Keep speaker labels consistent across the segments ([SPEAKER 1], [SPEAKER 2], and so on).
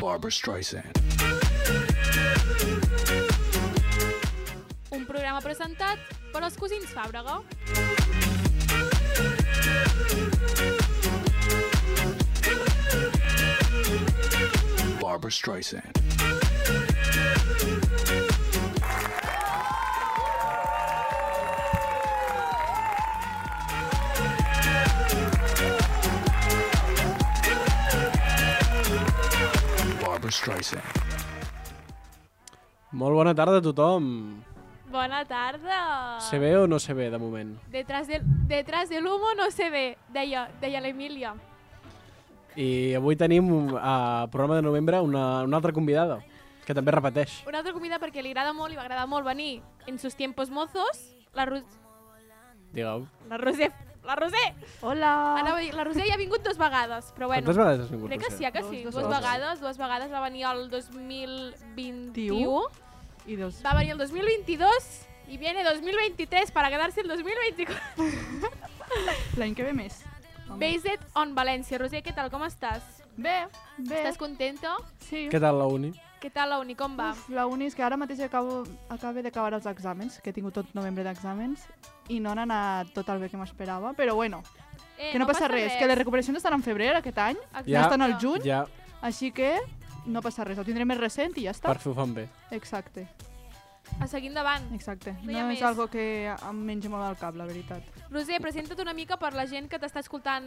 [SPEAKER 1] Barbara Streisand.
[SPEAKER 2] Un programa presentat per els cosins Fàbrega.
[SPEAKER 1] Barbara Streisand. Barbara Streisand.
[SPEAKER 3] Molt bona tarda a tothom.
[SPEAKER 2] Bona
[SPEAKER 4] Ah.
[SPEAKER 2] tarda!
[SPEAKER 3] Se ve o no se ve, de moment?
[SPEAKER 2] Detrás del, detrás del humo no se ve, deia, deia l'Emília.
[SPEAKER 3] I avui tenim a programa de novembre una, una altra convidada, que també repeteix.
[SPEAKER 2] Una altra comida perquè li agrada molt i m'agrada molt venir en sus tiempos mozos, la, Ru
[SPEAKER 3] Digueu.
[SPEAKER 2] la Roser. La Roser!
[SPEAKER 4] Hola!
[SPEAKER 2] Anava a dir, la Roser ja ha vingut dues vegades, però bueno.
[SPEAKER 3] Quantes vegades has vingut,
[SPEAKER 2] Crec que sí,
[SPEAKER 3] Roser?
[SPEAKER 2] eh, que sí. Dues,
[SPEAKER 4] Dos, dos
[SPEAKER 3] vegades.
[SPEAKER 2] vegades, dues vegades va venir el 2021.
[SPEAKER 4] Diu? I dos.
[SPEAKER 2] Va venir el 2022 y viene 2023 para quedarse el 2024.
[SPEAKER 4] L'any que ve més. Home.
[SPEAKER 2] Based on València. Roser, què tal? Com estàs?
[SPEAKER 4] Bé, bé.
[SPEAKER 2] Estàs contenta?
[SPEAKER 4] Sí.
[SPEAKER 3] Què tal la uni?
[SPEAKER 2] Què tal la uni? Com va?
[SPEAKER 4] Uf, la uni és que ara mateix acabo, acabé d'acabar els exàmens, que he tingut tot novembre d'exàmens, i no han anat tot el bé que m'esperava, però bueno,
[SPEAKER 2] Eh,
[SPEAKER 4] que no, passa, res, que les recuperacions estan en febrer aquest any,
[SPEAKER 3] Ja.
[SPEAKER 4] ja estan al juny,
[SPEAKER 3] Ja,
[SPEAKER 4] així que no passa res, el tindré més recent i ja està.
[SPEAKER 3] per fi ho fan bé.
[SPEAKER 4] Exacte,
[SPEAKER 2] A seguir endavant.
[SPEAKER 4] exacte.
[SPEAKER 2] No
[SPEAKER 4] No,
[SPEAKER 2] hi ha més.
[SPEAKER 4] és algo que em menja molt al cap, la veritat.
[SPEAKER 2] Roser, presenta't una mica per la gent que t'està escoltant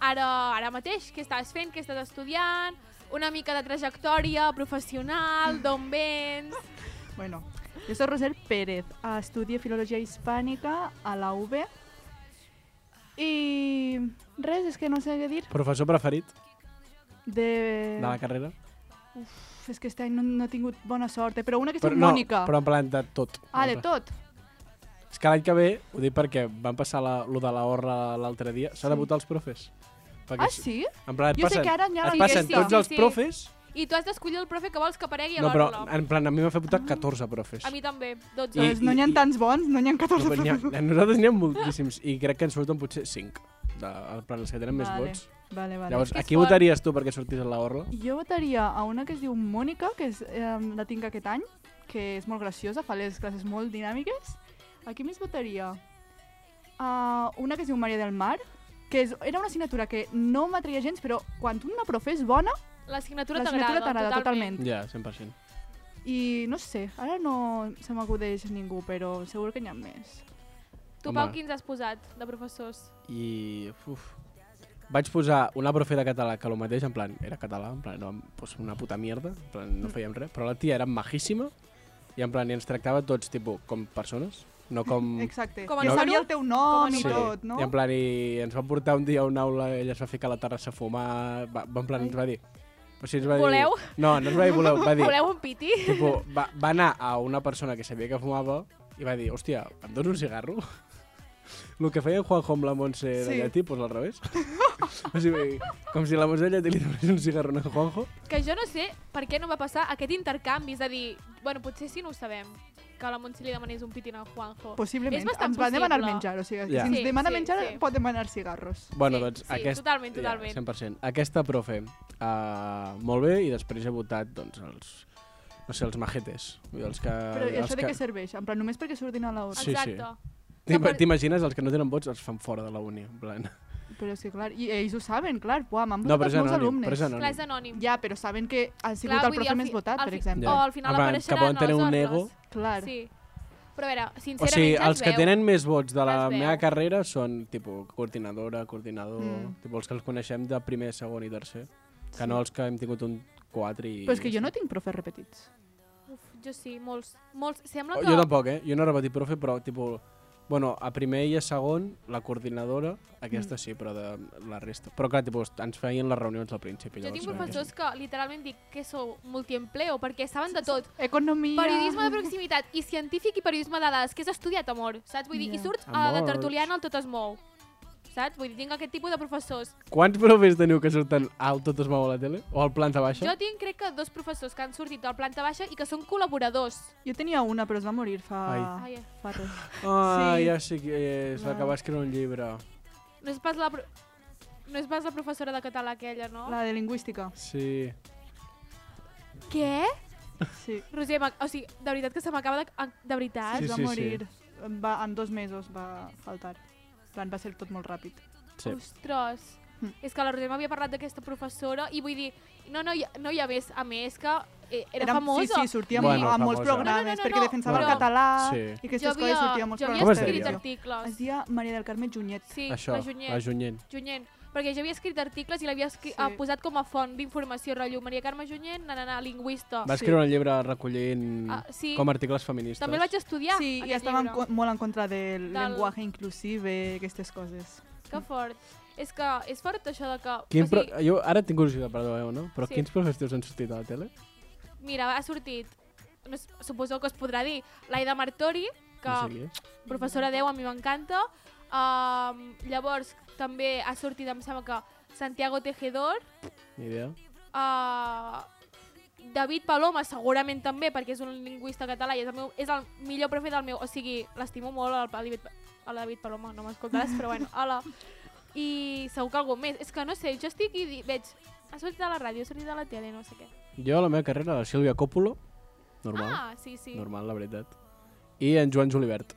[SPEAKER 2] ara, ara mateix. Què estàs fent? Què estàs estudiant? Una mica de trajectòria professional, d'on vens...
[SPEAKER 4] Bueno, yo soy Rosel Pérez, ah, estudié Filología Hispánica a la UB. Y res, es que no sé qué decir.
[SPEAKER 3] Professor preferit
[SPEAKER 4] De...
[SPEAKER 3] de la carrera?
[SPEAKER 4] Uf, és que este any no, no he tingut bona sort, però una que es diu
[SPEAKER 3] no,
[SPEAKER 4] Mònica.
[SPEAKER 3] però en plan de tot.
[SPEAKER 4] Ah, de tot.
[SPEAKER 3] És que l'any que ve, ho dic perquè van passar la, lo de la horra l'altre dia, s'ha de votar els profes. Perquè
[SPEAKER 4] Ah,
[SPEAKER 3] és-
[SPEAKER 4] sí?
[SPEAKER 3] En plan, et
[SPEAKER 4] Jo sé
[SPEAKER 3] passen,
[SPEAKER 4] que ara ja
[SPEAKER 3] et
[SPEAKER 4] la
[SPEAKER 3] passen
[SPEAKER 2] llista.
[SPEAKER 3] tots els
[SPEAKER 2] Sí, sí.
[SPEAKER 3] profes,
[SPEAKER 2] I tu has d'escollir el profe que vols que aparegui a
[SPEAKER 3] no, però
[SPEAKER 2] l'hora.
[SPEAKER 3] en plan, a mi m'ha fet votar
[SPEAKER 4] Ah.
[SPEAKER 3] 14 profes.
[SPEAKER 2] A mi també,
[SPEAKER 3] I-
[SPEAKER 2] 12.
[SPEAKER 4] Doncs no
[SPEAKER 3] i-
[SPEAKER 4] n'hi ha
[SPEAKER 3] i-
[SPEAKER 4] tants bons, no n'hi ha
[SPEAKER 3] No,
[SPEAKER 4] 14
[SPEAKER 3] però n'hi ha, nosaltres n'hi ha moltíssims i crec que en surten potser 5 de, en plan, els que tenen més
[SPEAKER 4] Vale,
[SPEAKER 3] vots.
[SPEAKER 4] Vale, vale.
[SPEAKER 3] Llavors,
[SPEAKER 2] És que
[SPEAKER 3] a
[SPEAKER 2] és
[SPEAKER 3] qui
[SPEAKER 2] fort.
[SPEAKER 3] votaries tu perquè sortís a la orla?
[SPEAKER 4] Jo votaria a una que es diu Mònica, que és, eh, la tinc aquest any, que és molt graciosa, fa les classes molt dinàmiques. A qui més votaria? A una que es diu Maria del Mar, que és, era una assignatura que no m'atreia gens, però quan una profe és bona,
[SPEAKER 2] L'assignatura
[SPEAKER 4] l'assignatura
[SPEAKER 2] t'agrada
[SPEAKER 4] t'agrada totalment.
[SPEAKER 3] Ja, 100%.
[SPEAKER 4] I no sé, ara no se m'acudeix ningú, però segur que n'hi ha més.
[SPEAKER 2] Tu,
[SPEAKER 3] Home.
[SPEAKER 2] Pau, quins has posat de professors?
[SPEAKER 3] I... Uf. Vaig posar una profe de català que el mateix, en plan, era català, en plan, no, pues una puta mierda, en plan,
[SPEAKER 2] Mm.
[SPEAKER 3] no fèiem res, però la tia era majíssima i en plan, i ens tractava tots, tipus, com persones, no com...
[SPEAKER 4] Exacte.
[SPEAKER 2] Com
[SPEAKER 3] a
[SPEAKER 4] que
[SPEAKER 3] no-
[SPEAKER 4] sabia el teu
[SPEAKER 2] com
[SPEAKER 4] nom
[SPEAKER 2] a
[SPEAKER 4] i
[SPEAKER 2] Sí.
[SPEAKER 4] tot, no?
[SPEAKER 3] Mm. I en plan, i ens va portar un dia a una aula, ella es va ficar a la terrassa a fumar, va, va en plan, ens va dir... O sigui, ens va
[SPEAKER 2] Voleu?
[SPEAKER 3] Dir, no, no ens va dir voleu, va dir...
[SPEAKER 2] Voleu un piti?
[SPEAKER 3] Tipo, va, va anar a una persona que sabia que fumava i va dir, hòstia, em dono un cigarro? El que feia en Juanjo amb la Montse sí. de
[SPEAKER 4] Sí.
[SPEAKER 3] Llatí, pues, al revés. o sigui, com si la Montse de Llatí li donés un cigarro a en Juanjo.
[SPEAKER 2] Que jo no sé per què no va passar aquest intercanvi. És a dir, bueno, potser sí no ho sabem, que a la Montse li demanés un piti al Juanjo.
[SPEAKER 4] Possiblement.
[SPEAKER 2] És bastant
[SPEAKER 4] ens van demanar
[SPEAKER 2] possible.
[SPEAKER 4] menjar, o sigui,
[SPEAKER 3] Ja.
[SPEAKER 4] si ens
[SPEAKER 2] Sí,
[SPEAKER 4] demana
[SPEAKER 2] sí,
[SPEAKER 4] menjar,
[SPEAKER 2] sí.
[SPEAKER 4] pot demanar cigarros.
[SPEAKER 3] Bueno,
[SPEAKER 2] Sí,
[SPEAKER 3] doncs,
[SPEAKER 2] sí,
[SPEAKER 3] aquest...
[SPEAKER 2] totalment, totalment.
[SPEAKER 3] Ja, 100%. Aquesta profe, uh, molt bé, i després he votat, doncs, els... No sé, els majetes. Vull dir, Els que,
[SPEAKER 4] Però i
[SPEAKER 3] els
[SPEAKER 4] això de què serveix? En plan, només perquè surtin a la hora.
[SPEAKER 3] Sí, sí.
[SPEAKER 2] Exacte.
[SPEAKER 3] T'im- T'imagines, els que no tenen vots els fan fora de la uni. En plan.
[SPEAKER 4] Però és que, clar, i ells ho saben, clar, buah, m'han
[SPEAKER 3] No,
[SPEAKER 4] votat
[SPEAKER 3] però és
[SPEAKER 4] els meus
[SPEAKER 3] anònim.
[SPEAKER 4] alumnes.
[SPEAKER 3] Però és
[SPEAKER 2] Clar, és
[SPEAKER 3] anònim.
[SPEAKER 2] anònim.
[SPEAKER 4] Ja, però saben que ha sigut el
[SPEAKER 2] vull dir,
[SPEAKER 4] profe
[SPEAKER 2] al
[SPEAKER 4] més
[SPEAKER 2] fi-
[SPEAKER 4] votat,
[SPEAKER 2] al
[SPEAKER 4] per
[SPEAKER 2] fi-
[SPEAKER 4] exemple.
[SPEAKER 3] Ja.
[SPEAKER 2] O al final
[SPEAKER 3] En plan, que
[SPEAKER 2] apareixeran
[SPEAKER 3] poden tenir
[SPEAKER 2] els
[SPEAKER 3] un
[SPEAKER 2] altres.
[SPEAKER 3] ego.
[SPEAKER 4] Clar, sí.
[SPEAKER 2] Sí. Però a veure,
[SPEAKER 3] O
[SPEAKER 2] sincerament
[SPEAKER 3] sigui,
[SPEAKER 2] ja
[SPEAKER 3] els
[SPEAKER 2] es
[SPEAKER 3] que
[SPEAKER 2] veu.
[SPEAKER 3] tenen més vots de la
[SPEAKER 2] Ja es veu.
[SPEAKER 3] meva carrera són tipus coordinadora, coordinador,
[SPEAKER 4] Mm.
[SPEAKER 3] mm. tipus els que els coneixem de primer, segon i tercer, que no els que hem tingut un 4 i...
[SPEAKER 4] Però és que jo no tinc profes repetits.
[SPEAKER 2] Uf, jo sí, molts. molts. Sembla
[SPEAKER 3] Oh,
[SPEAKER 2] que...
[SPEAKER 3] Jo tampoc, eh? Jo no he repetit profe, però tipus... Bueno, a primer i a segon, la coordinadora,
[SPEAKER 2] Mm.
[SPEAKER 3] aquesta sí, però de la resta. Però clar, tipus, ens feien les reunions al principi.
[SPEAKER 2] Jo
[SPEAKER 3] llavors
[SPEAKER 2] tinc
[SPEAKER 3] no hi havia-
[SPEAKER 2] professors que literalment dic que sou multiempleo, perquè saben de tot.
[SPEAKER 4] Economia...
[SPEAKER 2] Periodisme de proximitat i científic i periodisme de dades, que és estudiat amor, saps? Vull dir,
[SPEAKER 4] Ja.
[SPEAKER 2] i surt a
[SPEAKER 3] Amor.
[SPEAKER 2] la tertuliana el tot es mou, saps? Vull dir, tinc aquest tipus de professors.
[SPEAKER 3] Quants profes teniu que surten al Tot es mou a la tele? O al planta baixa?
[SPEAKER 2] Jo tinc, crec que, dos professors que han sortit de la planta baixa i que són col·laboradors.
[SPEAKER 4] Jo tenia una, però es va morir fa...
[SPEAKER 3] Ai.
[SPEAKER 2] Ai, eh.
[SPEAKER 4] fa res.
[SPEAKER 3] Ah,
[SPEAKER 4] Sí.
[SPEAKER 3] ja sé qui és, la que
[SPEAKER 4] No.
[SPEAKER 3] va escriure un llibre.
[SPEAKER 2] no és pas la... Pro... No és pas la professora de català aquella, no? La...
[SPEAKER 4] La de lingüística.
[SPEAKER 3] Sí.
[SPEAKER 2] Què?
[SPEAKER 4] Sí.
[SPEAKER 2] Roser, m'ac- o sigui, de veritat que se m'acaba de... De veritat?
[SPEAKER 4] Sí,
[SPEAKER 5] Sí,
[SPEAKER 4] es va
[SPEAKER 5] sí, sí.
[SPEAKER 4] morir. Em Va, en dos mesos va faltar. En plan, va ser tot molt ràpid.
[SPEAKER 3] Sí.
[SPEAKER 2] Ostres.
[SPEAKER 4] Mm.
[SPEAKER 2] És que la Roser m'havia parlat d'aquesta professora i vull dir, no, no, hi- no hi ha més, a més, que eh, era,
[SPEAKER 4] Érem-
[SPEAKER 2] famosa.
[SPEAKER 4] Sí, sí, sortia
[SPEAKER 3] Bueno,
[SPEAKER 4] bueno, a molts
[SPEAKER 5] famosa.
[SPEAKER 4] programes,
[SPEAKER 2] No, no, no,
[SPEAKER 4] perquè
[SPEAKER 2] no,
[SPEAKER 4] defensava
[SPEAKER 3] però-
[SPEAKER 4] el català
[SPEAKER 3] Sí.
[SPEAKER 4] i aquestes coses sortia a molts
[SPEAKER 2] jo
[SPEAKER 4] programes.
[SPEAKER 2] havia
[SPEAKER 5] de
[SPEAKER 2] escrit
[SPEAKER 5] televisió.
[SPEAKER 4] Es
[SPEAKER 2] articles.
[SPEAKER 4] deia Maria del Carme Junyet.
[SPEAKER 2] Sí,
[SPEAKER 3] Això,
[SPEAKER 2] la Junyent.
[SPEAKER 3] la Junyent.
[SPEAKER 2] Junyent. Perquè jo havia escrit articles i l'havia escri...
[SPEAKER 4] Sí.
[SPEAKER 2] sí. posat com a font d'informació, rotllo Maria Carme Junyent, na, na, na, lingüista.
[SPEAKER 3] Va
[SPEAKER 4] Sí.
[SPEAKER 3] escriure un llibre recollint
[SPEAKER 2] Ah, sí.
[SPEAKER 3] com articles feministes.
[SPEAKER 2] També el vaig estudiar,
[SPEAKER 4] sí, i
[SPEAKER 2] aquest
[SPEAKER 4] estava en,
[SPEAKER 2] llibre.
[SPEAKER 4] co- molt en contra
[SPEAKER 2] Del-
[SPEAKER 4] del, llenguatge inclusive, aquestes coses.
[SPEAKER 2] Que fort. És que és fort això de que...
[SPEAKER 3] Quin
[SPEAKER 2] o
[SPEAKER 3] pro...
[SPEAKER 2] sigui,
[SPEAKER 3] Jo ara tinc curiositat, perdoneu, no? Però
[SPEAKER 2] Sí.
[SPEAKER 3] quins professors teus han sortit a la tele?
[SPEAKER 2] Mira, ha sortit, no, s- suposo que es podrà dir, l'Aida Martori, que
[SPEAKER 3] No sé qui és.
[SPEAKER 2] professora 10, a mi m'encanta. Um, llavors, també ha sortit, em sembla que Santiago Tejedor,
[SPEAKER 3] Ni idea.
[SPEAKER 2] uh, David Paloma segurament també, perquè és un lingüista català i és el, meu, és el millor profe del meu... O sigui, l'estimo molt, el, David, el David Paloma, no m'escoltaràs, però bueno, hola. I segur que algú més. És que no sé, jo estic i di- veig... Ha sortit a la ràdio, ha sortit a la tele, no sé què.
[SPEAKER 3] Jo, la meva carrera, la Sílvia Coppola, normal,
[SPEAKER 2] Ah, sí, sí.
[SPEAKER 3] normal, la veritat. I en Joan Julivert.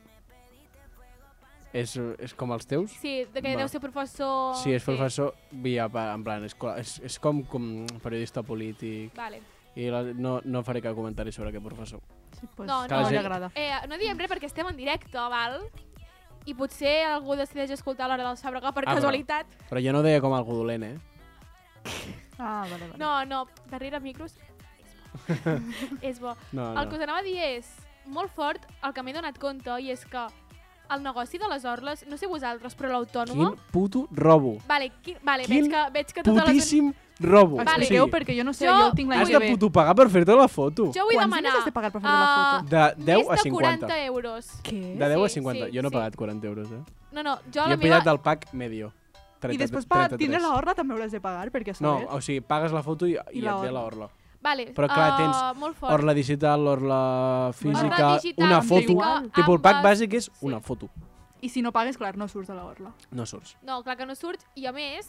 [SPEAKER 3] És, és com els teus?
[SPEAKER 2] Sí, de que
[SPEAKER 3] Va.
[SPEAKER 2] deu ser professor...
[SPEAKER 3] Sí, és professor via, pa- en plan, és, co- és, és com, com periodista polític
[SPEAKER 2] Vale.
[SPEAKER 3] i la, no, no faré cap comentari sobre aquest professor.
[SPEAKER 4] Sí, pues,
[SPEAKER 2] No,
[SPEAKER 4] no,
[SPEAKER 2] Que la
[SPEAKER 4] no,
[SPEAKER 3] gent-
[SPEAKER 4] li agrada.
[SPEAKER 2] Eh, no diem res perquè estem en directe, val? I potser algú decideix escoltar l'hora del Sàbrega per
[SPEAKER 3] Ah, però-
[SPEAKER 2] casualitat.
[SPEAKER 3] Però jo no deia com algú dolent, eh?
[SPEAKER 4] Ah, vale, vale.
[SPEAKER 2] No, no, darrere micros és bo.
[SPEAKER 3] Ah, No,
[SPEAKER 2] El que
[SPEAKER 3] no.
[SPEAKER 2] us anava a dir és molt fort el que m'he donat compte i és que el negoci de les orles, no sé vosaltres, però l'autònoma...
[SPEAKER 3] Quin puto robo.
[SPEAKER 2] Vale, qui, vale
[SPEAKER 3] Quin
[SPEAKER 2] veig que, veig que totes les...
[SPEAKER 3] Putíssim robo.
[SPEAKER 2] tota Vale.
[SPEAKER 4] Expliqueu perquè jo no sé,
[SPEAKER 2] Jo
[SPEAKER 4] jo, ho tinc la
[SPEAKER 3] Has de
[SPEAKER 4] IB.
[SPEAKER 3] puto pagar per fer-te la foto.
[SPEAKER 2] Jo vull
[SPEAKER 4] Quants
[SPEAKER 2] demanar...
[SPEAKER 4] diners has de pagar per fer-te la
[SPEAKER 2] ah,
[SPEAKER 4] foto?
[SPEAKER 3] De 10
[SPEAKER 2] Més
[SPEAKER 3] a
[SPEAKER 2] de
[SPEAKER 3] 50.
[SPEAKER 2] 40 euros.
[SPEAKER 4] Què?
[SPEAKER 3] De 10 a
[SPEAKER 2] Sí,
[SPEAKER 3] 50.
[SPEAKER 2] sí,
[SPEAKER 3] jo no he
[SPEAKER 2] sí.
[SPEAKER 3] pagat 40 euros, eh?
[SPEAKER 2] No, no, jo
[SPEAKER 3] Jo
[SPEAKER 2] la
[SPEAKER 3] he pillat
[SPEAKER 2] meva...
[SPEAKER 3] el pack medio. 30,
[SPEAKER 4] I després per
[SPEAKER 3] 33.
[SPEAKER 4] tindre la horra també hauràs de pagar, perquè a
[SPEAKER 3] No, ah.
[SPEAKER 4] saber...
[SPEAKER 3] o sigui, pagues la foto i, i, i
[SPEAKER 4] I la
[SPEAKER 3] et ve
[SPEAKER 4] orla.
[SPEAKER 3] l'orla.
[SPEAKER 2] Vale,
[SPEAKER 3] Però clar,
[SPEAKER 2] eh,
[SPEAKER 3] tens
[SPEAKER 2] molt fort.
[SPEAKER 3] Orla digital, orla física,
[SPEAKER 2] digital,
[SPEAKER 3] una foto.
[SPEAKER 2] física,
[SPEAKER 3] Tipo, el pack
[SPEAKER 2] ambes,
[SPEAKER 3] bàsic és
[SPEAKER 2] sí.
[SPEAKER 3] una foto.
[SPEAKER 4] I si no pagues, clar, no surts de la horra.
[SPEAKER 3] No surts.
[SPEAKER 2] No, clar que no surts, i a més,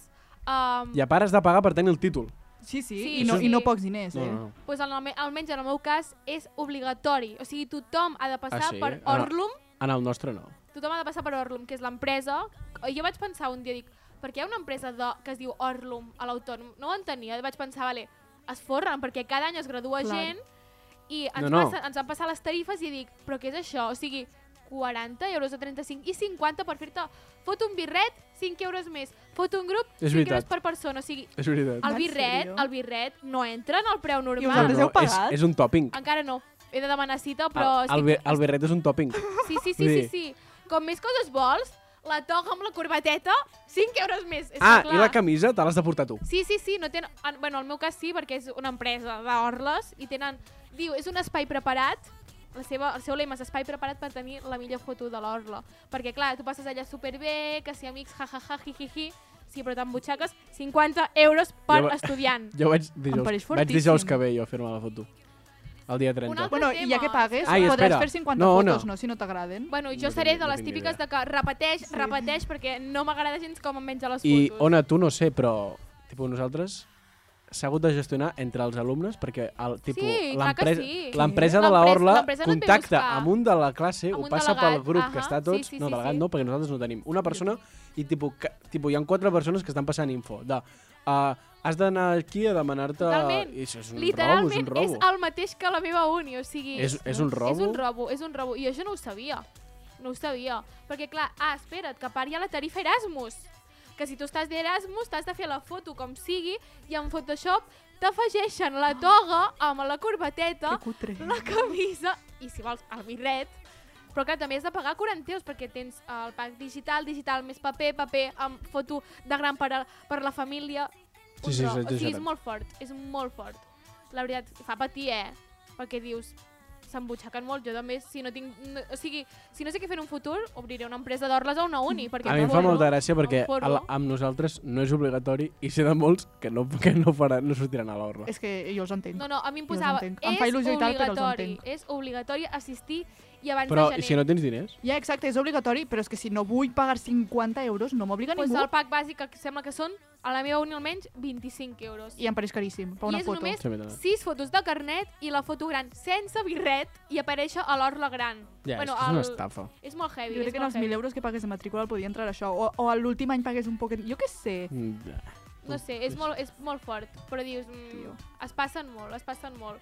[SPEAKER 2] um,
[SPEAKER 3] I a part has de pagar per tenir el títol.
[SPEAKER 4] Sí, sí,
[SPEAKER 2] Sí,
[SPEAKER 4] i, no,
[SPEAKER 3] sí.
[SPEAKER 4] i no pocs diners,
[SPEAKER 3] No,
[SPEAKER 4] eh?
[SPEAKER 3] no, no.
[SPEAKER 2] doncs en el, me- almenys en el meu cas, és obligatori. O sigui, tothom ha de passar
[SPEAKER 3] sí?
[SPEAKER 2] per
[SPEAKER 3] Ah.
[SPEAKER 2] Orlum,
[SPEAKER 3] En el nostre no.
[SPEAKER 2] tothom ha de passar per Orlum, que és l'empresa... I Jo vaig pensar un dia, dic, per què hi ha una empresa de, que es diu Orlum a l'autònom? No ho entenia, vaig pensar, vale, es forren, perquè cada any es gradua
[SPEAKER 4] Clar.
[SPEAKER 2] gent i ens,
[SPEAKER 3] No, no.
[SPEAKER 2] Passa, ens han passat les tarifes i dic, però què és això? O sigui, 40 euros o 35 i 50 per fer-te... Fot un birret, 5 euros més. Fot un grup,
[SPEAKER 3] És
[SPEAKER 2] 5 euros
[SPEAKER 3] veritat.
[SPEAKER 2] per persona. O sigui,
[SPEAKER 3] És veritat.
[SPEAKER 2] El
[SPEAKER 4] En
[SPEAKER 2] birret,
[SPEAKER 4] sèrio?
[SPEAKER 2] el birret no entra en el preu
[SPEAKER 3] No,
[SPEAKER 2] normal.
[SPEAKER 4] vosaltres Ah, heu
[SPEAKER 3] és,
[SPEAKER 4] pagat?
[SPEAKER 3] és un topping.
[SPEAKER 2] Encara no. He de demanar cita,
[SPEAKER 3] El,
[SPEAKER 2] però...
[SPEAKER 3] el,
[SPEAKER 2] estic-
[SPEAKER 3] bi- el birret és un topping.
[SPEAKER 2] Sí, sí, sí,
[SPEAKER 3] vull
[SPEAKER 2] sí,
[SPEAKER 3] dir-
[SPEAKER 2] sí. Com més coses vols, la toga amb la corbateta, 5 euros més. És
[SPEAKER 3] Ah,
[SPEAKER 2] que,
[SPEAKER 3] i
[SPEAKER 2] clar,
[SPEAKER 3] la camisa te l'has de portar tu.
[SPEAKER 2] Sí, sí, sí, no tenen... en- Bueno, el meu cas sí, perquè és una empresa d'orles i tenen... Diu, és un espai preparat, la seva, el seu lema és espai preparat per tenir la millor foto de l'orla. Perquè, clar, tu passes allà superbé, que si amics, ja, ja, ja, hi, hi, hi. Sí, però te'n butxaques 50 euros per
[SPEAKER 3] Jo va-
[SPEAKER 2] estudiant.
[SPEAKER 3] Jo vaig
[SPEAKER 4] Em
[SPEAKER 3] dijous,
[SPEAKER 4] pareix
[SPEAKER 3] vaig dijous
[SPEAKER 4] fortíssim.
[SPEAKER 3] que ve jo a fer-me la foto. El dia 30.
[SPEAKER 2] altre-
[SPEAKER 4] Bueno, i ja que pagues,
[SPEAKER 3] Ai,
[SPEAKER 4] podràs
[SPEAKER 3] espera.
[SPEAKER 4] fer 50
[SPEAKER 3] No, no.
[SPEAKER 4] fotos, no, si no t'agraden.
[SPEAKER 2] Bueno, jo
[SPEAKER 3] No
[SPEAKER 2] seré
[SPEAKER 3] tinc-
[SPEAKER 2] de
[SPEAKER 3] no
[SPEAKER 2] les
[SPEAKER 3] tinc ni
[SPEAKER 2] típiques
[SPEAKER 3] idea.
[SPEAKER 2] de que repeteix, repeteix, perquè no m'agrada gens com em menja les
[SPEAKER 3] I,
[SPEAKER 2] fotos.
[SPEAKER 3] Ona, tu no sé, però tipus, nosaltres s'ha hagut de gestionar entre els alumnes perquè el, tipus,
[SPEAKER 2] Sí, clar que
[SPEAKER 3] l'empresa
[SPEAKER 2] sí.
[SPEAKER 3] l'empresa de la
[SPEAKER 2] L'empresa-
[SPEAKER 3] Orla
[SPEAKER 2] l'empresa no et ve
[SPEAKER 3] contacta
[SPEAKER 2] buscar.
[SPEAKER 3] amb un de la classe,
[SPEAKER 2] Amb
[SPEAKER 3] ho
[SPEAKER 2] un
[SPEAKER 3] passa pel
[SPEAKER 2] delegat,
[SPEAKER 3] grup que
[SPEAKER 2] ahà,
[SPEAKER 3] està tots,
[SPEAKER 2] sí, sí,
[SPEAKER 3] no,
[SPEAKER 2] sí,
[SPEAKER 3] delegat
[SPEAKER 2] sí.
[SPEAKER 3] no, perquè nosaltres no tenim una persona i tipus, que, tipus, hi ha quatre persones que estan passant info de uh, has d'anar aquí a demanar-te...
[SPEAKER 2] Totalment.
[SPEAKER 3] I Això és un robo, és
[SPEAKER 2] Literalment
[SPEAKER 3] un robo.
[SPEAKER 2] és el mateix que la meva uni, o sigui...
[SPEAKER 3] És- és un robo?
[SPEAKER 2] És un robo, és un robo. I jo això no ho sabia, no ho sabia. Perquè, clar, ah, espera't, que a part hi ha la tarifa Erasmus. Que si tu estàs d'Erasmus t'has de fer la foto com sigui i en Photoshop t'afegeixen la toga amb la corbateta,
[SPEAKER 4] Que cutre.
[SPEAKER 2] la camisa i, si vols, el birret. Però clar, també has de pagar 40 euros perquè tens eh, el pack digital, digital més paper, paper amb foto de gran per, a, per la família. Un
[SPEAKER 3] Sí, sí,
[SPEAKER 2] tro-
[SPEAKER 3] és
[SPEAKER 2] o sigui, és
[SPEAKER 3] exagerat.
[SPEAKER 2] molt fort, és molt fort. La veritat, fa patir, eh? Perquè dius, s'embutxaquen molt. Jo també, si no tinc... No, o sigui, si no sé què fer en un futur, obriré una empresa d'orles o una uni. Perquè
[SPEAKER 3] Mm. A mi
[SPEAKER 2] em
[SPEAKER 3] em fa
[SPEAKER 4] eh?
[SPEAKER 2] forro,
[SPEAKER 3] molta gràcia perquè
[SPEAKER 2] em forro.
[SPEAKER 3] el, amb nosaltres no és obligatori i sé de molts que no, que no, faran, no sortiran a l'orla.
[SPEAKER 4] És que jo els entenc.
[SPEAKER 2] No, no, a mi em
[SPEAKER 4] Jo els
[SPEAKER 2] posava...
[SPEAKER 4] entenc.
[SPEAKER 2] és
[SPEAKER 4] Em fa il·lusió i tal, però els
[SPEAKER 2] obligatori,
[SPEAKER 4] entenc.
[SPEAKER 2] és obligatori assistir i abans
[SPEAKER 3] Però,
[SPEAKER 2] de
[SPEAKER 3] i
[SPEAKER 2] gener.
[SPEAKER 3] si no tens diners?
[SPEAKER 4] Ja, exacte, és obligatori, però és que si no vull pagar 50 euros, no m'obliga
[SPEAKER 2] pues
[SPEAKER 4] ningú.
[SPEAKER 2] el pack bàsic, que sembla que són, a la meva unió almenys, 25 euros.
[SPEAKER 4] I em pareix caríssim, per una
[SPEAKER 2] I és
[SPEAKER 4] foto.
[SPEAKER 2] només
[SPEAKER 3] Sí, a mi també.
[SPEAKER 2] 6 fotos de carnet i la foto gran sense birret i aparèixer a l'orla gran.
[SPEAKER 3] Ja, bueno, és que és una estafa.
[SPEAKER 2] És molt heavy.
[SPEAKER 4] Jo crec
[SPEAKER 2] és
[SPEAKER 4] que en
[SPEAKER 2] molt
[SPEAKER 4] els 1.000
[SPEAKER 2] heavy.
[SPEAKER 4] euros que pagues de matrícula el podia entrar això. O, o a l'últim any pagues un poquet... Jo què sé.
[SPEAKER 3] Mm, ja.
[SPEAKER 2] No sé, és molt, és molt fort, però dius... Mm,
[SPEAKER 4] Tio.
[SPEAKER 2] es passen molt, es passen molt.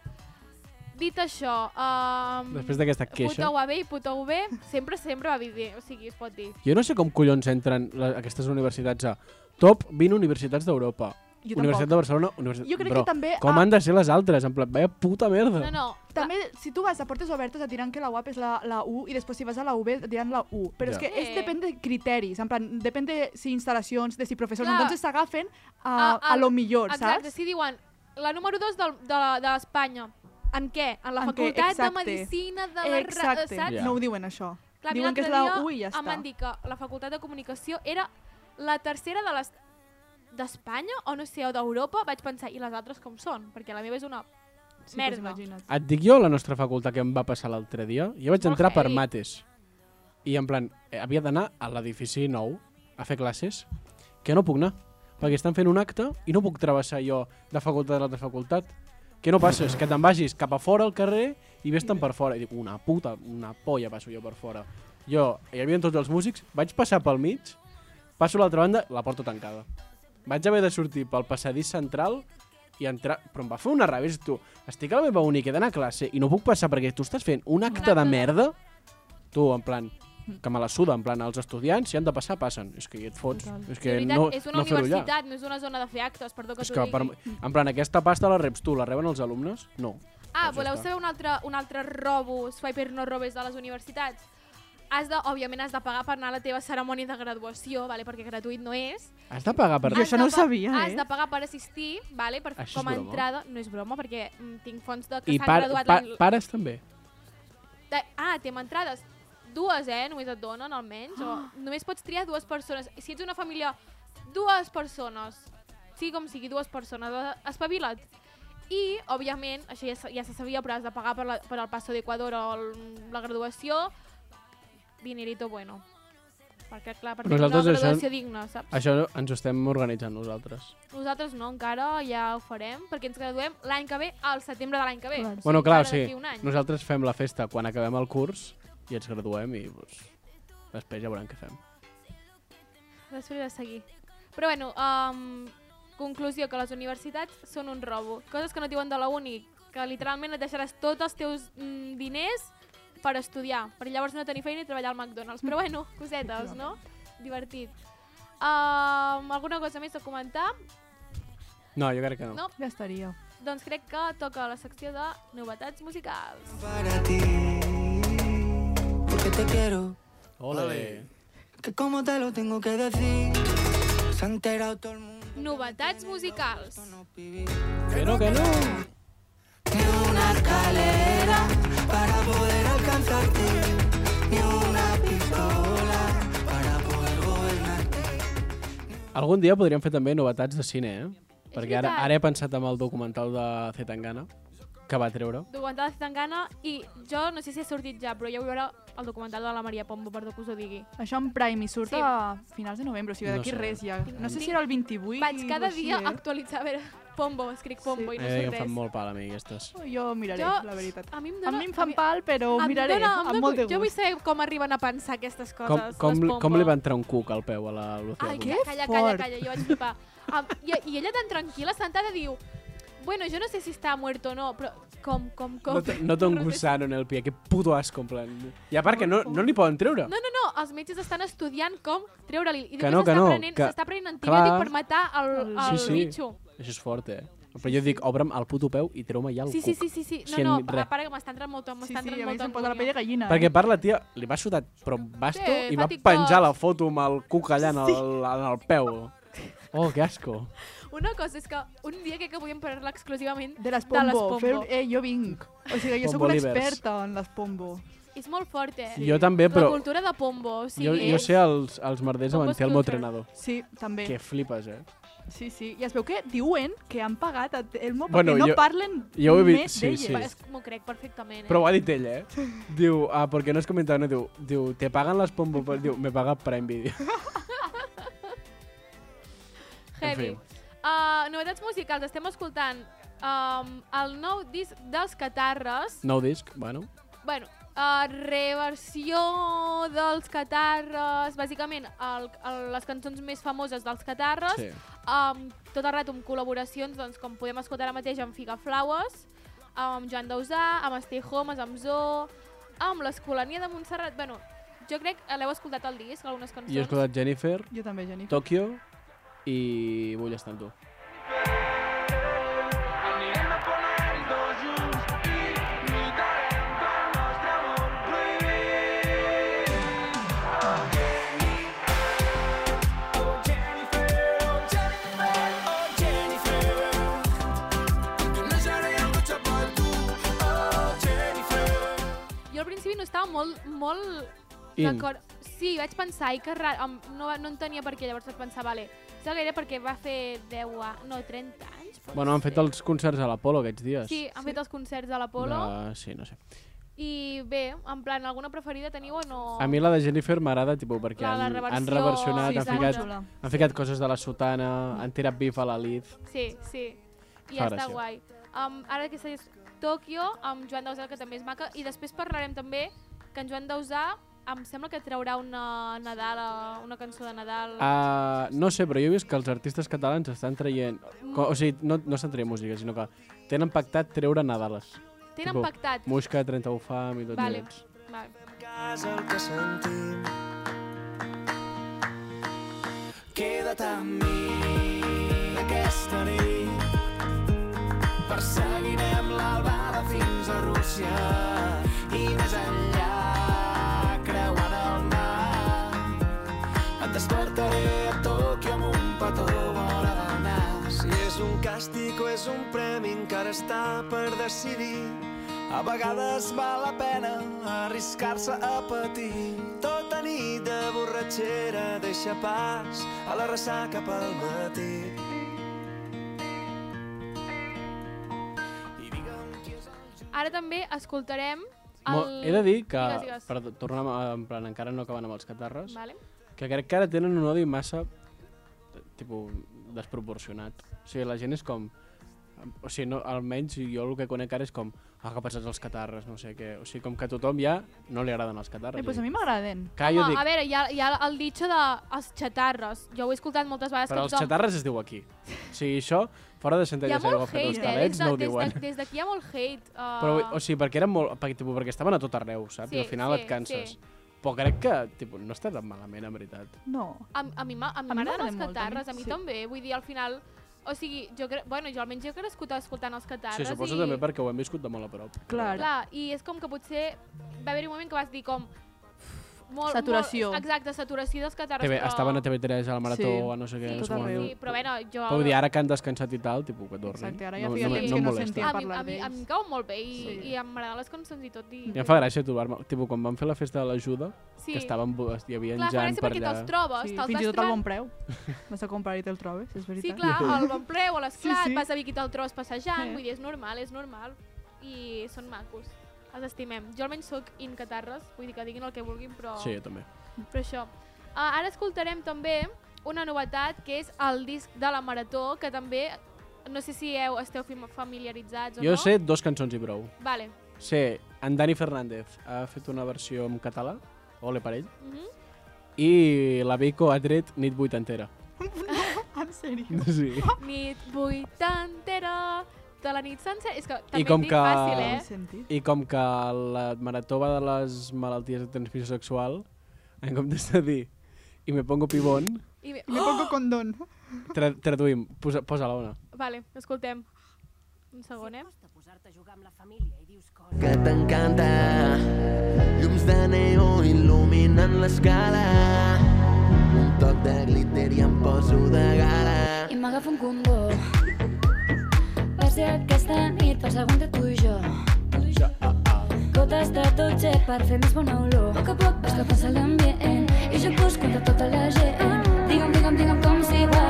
[SPEAKER 2] Dit això... Um,
[SPEAKER 3] Després d'aquesta queixa...
[SPEAKER 2] Putau a bé i putau bé, sempre, sempre va bé, o sigui, es pot dir.
[SPEAKER 3] Jo no sé com collons entren la, aquestes universitats a top 20 universitats d'Europa.
[SPEAKER 4] Jo
[SPEAKER 3] Universitat de
[SPEAKER 4] tampoc.
[SPEAKER 3] Barcelona, Universitat...
[SPEAKER 4] Jo crec
[SPEAKER 3] Bro,
[SPEAKER 4] que també...
[SPEAKER 3] Com
[SPEAKER 4] ah,
[SPEAKER 3] han de ser les altres? En plan, vaya puta merda.
[SPEAKER 2] No, no,
[SPEAKER 4] També, si tu vas a portes obertes et diran que la UAP és la, la U i després si vas a la UB et diran la U. Però
[SPEAKER 3] Ja.
[SPEAKER 4] és que és,
[SPEAKER 2] Eh.
[SPEAKER 4] depèn de criteris, en plan, depèn de si instal·lacions, de si professors,
[SPEAKER 2] Clar.
[SPEAKER 4] entonces s'agafen a,
[SPEAKER 2] Ah,
[SPEAKER 4] a,
[SPEAKER 2] ah,
[SPEAKER 4] lo millor,
[SPEAKER 2] Exacte,
[SPEAKER 4] saps?
[SPEAKER 2] si diuen la número 2 de, de, d'Espanya, en què? En la
[SPEAKER 4] En què,
[SPEAKER 2] facultat de
[SPEAKER 4] exacte.
[SPEAKER 2] Medicina de la... Ra-
[SPEAKER 4] Exacte.
[SPEAKER 2] Saps?
[SPEAKER 3] Ja.
[SPEAKER 4] No ho diuen això.
[SPEAKER 2] Clar, a mi
[SPEAKER 4] diuen que és
[SPEAKER 2] l'altre
[SPEAKER 4] la
[SPEAKER 2] dia
[SPEAKER 4] U i ja
[SPEAKER 2] Em
[SPEAKER 4] està.
[SPEAKER 2] van dir que la facultat de comunicació era la tercera de les d'Espanya, o no sé, o d'Europa, vaig pensar, i les altres com són? Perquè la meva és una...
[SPEAKER 4] Sí,
[SPEAKER 2] Merda.
[SPEAKER 4] Pues imagina't.
[SPEAKER 3] Et dic jo la nostra facultat que em va passar l'altre dia. Jo vaig
[SPEAKER 2] Molt
[SPEAKER 3] entrar per
[SPEAKER 2] heavy.
[SPEAKER 3] mates. I en plan, eh, havia d'anar a l'edifici nou a fer classes, que no puc anar, perquè estan fent un acte i no puc travessar jo de facultat a l'altra facultat. Què no passes? Que te'n vagis cap a fora al carrer i vés-te'n per fora. I dic, una puta, una polla passo jo per fora. Jo, hi havia tots els músics, vaig passar pel mig, passo a l'altra banda, la porta tancada. Vaig haver de sortir pel passadís central i entrar... Però em va fer una ràbia, és tu. Estic a la meva única d'anar a classe i no puc passar perquè tu estàs fent un acte de merda. Tu, en plan, que me la suda, en plan, els estudiants, si han de passar, passen. És que et fots.
[SPEAKER 4] Total.
[SPEAKER 3] És
[SPEAKER 2] De
[SPEAKER 3] que
[SPEAKER 2] veritat,
[SPEAKER 3] no,
[SPEAKER 2] és una
[SPEAKER 3] no fer-ho allà.
[SPEAKER 2] universitat, no és una zona de fer actes, perdó que
[SPEAKER 3] És
[SPEAKER 2] t'ho
[SPEAKER 3] que,
[SPEAKER 2] digui.
[SPEAKER 3] per, en plan, aquesta pasta la reps tu, la reben els alumnes? No.
[SPEAKER 2] Ah,
[SPEAKER 3] Doncs ja
[SPEAKER 2] voleu
[SPEAKER 3] està.
[SPEAKER 2] saber un altre, un altre robo, swiper no robes de les universitats? Has de, òbviament, has de pagar per anar a la teva cerimònia de graduació, vale? perquè gratuït no és.
[SPEAKER 3] Has de pagar per...
[SPEAKER 4] Jo
[SPEAKER 2] Has
[SPEAKER 4] això
[SPEAKER 2] de
[SPEAKER 4] no ho
[SPEAKER 2] pa-
[SPEAKER 4] sabia,
[SPEAKER 2] Has
[SPEAKER 4] eh?
[SPEAKER 2] de pagar per assistir, vale? per,
[SPEAKER 3] Això és
[SPEAKER 2] com a
[SPEAKER 3] broma?
[SPEAKER 2] entrada. No és broma, perquè mm, tinc fons de que
[SPEAKER 3] I
[SPEAKER 2] s'han
[SPEAKER 3] par,
[SPEAKER 2] graduat...
[SPEAKER 3] pa,
[SPEAKER 2] l'any-
[SPEAKER 3] pares també.
[SPEAKER 2] de, ah, té entrades. Dues, eh? Només et donen, almenys. O,
[SPEAKER 4] Ah.
[SPEAKER 2] només pots triar dues persones. Si ets una família, dues persones. Sigui com sigui, dues persones. eh, Espavila't. I, òbviament, això ja, se- ja se sabia, però has de pagar per, la, per el passo d'Equador o el, la graduació. Dinerito bueno. Perquè, clar, per tenir una
[SPEAKER 3] Nosaltres això-
[SPEAKER 2] graduació digna, saps?
[SPEAKER 3] Això ens ho estem organitzant nosaltres.
[SPEAKER 2] Nosaltres no, encara ja ho farem, perquè ens graduem l'any que ve, al setembre de l'any que ve.
[SPEAKER 4] Clar.
[SPEAKER 3] bueno, clar, o
[SPEAKER 2] encara
[SPEAKER 3] sigui,
[SPEAKER 2] d'aquí un any.
[SPEAKER 3] nosaltres fem la festa quan acabem el curs i ens graduem i pues, després ja veurem què fem.
[SPEAKER 2] Després de seguir. Però bueno, um, conclusió, que les universitats són un robo. Coses que no et diuen de la uni, que literalment et deixaràs tots els teus mm, diners per estudiar, per llavors no tenir feina i treballar al McDonald's. Però bueno, cosetes, no? Divertit. Um, alguna cosa més a comentar?
[SPEAKER 3] No, jo crec que no.
[SPEAKER 2] No?
[SPEAKER 4] Ja estaria.
[SPEAKER 2] Doncs crec que toca la secció de novetats musicals.
[SPEAKER 5] para ti. Porque te quiero.
[SPEAKER 3] Ole!
[SPEAKER 5] Que como te lo tengo que decir. Se ha enterado todo el mundo.
[SPEAKER 2] Novetats musicals.
[SPEAKER 5] No viví.
[SPEAKER 3] Que no, que no!
[SPEAKER 5] Ni una escalera para poder alcanzarte. Ni una pistola para poder gobernarte.
[SPEAKER 3] Algun dia podríem fer també novetats de cine, eh?
[SPEAKER 2] És
[SPEAKER 3] Perquè ara,
[SPEAKER 2] veritat.
[SPEAKER 3] ara he pensat en el documental de Zetangana, que va treure.
[SPEAKER 2] Documental de Tangana i jo no sé si ha sortit ja, però ja ho veurà el documental de la Maria Pombo, perdó que us ho digui.
[SPEAKER 4] Això en Prime i surt
[SPEAKER 2] Sí.
[SPEAKER 4] a finals de novembre, o sigui,
[SPEAKER 3] No
[SPEAKER 4] d'aquí
[SPEAKER 3] sé.
[SPEAKER 4] res ja. No sé
[SPEAKER 2] Tinc-
[SPEAKER 4] si era el 28
[SPEAKER 2] Vaig
[SPEAKER 4] o
[SPEAKER 2] cada
[SPEAKER 4] així,
[SPEAKER 2] dia
[SPEAKER 4] eh?
[SPEAKER 2] actualitzar, a veure, Pombo, escric Pombo
[SPEAKER 4] Sí.
[SPEAKER 2] i no
[SPEAKER 3] eh, que
[SPEAKER 2] surt
[SPEAKER 3] em
[SPEAKER 2] res.
[SPEAKER 3] fan molt pal a mi, aquestes.
[SPEAKER 4] Jo miraré,
[SPEAKER 2] Jo-
[SPEAKER 4] la veritat.
[SPEAKER 2] A mi em
[SPEAKER 4] A
[SPEAKER 2] dona...
[SPEAKER 4] mi em fan pal, però ho
[SPEAKER 2] em
[SPEAKER 4] miraré,
[SPEAKER 2] dona- em
[SPEAKER 4] amb
[SPEAKER 2] dona-
[SPEAKER 4] molt de
[SPEAKER 2] Jo vull
[SPEAKER 4] gust.
[SPEAKER 2] saber com arriben a pensar aquestes
[SPEAKER 3] Com,
[SPEAKER 2] coses,
[SPEAKER 3] com,
[SPEAKER 2] les Pombo.
[SPEAKER 3] com li va entrar un cuc al peu a la Lucía?
[SPEAKER 2] Ai,
[SPEAKER 3] Pombo?
[SPEAKER 4] que
[SPEAKER 2] calla, calla, calla,
[SPEAKER 4] fort.
[SPEAKER 2] calla, jo vaig flipar. Am- i, I ella tan tranquil·la, sentada, diu... Bueno, jo no sé si està mort o no, però com, com, com...
[SPEAKER 3] No, te- no té un gusano en el pie, que puto asco, en plan. I a part que no, no n'hi poden treure.
[SPEAKER 2] No, no, no, els metges estan estudiant com treure-li. I després
[SPEAKER 3] Que no, que
[SPEAKER 2] s'està
[SPEAKER 3] no,
[SPEAKER 2] prenent,
[SPEAKER 3] que-
[SPEAKER 2] s'està prenent antibiòtic
[SPEAKER 3] clar.
[SPEAKER 2] per matar el, el
[SPEAKER 3] Sí, sí.
[SPEAKER 2] bitxo.
[SPEAKER 3] Això és fort, eh? Però jo dic, obre'm el puto peu i treu-me ja el
[SPEAKER 2] Sí, sí,
[SPEAKER 3] cuc.
[SPEAKER 2] sí, sí, sí.
[SPEAKER 3] Si en
[SPEAKER 2] No, no,
[SPEAKER 3] re.
[SPEAKER 2] a part que m'està entrant molta,
[SPEAKER 4] Sí,
[SPEAKER 2] m'està
[SPEAKER 4] sí,
[SPEAKER 2] entrant
[SPEAKER 4] a mi
[SPEAKER 2] molta
[SPEAKER 4] se'm posa la
[SPEAKER 2] angúnia.
[SPEAKER 4] pell de gallina.
[SPEAKER 3] Perquè a part la tia li va sutar però amb basto
[SPEAKER 2] Sí,
[SPEAKER 3] i va
[SPEAKER 2] fa TikToks.
[SPEAKER 3] penjar la foto amb el cuc allà en el, en el peu. Oh, que asco.
[SPEAKER 2] Una cosa és que un dia crec que podíem parlar exclusivament
[SPEAKER 4] De les
[SPEAKER 2] de les Pombo.
[SPEAKER 4] Pombo. Fer... Eh, jo vinc. O sigui, jo sóc una
[SPEAKER 3] Pombolivers.
[SPEAKER 4] experta en les Pombo.
[SPEAKER 2] És molt fort, eh?
[SPEAKER 3] Jo també,
[SPEAKER 2] La
[SPEAKER 3] però
[SPEAKER 2] cultura de Pombo, o sigui...
[SPEAKER 3] jo, jo sé els, els merders amb
[SPEAKER 2] Pompos
[SPEAKER 3] en Telmo
[SPEAKER 2] Culture.
[SPEAKER 3] Trenador.
[SPEAKER 4] Sí, també.
[SPEAKER 3] Que flipes, eh?
[SPEAKER 4] Sí, sí. I es veu que diuen que han pagat a Telmo perquè
[SPEAKER 3] Bueno,
[SPEAKER 4] no
[SPEAKER 3] jo-
[SPEAKER 4] parlen
[SPEAKER 3] jo ho he vist-
[SPEAKER 4] més
[SPEAKER 3] sí,
[SPEAKER 4] d'elles.
[SPEAKER 3] sí.
[SPEAKER 2] Va, és que m'ho crec perfectament, eh?
[SPEAKER 3] Però ho ha dit ella, eh? Diu, ah, perquè no has comentat, no? Diu, diu te paguen les pombo... Diu, me paga Prime Video.
[SPEAKER 2] Heavy.
[SPEAKER 3] En
[SPEAKER 2] Uh, novetats musicals, estem escoltant um, el nou disc dels Catarres.
[SPEAKER 3] Nou disc, bueno.
[SPEAKER 2] bueno, uh, reversió dels Catarres, bàsicament el, el, les cançons més famoses dels Catarres,
[SPEAKER 3] Sí.
[SPEAKER 2] um, tot el rato amb col·laboracions doncs, com podem escoltar ara mateix amb Figa Flowers, amb Joan Dausà, amb Stay Homes, amb Zoo, amb l'Escolania de Montserrat. Bueno, jo crec que l'heu escoltat el disc, algunes cançons.
[SPEAKER 3] I he escoltat Jennifer,
[SPEAKER 4] Jo també, Jenny.
[SPEAKER 3] Tokyo i Vull estar amb tu.
[SPEAKER 2] Jo al principi no estava molt, molt
[SPEAKER 3] In.
[SPEAKER 2] d'acord. Sí, vaig pensar, i que rar, em- no, no entenia per què, llavors vaig pensar, vale, és gaire perquè va fer 10 a... no, 30 anys. pot
[SPEAKER 3] Bueno, han
[SPEAKER 2] ser.
[SPEAKER 3] fet els concerts a l'Apolo aquests dies.
[SPEAKER 2] Sí, han fet els concerts de l'Apolo,
[SPEAKER 3] De... Sí, no sé.
[SPEAKER 2] i bé, en plan, alguna preferida teniu o no?
[SPEAKER 3] A mi la de Jennifer m'agrada, tipus, perquè
[SPEAKER 2] La- la
[SPEAKER 3] han, han
[SPEAKER 2] reversió,
[SPEAKER 3] reversionat,
[SPEAKER 2] sí,
[SPEAKER 3] han,
[SPEAKER 2] sí,
[SPEAKER 3] ficat,
[SPEAKER 4] molt xula.
[SPEAKER 3] han ficat coses de la sotana, han tirat bif a la Liz.
[SPEAKER 2] Sí, sí, i
[SPEAKER 3] Fa
[SPEAKER 2] està
[SPEAKER 3] gràcia.
[SPEAKER 2] guai. Um, ara aquesta és Tòquio, amb Joan Dausà, que també és maca, i després parlarem també que en Joan Dausà em sembla que traurà una Nadal, eh, una cançó de Nadal.
[SPEAKER 3] Uh, no sé, però jo he vist que els artistes catalans estan traient... Co o sigui, no, no estan traient música, sinó que tenen pactat treure Nadales.
[SPEAKER 2] Tenen
[SPEAKER 3] tipus,
[SPEAKER 2] pactat.
[SPEAKER 3] Musca, 31 fam i tot
[SPEAKER 2] Vale.
[SPEAKER 3] minuts.
[SPEAKER 2] Vale.
[SPEAKER 5] casa el que sentim. Queda't amb mi aquesta nit. Perseguirem l'albada fins a Rússia i més enllà creuant el mar. Et despertaré a Tòquio amb un petó vora del nas. Si és un càstig o és un premi encara està per decidir. A vegades val la pena arriscar-se a patir. Tota nit de borratxera deixa pas a la ressaca pel matí. I digue'm qui és el
[SPEAKER 2] Ara també escoltarem
[SPEAKER 3] Mo-
[SPEAKER 2] el...
[SPEAKER 3] He de dir que,
[SPEAKER 2] Digues, digues.
[SPEAKER 3] per tornar a- en plan, encara no acaben amb els catarres,
[SPEAKER 2] Vale.
[SPEAKER 3] que crec que ara tenen un odi massa tipus, desproporcionat. O sigui, la gent és com... O sigui, no, almenys jo el que conec ara és com ah, que passats els catarres, no sé què. O sigui, com que a tothom ja no li agraden els catarres.
[SPEAKER 4] Eh, pues a mi m'agraden.
[SPEAKER 3] Que Ah, jo
[SPEAKER 2] Home,
[SPEAKER 3] dic,
[SPEAKER 2] a veure, hi ha, hi ha el ditxo de els xatarres. Jo ho he escoltat moltes vegades.
[SPEAKER 3] però
[SPEAKER 2] que
[SPEAKER 3] els xatarres es diu aquí. O sigui, això, fora de
[SPEAKER 2] Hi ha
[SPEAKER 3] Centelles i
[SPEAKER 2] molt
[SPEAKER 3] Agafet
[SPEAKER 2] hate, eh? Des
[SPEAKER 3] Hostalets, no ho
[SPEAKER 2] de-
[SPEAKER 3] diuen.
[SPEAKER 2] des de- Des d'aquí hi ha molt hate. Uh...
[SPEAKER 3] Però, vull- o sigui, perquè eren molt... Perquè, tipus, perquè estaven a tot arreu, saps?
[SPEAKER 2] Sí,
[SPEAKER 3] I al final
[SPEAKER 2] sí,
[SPEAKER 3] et canses.
[SPEAKER 2] sí.
[SPEAKER 3] Però crec que tipus, no està tan malament, en veritat.
[SPEAKER 4] No.
[SPEAKER 2] A, a mi m'a- a mi
[SPEAKER 4] A
[SPEAKER 2] m'agraden
[SPEAKER 4] mi m'agraden
[SPEAKER 2] els
[SPEAKER 4] molt, a mi
[SPEAKER 2] catarres, a mi
[SPEAKER 4] sí.
[SPEAKER 2] també. Vull dir, al final... O sigui, jo, cre... bueno, jo almenys jo he crescut escoltant els catarres.
[SPEAKER 3] Sí, suposo
[SPEAKER 2] i...
[SPEAKER 3] també perquè ho hem viscut de molt a prop.
[SPEAKER 4] Clar.
[SPEAKER 2] Clar, i és com que potser va haver-hi un moment que vas dir com... "Uf, Molt,
[SPEAKER 4] Saturació.
[SPEAKER 2] Molt, exacte, saturació dels catarres.
[SPEAKER 3] TV,
[SPEAKER 2] però...
[SPEAKER 3] estaven a TV3, a la Marató,
[SPEAKER 4] Sí.
[SPEAKER 3] a no sé què.
[SPEAKER 4] Sí,
[SPEAKER 3] no sé
[SPEAKER 4] tot
[SPEAKER 3] quan.
[SPEAKER 4] arreu.
[SPEAKER 2] Sí, però bueno, jo...
[SPEAKER 3] Però vull dir, ara que han descansat i tal, tipus, que tornin.
[SPEAKER 4] Exacte, ara ja
[SPEAKER 3] no,
[SPEAKER 4] feia
[SPEAKER 3] no,
[SPEAKER 2] temps
[SPEAKER 3] no,
[SPEAKER 2] que
[SPEAKER 3] em
[SPEAKER 2] no
[SPEAKER 3] molesta.
[SPEAKER 4] sentia.
[SPEAKER 2] a mi,
[SPEAKER 4] parlar
[SPEAKER 2] a mi, a mi
[SPEAKER 4] d'ells.
[SPEAKER 2] em cauen molt bé i, sí.
[SPEAKER 4] Sí.
[SPEAKER 2] i em agraden les cançons i tot. I...
[SPEAKER 3] I em fa gràcia trobar-me, tipus, quan vam fer la festa de l'ajuda,
[SPEAKER 2] sí.
[SPEAKER 3] que estaven, bo- hi havia
[SPEAKER 2] Clar,
[SPEAKER 3] gent
[SPEAKER 2] faràs
[SPEAKER 3] per
[SPEAKER 2] perquè
[SPEAKER 3] allà.
[SPEAKER 2] te'ls trobes,
[SPEAKER 4] Sí,
[SPEAKER 2] te'ls
[SPEAKER 4] fins
[SPEAKER 2] vas
[SPEAKER 4] i tot al
[SPEAKER 2] trobant.
[SPEAKER 4] bon preu. Vas a comprar i te'l trobes, és veritat.
[SPEAKER 2] Oh, Sí, clar, al bon preu, a l'esclat,
[SPEAKER 4] Sí,
[SPEAKER 2] sí,
[SPEAKER 4] sí.
[SPEAKER 2] sí. vas a Vic i te'l trobes passejant,
[SPEAKER 4] Sí.
[SPEAKER 2] vull dir, és normal, és normal. I són macos, els estimem. Jo almenys sóc in catarres, vull dir que diguin el que vulguin, però,
[SPEAKER 3] Sí, jo també.
[SPEAKER 2] però això. Ah, ara escoltarem també una novetat, que és el disc de la Marató, que també, no sé si heu, esteu fam- familiaritzats o
[SPEAKER 3] Jo
[SPEAKER 2] no.
[SPEAKER 3] sé dos cançons i prou.
[SPEAKER 2] Vale.
[SPEAKER 3] Sé, en Dani Fernández ha fet una versió en català, ole per ell,
[SPEAKER 2] Mhm.
[SPEAKER 3] i la Vico ha tret nit vuitantera.
[SPEAKER 4] En sèrio.
[SPEAKER 3] Sí.
[SPEAKER 2] Nit vuitantera, de la nit sencera... És que
[SPEAKER 3] I
[SPEAKER 2] també
[SPEAKER 3] com
[SPEAKER 2] et dic
[SPEAKER 3] que-
[SPEAKER 2] fàcil,
[SPEAKER 4] Té
[SPEAKER 2] eh?
[SPEAKER 4] sentit.
[SPEAKER 3] I com que la marató va de les malalties de transmissió sexual, en comptes de dir i me pongo pibón,
[SPEAKER 2] I bé,
[SPEAKER 4] I me pongo condón.
[SPEAKER 3] tra traduïm, posa, posa la ona.
[SPEAKER 2] oh, Vale, escoltem. Un segon, eh?
[SPEAKER 6] Costa posar-te a jugar amb la família i dius coses.
[SPEAKER 7] que t'encanta. Llums de neó il·luminen l'escala. Un toc de glitter i em poso de gala.
[SPEAKER 8] i m'agafo un combo. Va ser aquesta nit, per segon de tu i jo. Gotes de dutxe per fer més bona olor. A poc a poc va escapant-se l'ambient i jo busco de tota la gent. Digue'm, digue'm, digue'm com s'hi va.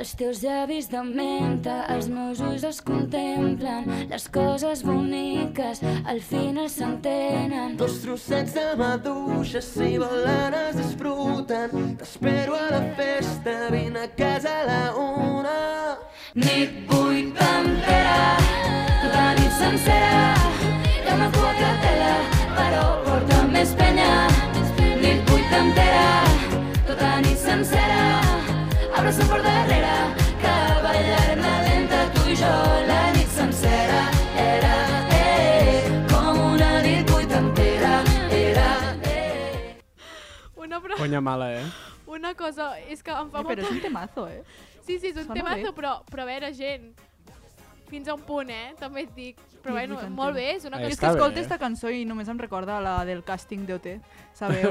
[SPEAKER 8] Els teus llavis de menta, els meus ulls es contemplen, les coses boniques al final s'entenen.
[SPEAKER 7] Dos trossets de maduixa, si balanes es bruten. T'espero a la festa, vine a casa a la una.
[SPEAKER 8] Nit vuit pantera, tota nit sencera, hi ha una cuacatela, però porta més penya. Nit vuit entera, tota nit sencera, abraça per darrere, que ballarem-la lenta, tu i jo, la nit sencera. Era, eh, com una nit vuit entera, era, eh.
[SPEAKER 2] Una, pro...
[SPEAKER 3] Conya mala, eh?
[SPEAKER 2] una cosa és que em fa
[SPEAKER 4] Eh, però és
[SPEAKER 2] molta...
[SPEAKER 4] un temazo, eh?
[SPEAKER 2] Sí, sí, és un
[SPEAKER 4] Sona
[SPEAKER 2] temazo,
[SPEAKER 4] bé.
[SPEAKER 2] però, però a veure, gent, fins a un punt, eh? També et dic. Però
[SPEAKER 4] Vuit
[SPEAKER 2] bueno,
[SPEAKER 4] vuitanta.
[SPEAKER 2] molt bé, és una
[SPEAKER 3] Ahí
[SPEAKER 4] Jo
[SPEAKER 2] cosa...
[SPEAKER 4] és
[SPEAKER 3] està
[SPEAKER 4] que
[SPEAKER 3] bé,
[SPEAKER 4] escolto
[SPEAKER 3] eh?
[SPEAKER 4] aquesta cançó i només em recorda la del càsting d'OT, sabeu?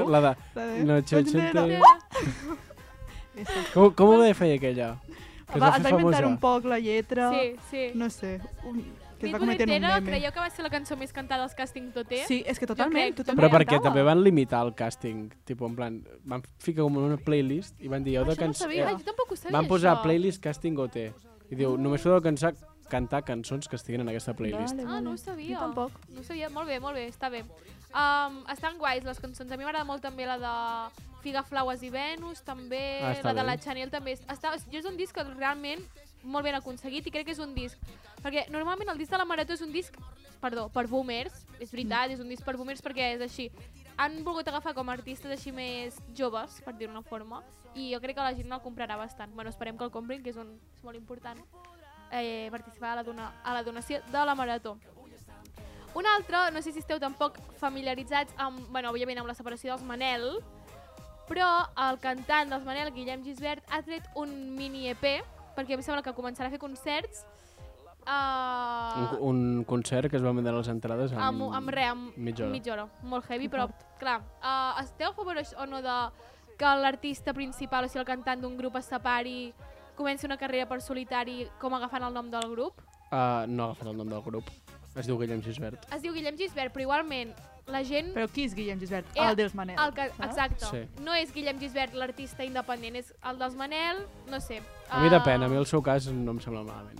[SPEAKER 4] Doncs
[SPEAKER 3] La de...
[SPEAKER 4] La
[SPEAKER 3] Noche ochenta.
[SPEAKER 4] Ochentera. Aquesta.
[SPEAKER 3] Com, com ho deia feia aquella? Que es
[SPEAKER 4] Va,
[SPEAKER 3] va
[SPEAKER 4] es
[SPEAKER 3] fer
[SPEAKER 4] va inventar
[SPEAKER 3] famosa.
[SPEAKER 4] un poc la lletra,
[SPEAKER 2] Sí, sí.
[SPEAKER 4] no sé, un, que es
[SPEAKER 2] Nit
[SPEAKER 4] va convertir en un
[SPEAKER 2] Bonitera,
[SPEAKER 4] meme.
[SPEAKER 2] creieu que va ser la cançó més cantada als càstings d'OT?
[SPEAKER 4] Sí, és que
[SPEAKER 2] Jo
[SPEAKER 4] totalment,
[SPEAKER 2] crec,
[SPEAKER 4] tothom
[SPEAKER 2] jo
[SPEAKER 3] Però
[SPEAKER 4] la
[SPEAKER 2] crec.
[SPEAKER 3] perquè
[SPEAKER 4] cantava.
[SPEAKER 3] també van limitar el càsting, tipo, en plan, van ficar com una playlist i van dir... heu de
[SPEAKER 2] Això no ho
[SPEAKER 3] canç-
[SPEAKER 2] sabia,
[SPEAKER 3] eh,
[SPEAKER 2] jo tampoc ho sabia,
[SPEAKER 3] Van posar
[SPEAKER 2] això.
[SPEAKER 3] playlist càsting OT. I diu, només podeu cansar, cantar cançons que estiguin en aquesta playlist.
[SPEAKER 4] Vale,
[SPEAKER 2] Ah, no ho
[SPEAKER 4] vale.
[SPEAKER 2] sabia.
[SPEAKER 4] Jo tampoc.
[SPEAKER 2] No ho sabia. Molt bé, molt bé, està bé. Um, estan guais les cançons. A mi m'agrada molt també la de Figa, Flaues i Venus, també
[SPEAKER 3] Ah, està
[SPEAKER 2] la de
[SPEAKER 3] bé.
[SPEAKER 2] la Chanel també. Està, jo és un disc que realment molt ben aconseguit i crec que és un disc. Perquè normalment el disc de la Marató és un disc, perdó, per boomers, és
[SPEAKER 3] Mm.
[SPEAKER 2] veritat, és un disc per boomers perquè és així. Han volgut agafar com a artistes així més joves, per dir-ho d'una forma, i jo crec que la gent el comprarà bastant. Bueno, esperem que el comprin, que és, un, és molt important eh, participar a la, dona, a la donació de la Marató. Un altre, no sé si esteu tampoc familiaritzats amb, bueno, òbviament amb la separació dels Manel, però el cantant dels Manel, Guillem Gisbert, ha tret un mini EP, perquè em sembla que començarà a fer concerts
[SPEAKER 3] Un,
[SPEAKER 2] uh,
[SPEAKER 3] un concert que es van vendre les entrades amb...
[SPEAKER 2] amb, amb re, amb
[SPEAKER 3] mitja hora.
[SPEAKER 2] mitja hora. Molt heavy, però clar, uh, esteu a favor aix- o no de que l'artista principal, o sigui el cantant d'un grup es separi, comenci una carrera per solitari com agafant el nom del grup?
[SPEAKER 3] Ah, no ha agafat el nom del grup. Es diu Guillem Gisbert.
[SPEAKER 2] Es diu Guillem Gisbert, però igualment la gent...
[SPEAKER 4] Però qui és Guillem Gisbert?
[SPEAKER 2] Eh,
[SPEAKER 4] el dels Manel.
[SPEAKER 2] El que,
[SPEAKER 4] saps?
[SPEAKER 2] exacte.
[SPEAKER 3] Sí.
[SPEAKER 2] Sí. No és Guillem Gisbert l'artista independent, és el dels Manel, no sé.
[SPEAKER 3] A mi
[SPEAKER 2] Ah,
[SPEAKER 3] depèn, a mi el seu cas no em sembla malament.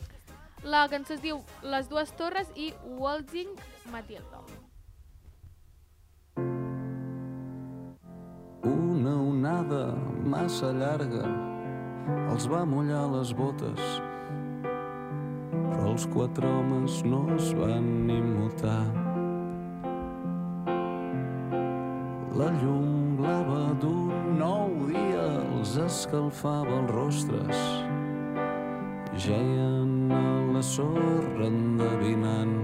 [SPEAKER 2] La cançó es diu Les dues torres i Waltzing Matilda.
[SPEAKER 5] Una onada massa llarga els va mullar les botes, però els quatre homes no es van ni mutar. La llum blava d'un nou dia els escalfava els rostres, geien a la sorra endevinant.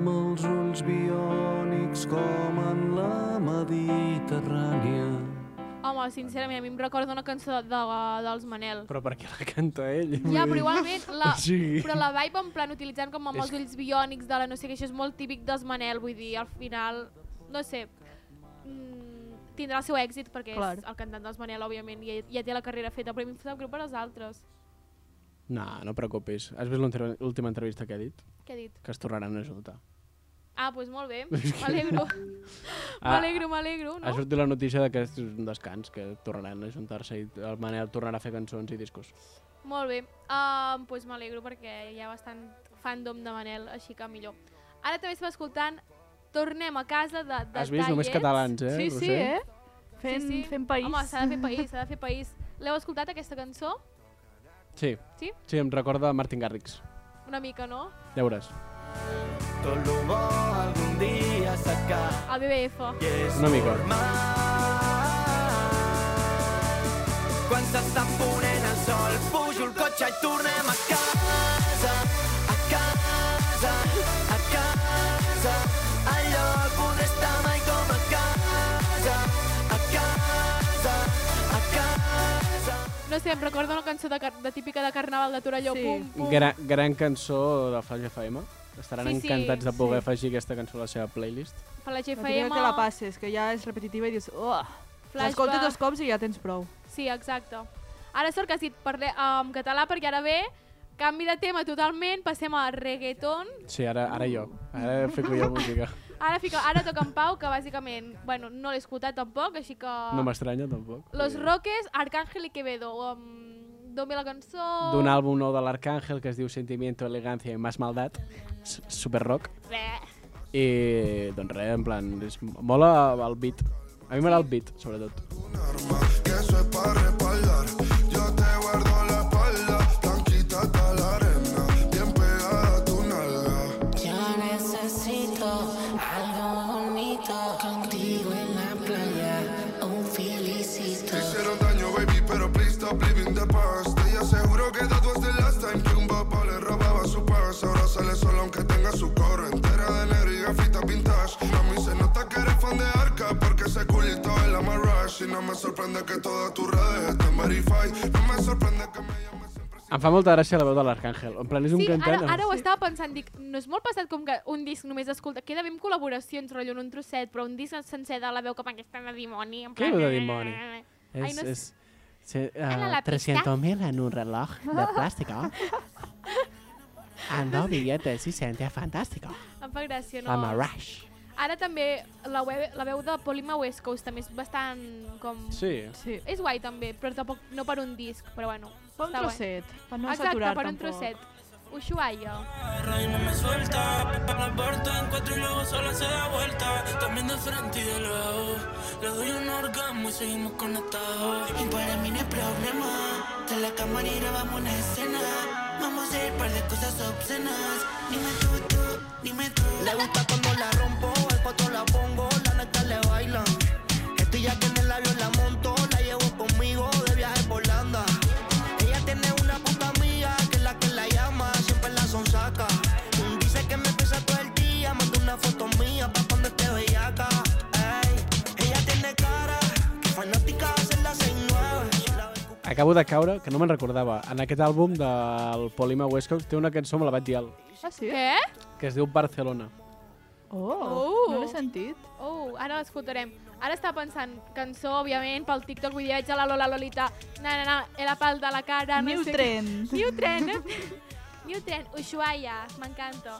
[SPEAKER 5] amb els ulls biònics com en la Mediterrània.
[SPEAKER 2] Home, sincerament, a mi em recorda una cançó de, de, dels Manel.
[SPEAKER 3] Però per què la canta ell?
[SPEAKER 2] Ja, però igualment, la,
[SPEAKER 3] O sigui-
[SPEAKER 2] però la vibe en plan utilitzant com amb
[SPEAKER 3] És
[SPEAKER 2] els ulls biònics de la no sé què, això és molt típic dels Manel, vull dir, al final, no sé, mm, tindrà el seu èxit perquè
[SPEAKER 4] Clar.
[SPEAKER 2] és el cantant dels Manel, òbviament, ja, ja té la carrera feta, però a mi em sap greu per als altres.
[SPEAKER 3] No, no preocupis. Has vist l'ultra- l'última entrevista que ha dit?
[SPEAKER 2] Què he dit?
[SPEAKER 3] Que es tornaran a ajudar.
[SPEAKER 2] Ah, doncs pues molt bé.
[SPEAKER 3] És que-
[SPEAKER 2] M'alegro.
[SPEAKER 3] Ah,
[SPEAKER 2] M'alegro, m'alegro,
[SPEAKER 3] Ha
[SPEAKER 2] no?
[SPEAKER 3] sortit la notícia de que és un descans, que tornaran a juntar-se i el Manel tornarà a fer cançons i discos.
[SPEAKER 2] Molt bé. Doncs pues m'alegro perquè hi ha bastant fandom de Manel, així que millor. Ara també estem escoltant Tornem a casa de Detallets.
[SPEAKER 3] Has vist? Només catalans, eh,
[SPEAKER 4] Sí,
[SPEAKER 3] Roser?
[SPEAKER 4] sí, eh? Fent, fent país.
[SPEAKER 2] Home, s'ha de fer país, s'ha de fer país. L'heu escoltat, aquesta cançó?
[SPEAKER 3] Sí.
[SPEAKER 2] Sí?
[SPEAKER 3] Sí, em recorda Martin Garrix.
[SPEAKER 2] Una mica, no?
[SPEAKER 3] Ja veuràs.
[SPEAKER 5] Tot lo bo algun dia s'acaba
[SPEAKER 2] El BBF.
[SPEAKER 5] i és
[SPEAKER 3] Una mica.
[SPEAKER 5] normal. Quan s'està ponent el sol, pujo el cotxe i tornem a casa, a casa, a casa, al lloc on està mai com a casa, a casa, a casa.
[SPEAKER 2] No sé, em recorda una cançó de, car- de típica de Carnaval de Torelló.
[SPEAKER 4] Sí.
[SPEAKER 2] Pum, pum.
[SPEAKER 3] Gra gran cançó de Flash FM. Estaran
[SPEAKER 2] Sí, sí,
[SPEAKER 3] encantats de poder
[SPEAKER 4] sí.
[SPEAKER 3] afegir aquesta cançó a la seva playlist.
[SPEAKER 2] Per la
[SPEAKER 4] No diria
[SPEAKER 2] GFM.
[SPEAKER 4] que la passes, que ja és repetitiva i dius... Oh,
[SPEAKER 2] Flashback.
[SPEAKER 4] L'escoltes dos cops i ja tens prou.
[SPEAKER 2] Sí, exacte. Ara sort que has dit parle, en català perquè ara ve Canvi de tema totalment, passem a reggaeton.
[SPEAKER 3] Sí, ara, ara jo. Ara fico jo música.
[SPEAKER 2] Ara, fica, ara toca en Pau, que bàsicament, bueno, no l'he escoltat tampoc, així que...
[SPEAKER 3] No m'estranya, tampoc.
[SPEAKER 2] Los Roques, Arcángel y Quevedo. Um, Dome la cançó...
[SPEAKER 3] D'un àlbum nou de l'Arcángel que es diu Sentimiento, Elegancia y Más Maldat. S- Super rock.
[SPEAKER 2] Bleh.
[SPEAKER 3] I doncs res, en plan, és, mola el beat. A mi m'agrada el beat, sobretot.
[SPEAKER 9] que eso es para respaldar. Yo te guardo la espalda, tan quitada la arena, bien pegada a tu nalga.
[SPEAKER 5] Yo necesito algo bonito contigo en la playa, un felicito.
[SPEAKER 9] Te hicieron daño, baby, pero please stop living the past. Ella seguro que that was the last time que un papá le robaba su paz. Ahora sale solo aunque tenga su coro entera de negro y gafitas vintage. A mí se nota que eres fan de Arca porque ese culito es la más rush. Y no me sorprende que todas tus redes estén verified. No me sorprende que me llames siempre
[SPEAKER 3] Em fa molta gràcia la veu de l'Arcángel. En plan, és un
[SPEAKER 2] Sí, ara,
[SPEAKER 3] cantant...
[SPEAKER 2] ara ho estava pensant, dic, no és molt passat com que un disc només escolta, queda bé amb col·laboracions, rotllo en un trosset, però un disc sencer de la veu cap aquesta de dimoni. En
[SPEAKER 3] Què
[SPEAKER 2] plan,
[SPEAKER 3] veu de dimoni?
[SPEAKER 2] Ai, no sé.
[SPEAKER 3] se-
[SPEAKER 2] Ala,
[SPEAKER 3] ah,
[SPEAKER 2] la pista.
[SPEAKER 3] 300.000 en un reloj de plástico. Ando billetes y siente fantástico.
[SPEAKER 2] Em fa gràcia, no?
[SPEAKER 3] I'm a rush.
[SPEAKER 2] Ara també la, web, la veu de Polima West Coast també és bastant com...
[SPEAKER 3] Sí.
[SPEAKER 4] Sí.
[SPEAKER 2] És guai també, però tampoc no per un disc, però bueno.
[SPEAKER 4] Per un
[SPEAKER 2] està guai.
[SPEAKER 4] trosset, per no
[SPEAKER 2] Exacte,
[SPEAKER 4] saturar
[SPEAKER 2] per un
[SPEAKER 4] tampoc.
[SPEAKER 2] trosset. Ushuaia.
[SPEAKER 5] Y no me suelta, la puerta encuentro y luego solo se da vuelta. También de frente y de lado, le doy un orgasmo y seguimos conectados. Y para mí no hay problema, de la cámara y grabamos una escena. Vamos a hacer un par de cosas obscenas. Dime tú, tú, dime tú. Le gusta cuando la rompo, el poto la pongo, la neta le bailan. Estoy ya que en el labio la monto, la llevo conmigo de viaje por Holanda. Ella tiene una puta amiga que es la que la llama, siempre la sonsaca. Dice que me pesa todo el día, manda una foto mía pa' cuando esté bellaca. Ey, ella tiene cara, que fanática de ser la 69. Si la ves cu-
[SPEAKER 3] Acabo de caure, que no me'n recordava, en aquest àlbum del Polima Westcock té una cançó, me la vaig dir, al-
[SPEAKER 4] Ah, sí?
[SPEAKER 2] Què?
[SPEAKER 3] que es diu Barcelona.
[SPEAKER 4] Oh,
[SPEAKER 2] Oh.
[SPEAKER 4] no l'he sentit.
[SPEAKER 2] Oh, ara l'escoltarem. Ara està pensant cançó, òbviament, pel TikTok, vull dir, veig a la Lola Lolita, na, na, na, la pal de la cara, no
[SPEAKER 4] New
[SPEAKER 2] sé
[SPEAKER 4] Trend.
[SPEAKER 2] Què. New Trend, eh? New Trend, Ushuaia, m'encanta.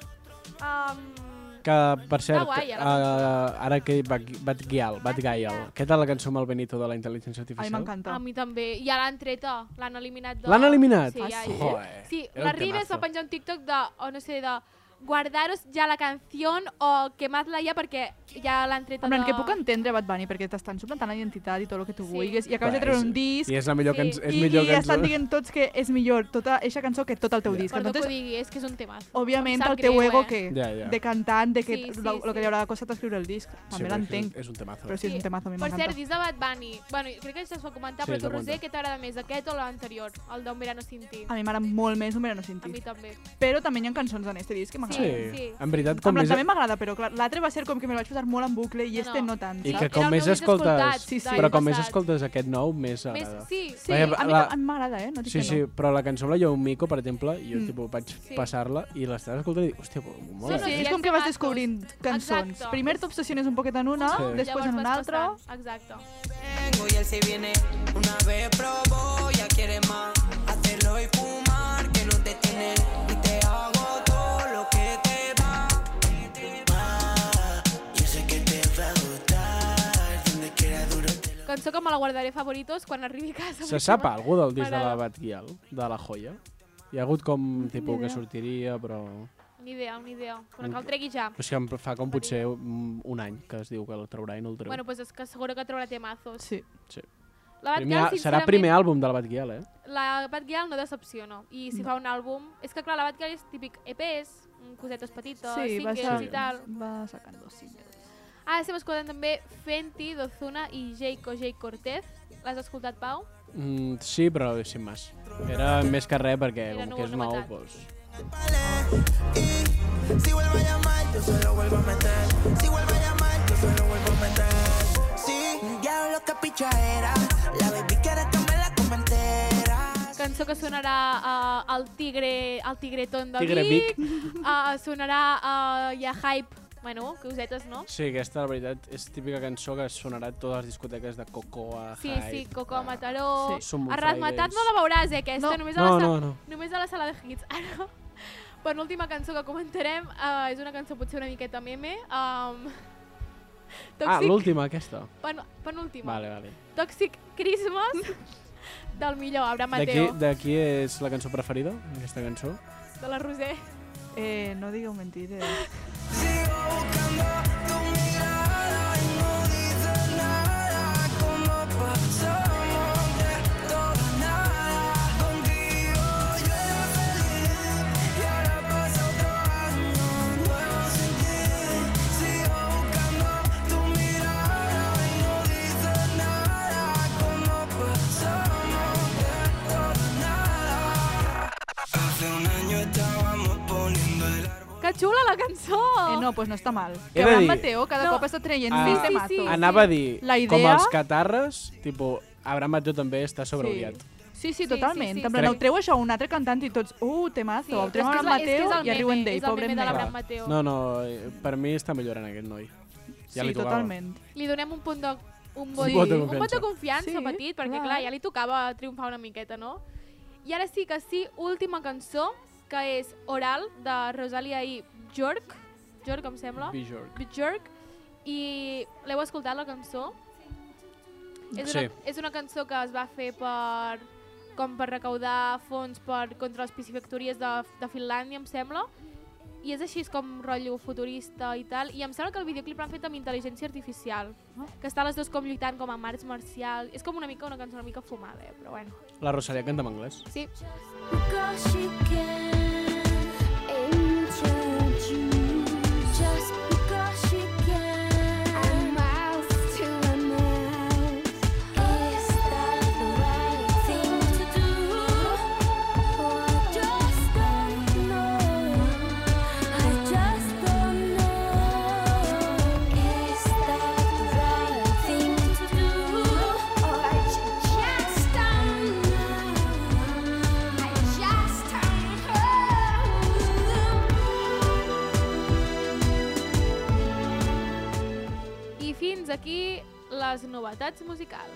[SPEAKER 2] Um,
[SPEAKER 3] Que, per cert,
[SPEAKER 2] guai,
[SPEAKER 3] que,
[SPEAKER 2] ara
[SPEAKER 3] uh, ara que Bat Gyal, Bat Gyal, què tal la cançó amb el Benito de la intel·ligència
[SPEAKER 4] A mi
[SPEAKER 3] artificial?
[SPEAKER 4] m'encanta.
[SPEAKER 2] a mi també. I ja l'han tret, oh, l'han eliminat. De...
[SPEAKER 3] L'han eliminat?
[SPEAKER 2] Sí, ja,
[SPEAKER 4] Ah, sí?
[SPEAKER 2] ja.
[SPEAKER 3] Joder,
[SPEAKER 2] Sí,
[SPEAKER 3] era
[SPEAKER 2] la
[SPEAKER 3] un
[SPEAKER 2] Ribes
[SPEAKER 3] temazo.
[SPEAKER 2] va penjar un TikTok de, o no sé, de guardaros ja la canció o quemad-la ja perquè ja l'han tret
[SPEAKER 4] En plan,
[SPEAKER 2] de...
[SPEAKER 4] que puc entendre Bad Bunny, perquè t'estan suplantant la identitat i tot el que tu
[SPEAKER 2] Sí.
[SPEAKER 4] vulguis, i acabes de
[SPEAKER 3] Va,
[SPEAKER 4] treure
[SPEAKER 3] és-
[SPEAKER 4] un disc,
[SPEAKER 3] I és la millor,
[SPEAKER 2] Sí.
[SPEAKER 3] sí. cançó, és
[SPEAKER 4] i,
[SPEAKER 3] millor
[SPEAKER 4] i estan
[SPEAKER 3] cançó.
[SPEAKER 4] dient tots que és millor tota eixa cançó que tot el teu disc.
[SPEAKER 2] Perdó que ho
[SPEAKER 4] Entonces,
[SPEAKER 2] digui, és que és un tema.
[SPEAKER 4] òbviament,
[SPEAKER 2] Em sap
[SPEAKER 4] el teu
[SPEAKER 2] greu,
[SPEAKER 4] ego
[SPEAKER 2] eh?
[SPEAKER 4] que,
[SPEAKER 3] Ja, ja.
[SPEAKER 4] de cantant, de que
[SPEAKER 2] Sí, sí,
[SPEAKER 4] lo, lo que
[SPEAKER 2] sí.
[SPEAKER 4] li haurà costat escriure el disc, també
[SPEAKER 3] però és que
[SPEAKER 4] l'entenc.
[SPEAKER 3] És un temazo.
[SPEAKER 4] Però sí, és un temazo, a mi
[SPEAKER 2] Per cert,
[SPEAKER 4] m'encanta.
[SPEAKER 2] dins de Bad Bunny, bueno, crec que això es va comentar,
[SPEAKER 3] Sí,
[SPEAKER 2] sí, però
[SPEAKER 3] es
[SPEAKER 2] tu,
[SPEAKER 3] va
[SPEAKER 2] Roser,
[SPEAKER 3] comentar.
[SPEAKER 2] què t'agrada més, aquest o l'anterior? El d'un verano sin ti.
[SPEAKER 4] A mi m'agrada molt més un verano
[SPEAKER 2] A mi
[SPEAKER 4] sentit.
[SPEAKER 2] també.
[SPEAKER 4] Però també hi ha cançons en este disc
[SPEAKER 3] Sí,
[SPEAKER 4] que m'agraden.
[SPEAKER 2] Sí.
[SPEAKER 3] sí. en veritat,
[SPEAKER 4] Com
[SPEAKER 3] com més...
[SPEAKER 4] també m'agrada, però clar, l'altre va ser com que me la vaig posar molt en bucle i
[SPEAKER 2] No,
[SPEAKER 4] este
[SPEAKER 2] no.
[SPEAKER 4] no tant,
[SPEAKER 3] I
[SPEAKER 4] saps?
[SPEAKER 3] que
[SPEAKER 2] Era
[SPEAKER 3] com
[SPEAKER 2] el
[SPEAKER 3] més
[SPEAKER 2] meu disc escoltat
[SPEAKER 3] escoltes...
[SPEAKER 4] Sí, sí.
[SPEAKER 2] de l'any
[SPEAKER 3] Però com més
[SPEAKER 2] passat.
[SPEAKER 3] escoltes aquest nou, més
[SPEAKER 2] Més,
[SPEAKER 3] agrada.
[SPEAKER 2] sí,
[SPEAKER 4] Sí,
[SPEAKER 3] Vaja,
[SPEAKER 4] a mi
[SPEAKER 3] la-
[SPEAKER 4] la... m'agrada, eh? No dic
[SPEAKER 3] Sí,
[SPEAKER 4] que
[SPEAKER 3] sí,
[SPEAKER 4] no.
[SPEAKER 3] però la cançó amb la Yo Mico, per exemple, jo
[SPEAKER 4] Mm.
[SPEAKER 3] tipo, vaig
[SPEAKER 2] Sí.
[SPEAKER 3] passar-la i l'estava escoltant i dic, hòstia, però mola.
[SPEAKER 4] Sí,
[SPEAKER 2] Sí,
[SPEAKER 4] és
[SPEAKER 2] hi ha
[SPEAKER 4] com que vas
[SPEAKER 2] temazos.
[SPEAKER 4] descobrint cançons.
[SPEAKER 2] Exacte.
[SPEAKER 4] Primer t'obsessiones un poquet en una,
[SPEAKER 3] Sí.
[SPEAKER 4] després
[SPEAKER 2] Llavors
[SPEAKER 4] en una
[SPEAKER 2] vas
[SPEAKER 4] altra.
[SPEAKER 2] passant. Exacte.
[SPEAKER 5] Tengo y él se viene una vez probó, ya quiere más. Hacerlo y fumar, que no te tiene. Y te hago todo lo que te va. Yo sé que te va a gustar, donde quiera duro te lo
[SPEAKER 2] Cançó que me la guardaré favoritos quan arribi a casa.
[SPEAKER 3] Se sap algú del disc de la
[SPEAKER 2] M'agrada.
[SPEAKER 3] Batguial, de la joia? Hi ha hagut com, tipus, que
[SPEAKER 4] idea.
[SPEAKER 3] sortiria, però...
[SPEAKER 2] Ni idea, ni idea. Però que el tregui ja.
[SPEAKER 3] Però és que em fa com potser un, un any que es diu que el traurà i no el treu.
[SPEAKER 2] Bueno, doncs és que seguro que traurà temazos.
[SPEAKER 4] Sí.
[SPEAKER 2] La Bad
[SPEAKER 3] primer,
[SPEAKER 2] Girl,
[SPEAKER 3] serà
[SPEAKER 2] sincerament,
[SPEAKER 3] primer àlbum de la Batguial, eh?
[SPEAKER 2] la Bad Girl no decepciona. I si fa un àlbum... És que, clar, la Bad Girl és típic EPs, mm, cosetes petites,
[SPEAKER 4] Sí, va,
[SPEAKER 2] singles
[SPEAKER 4] ser,
[SPEAKER 2] i tal. Ah,
[SPEAKER 4] va sacant dos singles.
[SPEAKER 2] Ara estem escoltant també Fenty, Dozuna i Jayco Jay Cortez. L'has escoltat, Pau?
[SPEAKER 3] Mm, sí, però sin més. Era més que res perquè
[SPEAKER 2] Era
[SPEAKER 3] com
[SPEAKER 2] nou-
[SPEAKER 3] que és nou,
[SPEAKER 2] novetat.
[SPEAKER 3] doncs...
[SPEAKER 5] Y si vuelve a llamar, yo solo vuelvo a meter. Si vuelve a llamar, yo solo vuelvo a meter. Sí, diablo, que pichadera. La baby quiere que me la coma entera.
[SPEAKER 2] Cançó que sonarà eh, uh, al Tigre, al Tigretón de
[SPEAKER 3] Tigre
[SPEAKER 2] Vic. Uh, sonarà uh, a Hype Bueno, cosetes, no?
[SPEAKER 3] Sí, aquesta, la veritat, és típica cançó que sonarà a totes les discoteques de Cocoa,
[SPEAKER 2] Sí,
[SPEAKER 3] Hype, Ah.
[SPEAKER 2] sí, Coco
[SPEAKER 3] a-
[SPEAKER 2] a Mataró.
[SPEAKER 3] Sí. Som
[SPEAKER 2] A Razmetat
[SPEAKER 3] Fridays.
[SPEAKER 2] no la veuràs, eh, aquesta.
[SPEAKER 4] No.
[SPEAKER 2] Només, a la
[SPEAKER 3] No,
[SPEAKER 2] sala,
[SPEAKER 3] no, no.
[SPEAKER 2] només a la sala de hits. Ara, per l'última cançó que comentarem, eh, és una cançó potser una miqueta meme. Um,
[SPEAKER 3] Ah,
[SPEAKER 2] Toxic,
[SPEAKER 3] l'última, aquesta.
[SPEAKER 2] pen, penúltima.
[SPEAKER 3] Vale, vale.
[SPEAKER 2] Toxic Christmas del millor, Abraham
[SPEAKER 3] De qui,
[SPEAKER 2] Mateo, de,
[SPEAKER 3] de qui és la cançó preferida, aquesta cançó?
[SPEAKER 2] la Roser.
[SPEAKER 4] Eh, no digueu mentides.
[SPEAKER 2] Que xula la cançó!
[SPEAKER 4] Eh, no, pues no està mal.
[SPEAKER 3] He
[SPEAKER 4] Que
[SPEAKER 3] de
[SPEAKER 4] Abraham
[SPEAKER 3] dir-
[SPEAKER 4] Mateo cada
[SPEAKER 2] No.
[SPEAKER 4] cop està traient
[SPEAKER 3] Ah,
[SPEAKER 4] més
[SPEAKER 3] sí, sí,
[SPEAKER 4] temazos.
[SPEAKER 2] sí.
[SPEAKER 3] Anava a dir,
[SPEAKER 4] La
[SPEAKER 3] com
[SPEAKER 4] idea-
[SPEAKER 3] els catarres, tipo, Abraham Mateo també està sobreodiat.
[SPEAKER 4] Sí, sí,
[SPEAKER 2] sí,
[SPEAKER 4] totalment.
[SPEAKER 2] sí.
[SPEAKER 4] Sí, sí, sí.
[SPEAKER 3] Crec-
[SPEAKER 4] Ho treu això a un altre cantant i tots, uh, temazo, sí, ho treu
[SPEAKER 2] és que és
[SPEAKER 4] a
[SPEAKER 2] la- és que és
[SPEAKER 4] Mateo
[SPEAKER 2] el
[SPEAKER 4] i arriba en
[SPEAKER 2] meme,
[SPEAKER 4] ell,
[SPEAKER 2] és el
[SPEAKER 4] pobre
[SPEAKER 2] meme de
[SPEAKER 4] nen.
[SPEAKER 2] l'Abraham Mateo.
[SPEAKER 3] No, no, eh, per mi està millorant aquest noi. Ja
[SPEAKER 4] sí,
[SPEAKER 3] li tocava.
[SPEAKER 4] totalment.
[SPEAKER 2] Li donem un punt de... Un vot,
[SPEAKER 3] Un vot de
[SPEAKER 2] un vot de
[SPEAKER 3] confiança.
[SPEAKER 2] confiança
[SPEAKER 4] Sí,
[SPEAKER 2] petit, perquè clar.
[SPEAKER 4] clar.
[SPEAKER 2] ja li tocava triomfar una miqueta, no? I ara sí que sí, última cançó, que és Oral, de Rosalia i Jork. Jork, em sembla.
[SPEAKER 3] Bjork.
[SPEAKER 2] Bjork. I l'heu escoltat, la cançó? És una,
[SPEAKER 3] Sí.
[SPEAKER 2] és una cançó que es va fer per com per recaudar fons per contra les piscifactories de, de Finlàndia, em sembla. I és així és com rotllo futurista i tal. I em sembla que el videoclip l'han fet amb intel·ligència artificial.
[SPEAKER 4] Ah.
[SPEAKER 2] Que està les dues com lluitant com a març marcial. És com una mica una cançó una mica fumada, eh? però bueno.
[SPEAKER 3] La Rosalia canta en anglès.
[SPEAKER 2] Sí,
[SPEAKER 8] Because you can introduce just because you can a mouth to a mouth. Is that the right thing to do? Or I just don't know. I just don't know. Is that the right thing to do? Or I ju- just don't know. I just don't know.
[SPEAKER 2] i fins aquí les novetats musicals.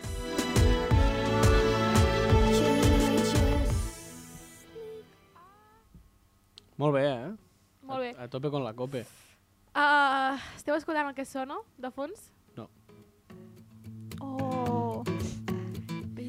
[SPEAKER 3] Molt bé, eh?
[SPEAKER 2] Molt bé.
[SPEAKER 3] A, a tope con la cope.
[SPEAKER 2] Uh, esteu escoltant el que sona, de fons?
[SPEAKER 3] No.
[SPEAKER 2] Oh.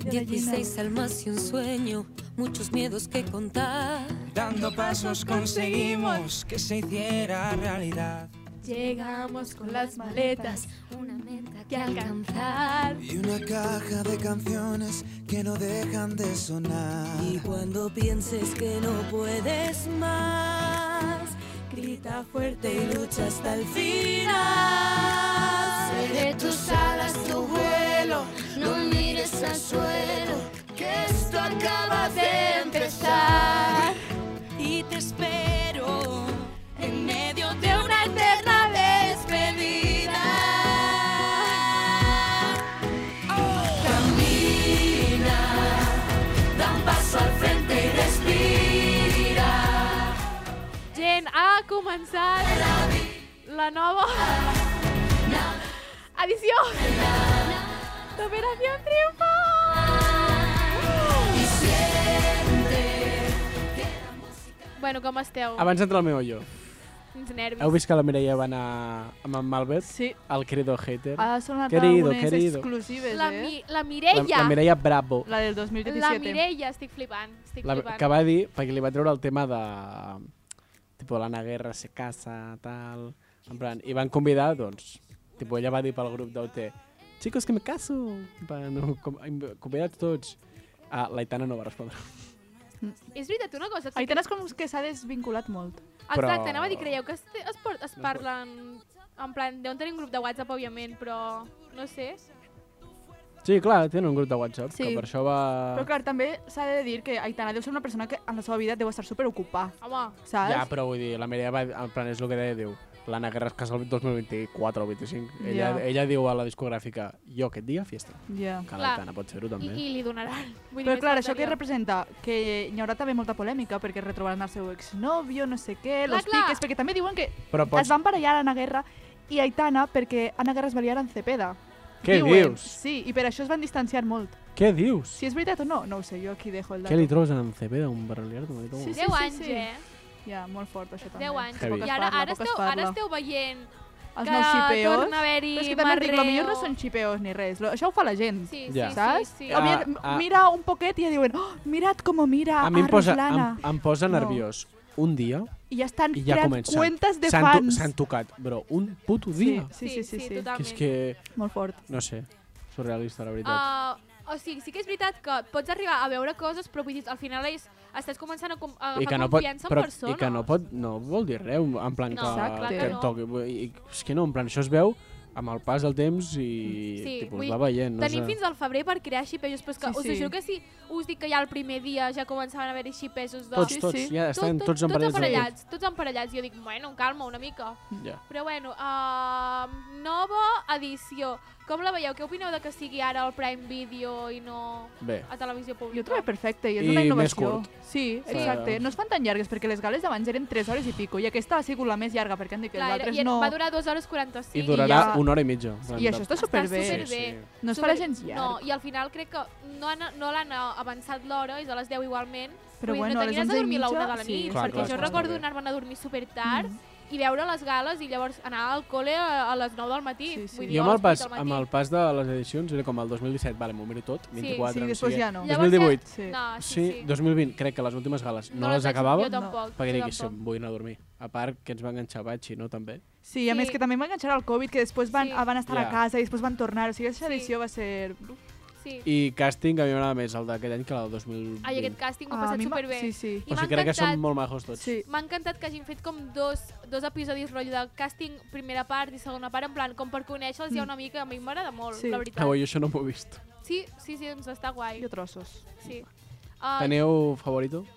[SPEAKER 10] 16 almas y un sueño, muchos miedos que contar.
[SPEAKER 5] Dando pasos conseguimos que se hiciera realidad.
[SPEAKER 2] Llegamos con las maletas
[SPEAKER 8] Una meta
[SPEAKER 2] que alcanzar.
[SPEAKER 5] Y una caja de canciones que no dejan de sonar.
[SPEAKER 10] Y cuando pienses que no puedes más, grita fuerte y lucha hasta el final.
[SPEAKER 8] Seré tus alas, tu vuelo, no mires al suelo, que esto acaba de empezar.
[SPEAKER 10] Y te espero en medio de una eterna despedida. Camina, da un paso al frente y respira.
[SPEAKER 2] Gent, ha començat la nova edició d'Operació Triunfo! Bueno, com esteu?
[SPEAKER 3] Abans d'entrar al meu jo,
[SPEAKER 2] Quins nervis.
[SPEAKER 3] heu vist que la Mireia va anar amb en Malbet?
[SPEAKER 4] Sí, Ah,
[SPEAKER 3] El credo hater?
[SPEAKER 4] ha sonat
[SPEAKER 3] Ah. Querido,
[SPEAKER 4] algunes
[SPEAKER 3] querido.
[SPEAKER 4] exclusives,
[SPEAKER 2] La,
[SPEAKER 4] eh?
[SPEAKER 2] mi la
[SPEAKER 3] la,
[SPEAKER 2] Mireia.
[SPEAKER 3] la Mireia Bravo.
[SPEAKER 4] La del 2017.
[SPEAKER 2] La Mireia, estic flipant. Estic
[SPEAKER 3] La,
[SPEAKER 2] flipant.
[SPEAKER 3] que va dir, perquè li va treure el tema de... Tipo, l'Anna Guerra se casa, tal... En plan, i van convidar, doncs... Tipo, ella va dir pel grup d'OT Chicos, que me caso! En plan, com, convidats tots. Ah, l'Aitana no va respondre.
[SPEAKER 2] És veritat, una cosa. sí que-
[SPEAKER 4] Aitana és com que s'ha desvinculat molt.
[SPEAKER 3] Però-
[SPEAKER 2] Exacte, anava a dir, creieu que es, es, por, es
[SPEAKER 3] pot.
[SPEAKER 2] parlen... En plan, deuen tenir un grup de WhatsApp, òbviament, però... No sé.
[SPEAKER 3] Sí, clar, tenen un grup de WhatsApp, sí.
[SPEAKER 4] Sí.
[SPEAKER 3] que per això va...
[SPEAKER 4] Però clar, també s'ha de dir que Aitana deu ser una persona que en la seva vida deu estar superocupada.
[SPEAKER 2] Home.
[SPEAKER 4] Saps?
[SPEAKER 3] Ja, però vull dir, la Mireia va... En plan, és el que deia, diu, l'Anna Guerra es casa el 2024 o 25. Ella,
[SPEAKER 4] Ja.
[SPEAKER 3] ella diu a la discogràfica, jo aquest dia, fiesta.
[SPEAKER 4] Ja.
[SPEAKER 3] Que
[SPEAKER 2] Clar.
[SPEAKER 3] l'Aitana pot fer-ho,
[SPEAKER 2] I,
[SPEAKER 3] també.
[SPEAKER 2] I li donaran. Vull
[SPEAKER 4] Però
[SPEAKER 2] més
[SPEAKER 4] clar, això què
[SPEAKER 2] faltaria.
[SPEAKER 4] representa? Que hi haurà també molta polèmica perquè retrobaran el seu exnovio, no sé què,
[SPEAKER 2] Clar,
[SPEAKER 4] los
[SPEAKER 2] clar.
[SPEAKER 4] piques, perquè també diuen que
[SPEAKER 3] Però
[SPEAKER 4] es van barallar Ana Guerra i Aitana perquè Ana Guerra es va liar amb Cepeda.
[SPEAKER 3] Què
[SPEAKER 4] Diuen,
[SPEAKER 3] dius?
[SPEAKER 4] Sí, i per això es van distanciar molt.
[SPEAKER 3] Què dius?
[SPEAKER 4] Si és veritat o no, no ho sé, jo aquí dejo el
[SPEAKER 3] Què li
[SPEAKER 4] dato.
[SPEAKER 3] trobes en Cepeda, un barrelier?
[SPEAKER 4] Sí, sí.
[SPEAKER 2] 10 anys, eh?
[SPEAKER 4] Ja, molt fort això també.
[SPEAKER 2] 10 anys.
[SPEAKER 3] Heavy.
[SPEAKER 2] I ara,
[SPEAKER 4] Parla,
[SPEAKER 2] ara,
[SPEAKER 4] poc es
[SPEAKER 2] esteu, ara
[SPEAKER 4] parla.
[SPEAKER 2] esteu veient
[SPEAKER 4] Els
[SPEAKER 2] que
[SPEAKER 4] nous xipeos.
[SPEAKER 2] torna a haver-hi
[SPEAKER 4] Però és que també et dic,
[SPEAKER 2] marreo.
[SPEAKER 4] lo millor no són xipeos ni res. Lo, això ho fa la gent.
[SPEAKER 2] Sí,
[SPEAKER 3] Ja.
[SPEAKER 2] sí,
[SPEAKER 4] Saps?
[SPEAKER 2] sí, sí.
[SPEAKER 4] O mira,
[SPEAKER 3] Ah, ah.
[SPEAKER 4] mira un poquet i ja diuen oh, mira't com mira
[SPEAKER 3] A
[SPEAKER 4] a,
[SPEAKER 3] mi em posa, em,
[SPEAKER 4] Ruslana.
[SPEAKER 3] em posa
[SPEAKER 4] Ah, No.
[SPEAKER 3] nerviós un dia
[SPEAKER 4] I ja estan
[SPEAKER 3] i ja
[SPEAKER 4] creant
[SPEAKER 3] comencen.
[SPEAKER 4] cuentes de
[SPEAKER 3] S'han to-
[SPEAKER 4] fans.
[SPEAKER 3] S'han tocat, però un puto
[SPEAKER 4] Sí,
[SPEAKER 3] dia.
[SPEAKER 4] sí, sí, sí, sí.
[SPEAKER 3] Que
[SPEAKER 2] totalment.
[SPEAKER 3] és que,
[SPEAKER 4] Molt fort.
[SPEAKER 3] no sé, surrealista, la veritat.
[SPEAKER 2] Uh, o sigui, sí que és veritat que pots arribar a veure coses, però vull dir, al final és, estàs començant a, com, a
[SPEAKER 3] I que
[SPEAKER 2] agafar
[SPEAKER 3] no pot,
[SPEAKER 2] confiança
[SPEAKER 3] però,
[SPEAKER 2] en persona.
[SPEAKER 3] I que no pot, no vol dir res, en plan
[SPEAKER 2] No,
[SPEAKER 3] que,
[SPEAKER 4] Exacte.
[SPEAKER 3] que,
[SPEAKER 4] clar que
[SPEAKER 3] et
[SPEAKER 2] no.
[SPEAKER 3] toqui. I, és que no, en plan, això es veu amb el pas del temps i
[SPEAKER 2] Sí,
[SPEAKER 3] tipus,
[SPEAKER 2] vull
[SPEAKER 3] va veient. No
[SPEAKER 2] Tenim
[SPEAKER 3] sé.
[SPEAKER 2] fins al febrer per crear xipejos, però és que
[SPEAKER 4] Sí,
[SPEAKER 2] sí, us
[SPEAKER 4] sí.
[SPEAKER 2] sí. juro que sí, us dic que ja el primer dia ja començaven a haver-hi xipejos de...
[SPEAKER 3] Tots,
[SPEAKER 4] Sí,
[SPEAKER 3] tots,
[SPEAKER 4] sí.
[SPEAKER 3] ja estan
[SPEAKER 2] Tot- tot-
[SPEAKER 3] tots
[SPEAKER 2] Tots
[SPEAKER 3] emparellats. eh.
[SPEAKER 2] emparellats, tots emparellats. Jo dic, bueno, calma, una mica.
[SPEAKER 3] Ja.
[SPEAKER 2] Però bueno, uh, nova edició. Com la veieu? Què opineu de que sigui ara el Prime Video i no
[SPEAKER 3] Bé.
[SPEAKER 2] a televisió
[SPEAKER 4] Jo
[SPEAKER 2] pública?
[SPEAKER 4] ho trobo perfecte i és
[SPEAKER 3] I
[SPEAKER 4] una
[SPEAKER 3] més
[SPEAKER 4] innovació.
[SPEAKER 3] curt.
[SPEAKER 4] Sí,
[SPEAKER 3] Sí.
[SPEAKER 4] exacte. No es fan tan llargues perquè les gales d'abans eren 3 hores i pico i aquesta ha sigut la més llarga perquè han dit que
[SPEAKER 2] Clar,
[SPEAKER 4] les
[SPEAKER 2] era,
[SPEAKER 4] altres
[SPEAKER 2] i era,
[SPEAKER 4] no.
[SPEAKER 2] va durar 2 hores 45.
[SPEAKER 3] I durarà
[SPEAKER 4] ja-
[SPEAKER 3] una hora i mitja. en plan,
[SPEAKER 4] I això
[SPEAKER 3] de-
[SPEAKER 4] està superbé.
[SPEAKER 2] Està superbé.
[SPEAKER 4] No es farà gens llarg.
[SPEAKER 2] No, i al final crec que no, han, no l'han eh, avançat l'hora, és a les 10 igualment. Vull
[SPEAKER 4] Però
[SPEAKER 2] dir,
[SPEAKER 4] bueno,
[SPEAKER 2] no
[SPEAKER 4] a les
[SPEAKER 2] t'aniries
[SPEAKER 4] 11 i
[SPEAKER 2] a dormir a la
[SPEAKER 4] mitja,
[SPEAKER 2] una de la
[SPEAKER 4] sí.
[SPEAKER 2] nit,
[SPEAKER 3] Clar,
[SPEAKER 2] perquè
[SPEAKER 3] clar,
[SPEAKER 2] jo
[SPEAKER 3] clar,
[SPEAKER 2] recordo
[SPEAKER 3] bé.
[SPEAKER 2] anar-me'n a dormir super tard
[SPEAKER 4] Mhm.
[SPEAKER 2] i veure les gales i llavors anar al col·le a a les 9 del matí.
[SPEAKER 4] Sí, sí.
[SPEAKER 2] Vull dir, o
[SPEAKER 3] Jo amb
[SPEAKER 2] a
[SPEAKER 3] el,
[SPEAKER 2] les
[SPEAKER 3] pas,
[SPEAKER 2] vuit del
[SPEAKER 3] amb
[SPEAKER 2] matí.
[SPEAKER 3] el pas de les edicions era com el 2017, vale, m'ho miro tot, 24,
[SPEAKER 4] sí,
[SPEAKER 3] no
[SPEAKER 4] després
[SPEAKER 3] sé què.
[SPEAKER 4] ja no.
[SPEAKER 2] Llavors ja-
[SPEAKER 3] 2018,
[SPEAKER 4] Sí.
[SPEAKER 2] No, sí,
[SPEAKER 3] sí,
[SPEAKER 2] sí.
[SPEAKER 3] 2020, crec que les últimes gales no, les
[SPEAKER 2] vaig-
[SPEAKER 3] acabava
[SPEAKER 2] Jo tampoc.
[SPEAKER 3] perquè
[SPEAKER 2] jo
[SPEAKER 3] dic, "Som,
[SPEAKER 2] tampoc.
[SPEAKER 3] vull anar a dormir. A part que ens va enganxar Batxi, no, també?
[SPEAKER 4] Sí, a més
[SPEAKER 2] Sí.
[SPEAKER 4] que també em va enganxar el Covid, que després van,
[SPEAKER 2] Sí.
[SPEAKER 4] ah, van estar
[SPEAKER 3] Ja.
[SPEAKER 4] a casa i després van tornar. O sigui, aquesta
[SPEAKER 2] Sí.
[SPEAKER 4] edició va ser... uf,
[SPEAKER 2] Sí.
[SPEAKER 3] I càsting a mi m'agrada més el d'aquest any que el del 2020.
[SPEAKER 2] Ai, aquest càsting m'ho he
[SPEAKER 4] Ah, a
[SPEAKER 2] passat
[SPEAKER 4] mi m'ha-
[SPEAKER 2] superbé.
[SPEAKER 4] Sí, sí.
[SPEAKER 2] I
[SPEAKER 3] o
[SPEAKER 2] m'ha
[SPEAKER 3] sigui, crec que
[SPEAKER 2] encantat.
[SPEAKER 3] són molt majos tots.
[SPEAKER 4] Sí.
[SPEAKER 2] M'ha encantat que hagin fet com dos, dos episodis rotllo de càsting, primera part i segona part, en plan, com per conèixer-los ja una mica, a mi m'agrada molt,
[SPEAKER 4] Sí.
[SPEAKER 2] la veritat.
[SPEAKER 3] Ah, oi, això no m'ho he vist.
[SPEAKER 2] Sí, sí, sí, doncs està guai.
[SPEAKER 4] Jo trossos.
[SPEAKER 2] Sí. Uh,
[SPEAKER 3] Teniu favorito?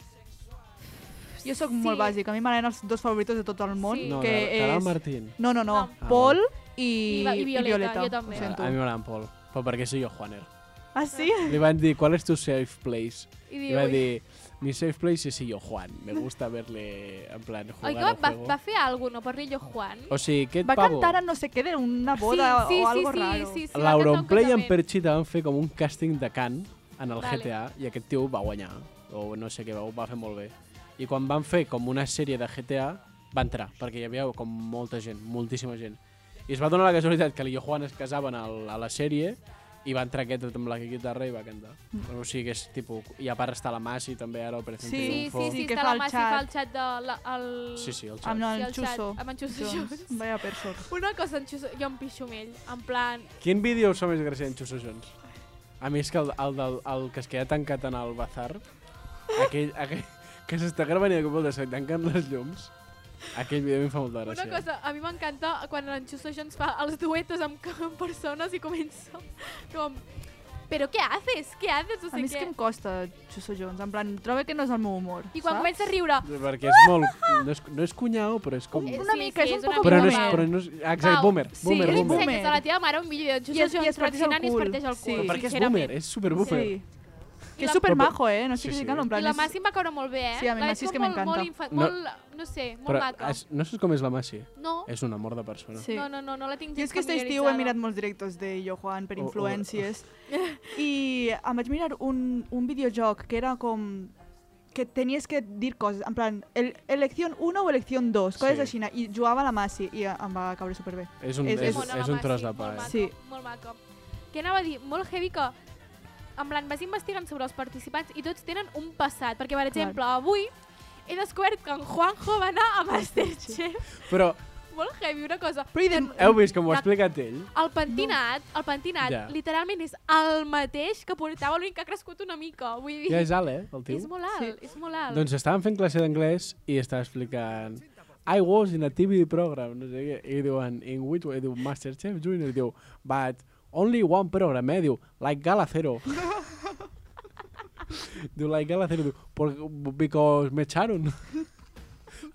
[SPEAKER 4] Jo sóc
[SPEAKER 2] Sí.
[SPEAKER 4] molt bàsic, a mi m'agraden els dos favoritos de tot el món,
[SPEAKER 2] Sí.
[SPEAKER 3] No,
[SPEAKER 4] que
[SPEAKER 3] Car- Caral
[SPEAKER 4] és...
[SPEAKER 3] Martín.
[SPEAKER 4] No, no, no,
[SPEAKER 2] No.
[SPEAKER 4] Pol
[SPEAKER 2] I
[SPEAKER 4] i,
[SPEAKER 2] va- i Violeta,
[SPEAKER 4] Violeta.
[SPEAKER 2] jo també.
[SPEAKER 4] Ho
[SPEAKER 3] A,
[SPEAKER 4] sento.
[SPEAKER 3] a mi m'agrada en Pol, però perquè soy jo, Juaner.
[SPEAKER 4] Ah, sí?
[SPEAKER 3] Li van dir, ¿cuál es tu safe place?
[SPEAKER 2] I
[SPEAKER 3] I
[SPEAKER 2] diu,
[SPEAKER 3] va
[SPEAKER 2] ui,
[SPEAKER 3] dir, mi safe place és yo, Juan. Me gusta verle, en plan,
[SPEAKER 2] oi,
[SPEAKER 3] jugar eh?"
[SPEAKER 2] que va,
[SPEAKER 3] al
[SPEAKER 2] va,
[SPEAKER 3] juego.
[SPEAKER 2] va fer alguna no? Per Rillo Juan.
[SPEAKER 3] O sigui, aquest
[SPEAKER 4] Va
[SPEAKER 3] pavo...
[SPEAKER 4] cantar a no sé què d'una boda
[SPEAKER 2] sí, sí,
[SPEAKER 4] o algo
[SPEAKER 2] sí,
[SPEAKER 4] raro.
[SPEAKER 2] Sí, sí, sí,
[SPEAKER 3] L'Auronplay i en
[SPEAKER 2] per...
[SPEAKER 3] Perchita van fer com un càsting de cant en el
[SPEAKER 2] Vale.
[SPEAKER 3] GTA i aquest tio va guanyar, o no sé què, va, ho va fer molt bé. I quan van fer com una sèrie de GTA, va entrar, perquè hi havia com molta gent, moltíssima gent. I es va donar la casualitat que l'Io Juan es casaven al, a la sèrie i va entrar aquest amb la guitarra i va cantar. O sigui que és tipus... I a part està la Masi també ara, o per
[SPEAKER 4] Sí,
[SPEAKER 2] Mm. Sí, sí, sí,
[SPEAKER 4] Sí,
[SPEAKER 2] sí
[SPEAKER 4] que
[SPEAKER 2] està
[SPEAKER 4] fa
[SPEAKER 2] la
[SPEAKER 4] el
[SPEAKER 2] Massi,
[SPEAKER 4] xat.
[SPEAKER 2] fa el xat de... La, el...
[SPEAKER 3] Sí, sí, el xat.
[SPEAKER 4] Amb no,
[SPEAKER 2] Sí,
[SPEAKER 4] el
[SPEAKER 2] el xat,
[SPEAKER 4] Chuso.
[SPEAKER 2] amb en Chuso Jones.
[SPEAKER 4] Vaya persona.
[SPEAKER 2] Una cosa, en Xuso, jo em pixo amb ell, en plan...
[SPEAKER 3] Quin vídeo us fa més gràcia en Xuso Jones? A mi és que el, el, del, el que es queda tancat en el bazar, aquell, aquell que s'està gravant i de cop el se li tanquen les llums, aquell vídeo a mi em fa molta
[SPEAKER 2] Una
[SPEAKER 3] gràcia.
[SPEAKER 2] cosa, a mi m'encanta quan en Xuso Jones fa els duetos amb, amb persones i comença com... Però què haces? Què haces? No
[SPEAKER 4] A
[SPEAKER 2] sé
[SPEAKER 4] mi és
[SPEAKER 2] què.
[SPEAKER 4] que em costa Chuso Jones, en plan, trobo que no és el meu humor,
[SPEAKER 2] I quan
[SPEAKER 4] saps?
[SPEAKER 2] comença a riure...
[SPEAKER 3] Perquè és molt... No és, no és cunyau, però és com...
[SPEAKER 2] Eh,
[SPEAKER 4] Una mica, és un poco
[SPEAKER 3] Però no és...
[SPEAKER 4] boomer.
[SPEAKER 3] Però no és ah, exacte,
[SPEAKER 2] Pau,
[SPEAKER 3] boomer,
[SPEAKER 4] sí,
[SPEAKER 3] boomer,
[SPEAKER 4] és
[SPEAKER 2] Li
[SPEAKER 3] boomer.
[SPEAKER 4] boomer.
[SPEAKER 2] ensenyes a la teva mare un vídeo de
[SPEAKER 4] I
[SPEAKER 2] Xuso
[SPEAKER 4] es- i
[SPEAKER 2] Jones
[SPEAKER 4] es parteix el
[SPEAKER 2] reaccionant i es
[SPEAKER 4] cul.
[SPEAKER 2] parteix el
[SPEAKER 4] Sí.
[SPEAKER 2] cul.
[SPEAKER 3] Però perquè és
[SPEAKER 2] sincerament.
[SPEAKER 3] boomer, és super boomer.
[SPEAKER 4] Sí. Que
[SPEAKER 2] la-
[SPEAKER 4] és super majo, eh? No sé
[SPEAKER 3] Sí,
[SPEAKER 4] què
[SPEAKER 3] sí.
[SPEAKER 4] dic, en plan...
[SPEAKER 2] I la
[SPEAKER 4] és-
[SPEAKER 2] Massi em va caure molt bé, eh?
[SPEAKER 4] Sí, a mi
[SPEAKER 2] La
[SPEAKER 4] Massi
[SPEAKER 2] veig
[SPEAKER 4] és que
[SPEAKER 2] com Molt,
[SPEAKER 4] m'encanta.
[SPEAKER 2] molt, infa-
[SPEAKER 3] No.
[SPEAKER 2] molt, no sé, molt
[SPEAKER 3] Però
[SPEAKER 2] maca.
[SPEAKER 3] és, no saps com és la Massi?
[SPEAKER 2] No,
[SPEAKER 3] És un amor de persona.
[SPEAKER 4] Sí.
[SPEAKER 2] no, no, no, no la tinc
[SPEAKER 4] Jo és que aquest estiu he mirat molts directes de Jo Juan per
[SPEAKER 3] O- o-
[SPEAKER 4] influències i em vaig mirar un, un videojoc que era com que tenies que dir coses, en plan, el, elecció 1 o elecció 2, coses
[SPEAKER 3] Sí.
[SPEAKER 4] així, i jugava a la Massi i em va caure superbé.
[SPEAKER 3] És un,
[SPEAKER 4] És-
[SPEAKER 3] és,
[SPEAKER 4] és-
[SPEAKER 3] és, un tros de pa, eh?
[SPEAKER 4] Sí.
[SPEAKER 2] Sí. Molt maca. Què anava a dir? Molt heavy que en plan, vas investigant sobre els participants i tots tenen un passat. Perquè, per exemple, avui he descobert que en Juanjo va anar a Masterchef.
[SPEAKER 3] Però
[SPEAKER 2] Molt heavy, una cosa.
[SPEAKER 4] Però i de...
[SPEAKER 3] heu vist com ho ha
[SPEAKER 2] La-
[SPEAKER 3] explicat ell?
[SPEAKER 2] El pentinat, el pentinat,
[SPEAKER 3] Ja.
[SPEAKER 2] literalment és el mateix que portava l'únic que ha crescut una mica. Vull dir,
[SPEAKER 3] Ja és alt, eh, el tio?
[SPEAKER 2] és molt alt, és molt alt.
[SPEAKER 3] Doncs estàvem fent classe d'anglès i estava explicant I was in a TV program, no sé què, i diuen, in which way, diu Masterchef Junior, diu, but Only one program, eh? Diu, like Gala Zero. diu, like Gala Zero. Diu, "Por- because me echaron.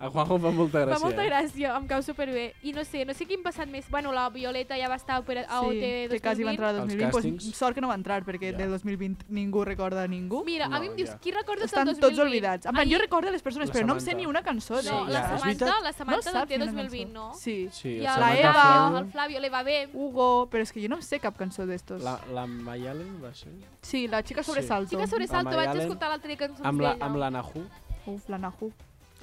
[SPEAKER 3] A Juanjo em fa molta gràcia.
[SPEAKER 2] Fa molta
[SPEAKER 3] eh?
[SPEAKER 2] gràcia, em cau superbé. I no sé, no sé quin passat més. Bueno, la Violeta ja va estar a Opera- a OT
[SPEAKER 4] sí,
[SPEAKER 2] 2020.
[SPEAKER 4] que quasi va entrar el
[SPEAKER 3] Els
[SPEAKER 4] 2020,
[SPEAKER 3] càstings.
[SPEAKER 4] pues, sort que no va entrar, perquè yeah. del 2020 ningú recorda a ningú.
[SPEAKER 2] Mira, a mi em dius, qui recordes
[SPEAKER 4] Estan
[SPEAKER 2] el 2020?
[SPEAKER 4] tots oblidats. En plan, jo
[SPEAKER 2] Ai,
[SPEAKER 4] recordo les persones,
[SPEAKER 3] La
[SPEAKER 4] però no em sé
[SPEAKER 3] Samantha.
[SPEAKER 4] ni una ¿eh? cançó.
[SPEAKER 3] Sí,
[SPEAKER 2] No,
[SPEAKER 3] ja,
[SPEAKER 2] la
[SPEAKER 3] és
[SPEAKER 2] Samantha,
[SPEAKER 3] veritat.
[SPEAKER 2] la Samantha no
[SPEAKER 4] saps
[SPEAKER 2] té
[SPEAKER 4] ni una
[SPEAKER 2] 2020,
[SPEAKER 4] cançó.
[SPEAKER 2] no?
[SPEAKER 4] Sí.
[SPEAKER 3] Sí,
[SPEAKER 2] I
[SPEAKER 3] la,
[SPEAKER 2] el,
[SPEAKER 4] La
[SPEAKER 3] Samantha
[SPEAKER 4] Eva.
[SPEAKER 2] Flavio,
[SPEAKER 3] Flavio.
[SPEAKER 2] el Flavio le va bé.
[SPEAKER 3] Uh,
[SPEAKER 4] Hugo, però és que jo no em sé cap cançó d'estos.
[SPEAKER 3] La, la Mayale va ser?
[SPEAKER 4] Sí, la xica
[SPEAKER 3] Sí.
[SPEAKER 4] sobresalto.
[SPEAKER 2] Sí que sobresalto,
[SPEAKER 3] Mary
[SPEAKER 2] vaig
[SPEAKER 3] Allen.
[SPEAKER 2] escoltar l'altre dia cançons
[SPEAKER 3] Amb la,
[SPEAKER 2] d'ella.
[SPEAKER 3] amb la Nahu.
[SPEAKER 4] Uf, la Nahu.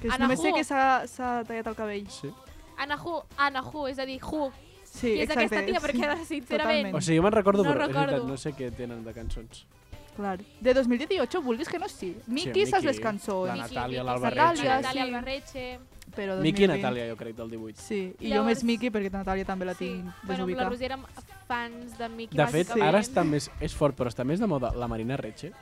[SPEAKER 4] Que és,
[SPEAKER 2] Anahu.
[SPEAKER 4] només sé que s'ha s'ha tallat el cabell.
[SPEAKER 3] Sí.
[SPEAKER 2] Anahu, Anahu, és a dir, Hu.
[SPEAKER 4] Sí,
[SPEAKER 2] I és
[SPEAKER 4] exacte.
[SPEAKER 2] aquesta tia, perquè
[SPEAKER 4] sí.
[SPEAKER 2] sincerament...
[SPEAKER 4] Totalment.
[SPEAKER 3] O sigui, jo me'n recordo,
[SPEAKER 2] No
[SPEAKER 3] però és veritat,
[SPEAKER 2] recordo.
[SPEAKER 3] no sé què tenen de cançons.
[SPEAKER 4] Clar. De 2018, vulguis que no sí. Miki
[SPEAKER 3] Miki,
[SPEAKER 4] saps les cançons,
[SPEAKER 3] la
[SPEAKER 2] Miki,
[SPEAKER 3] Natàlia,
[SPEAKER 2] Miki,
[SPEAKER 3] l'Albarretxe.
[SPEAKER 2] Natàlia, Natàlia
[SPEAKER 4] Sí.
[SPEAKER 2] Albarretxe.
[SPEAKER 4] però
[SPEAKER 3] Miki i
[SPEAKER 4] 2020.
[SPEAKER 3] Natàlia, jo crec, del 18.
[SPEAKER 4] Sí, i jo
[SPEAKER 2] Llavors-
[SPEAKER 4] més Miki perquè Natàlia també la tinc
[SPEAKER 2] Bueno, amb la
[SPEAKER 4] desubicada.
[SPEAKER 2] Roser érem fans de Miki,
[SPEAKER 3] De fet,
[SPEAKER 4] Sí.
[SPEAKER 3] ara està més, és fort, però està més de moda la Marina Retxe.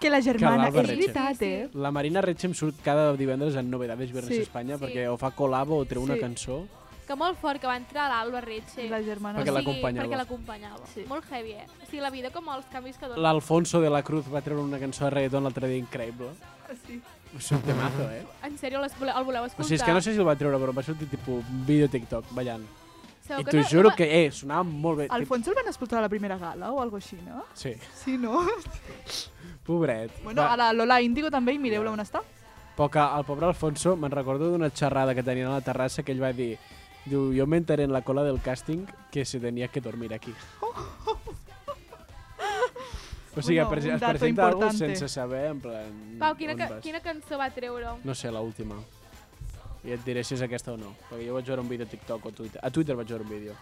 [SPEAKER 4] Que la germana,
[SPEAKER 3] l'Alba
[SPEAKER 4] és
[SPEAKER 3] Retxe.
[SPEAKER 4] veritat,
[SPEAKER 2] Sí, sí.
[SPEAKER 4] eh?
[SPEAKER 3] La Marina Retxe em surt cada divendres en Novedades Viernes
[SPEAKER 4] Sí.
[SPEAKER 3] Espanya
[SPEAKER 2] Sí.
[SPEAKER 3] perquè o fa col·labo o treu una
[SPEAKER 4] Sí.
[SPEAKER 3] cançó.
[SPEAKER 2] Que molt fort que va entrar l'Alba Retxe.
[SPEAKER 4] La germana.
[SPEAKER 3] Perquè
[SPEAKER 2] o
[SPEAKER 3] la-
[SPEAKER 2] sigui,
[SPEAKER 3] l'acompanyava.
[SPEAKER 2] Perquè l'acompanyava.
[SPEAKER 4] Sí.
[SPEAKER 2] Molt heavy, eh? O sigui, la vida com els canvis que dona.
[SPEAKER 3] L'Alfonso de la Cruz va treure una cançó de reggaeton l'altre dia increïble.
[SPEAKER 4] Sí.
[SPEAKER 3] És un temazo, eh?
[SPEAKER 2] En sèrio, les vole- el voleu
[SPEAKER 3] O
[SPEAKER 2] escoltar?
[SPEAKER 3] sigui, és que no sé si el va treure, però em va sortir tipus un vídeo TikTok ballant.
[SPEAKER 2] Sabeu
[SPEAKER 3] I
[SPEAKER 2] que
[SPEAKER 3] t'ho
[SPEAKER 2] no-
[SPEAKER 3] juro
[SPEAKER 2] no-
[SPEAKER 3] que, eh, sonava molt bé. Tip-
[SPEAKER 4] Alfonso el van expulsar a la primera gala o alguna així, no?
[SPEAKER 3] Sí,
[SPEAKER 4] Sí, no?
[SPEAKER 3] pobret.
[SPEAKER 4] Bueno,
[SPEAKER 3] Va.
[SPEAKER 4] a la Lola Índigo també, i mireu-la on està.
[SPEAKER 3] Poca, el pobre Alfonso, me'n recordo d'una xerrada que tenien a la terrassa que ell va dir Diu, yo me enteré en la cola del casting que se tenía que dormir aquí. o sigui,
[SPEAKER 4] Bueno,
[SPEAKER 3] bueno,
[SPEAKER 4] un
[SPEAKER 3] es
[SPEAKER 4] dato
[SPEAKER 3] presenta algú
[SPEAKER 4] importante.
[SPEAKER 3] sense saber, en plan...
[SPEAKER 2] Pau, quina,
[SPEAKER 3] on
[SPEAKER 2] ca
[SPEAKER 3] vas.
[SPEAKER 2] quina cançó va treure?
[SPEAKER 3] No sé, l'última. I et diré si és aquesta o no, perquè jo vaig veure un vídeo a TikTok o Twitter. A Twitter vaig veure un vídeo.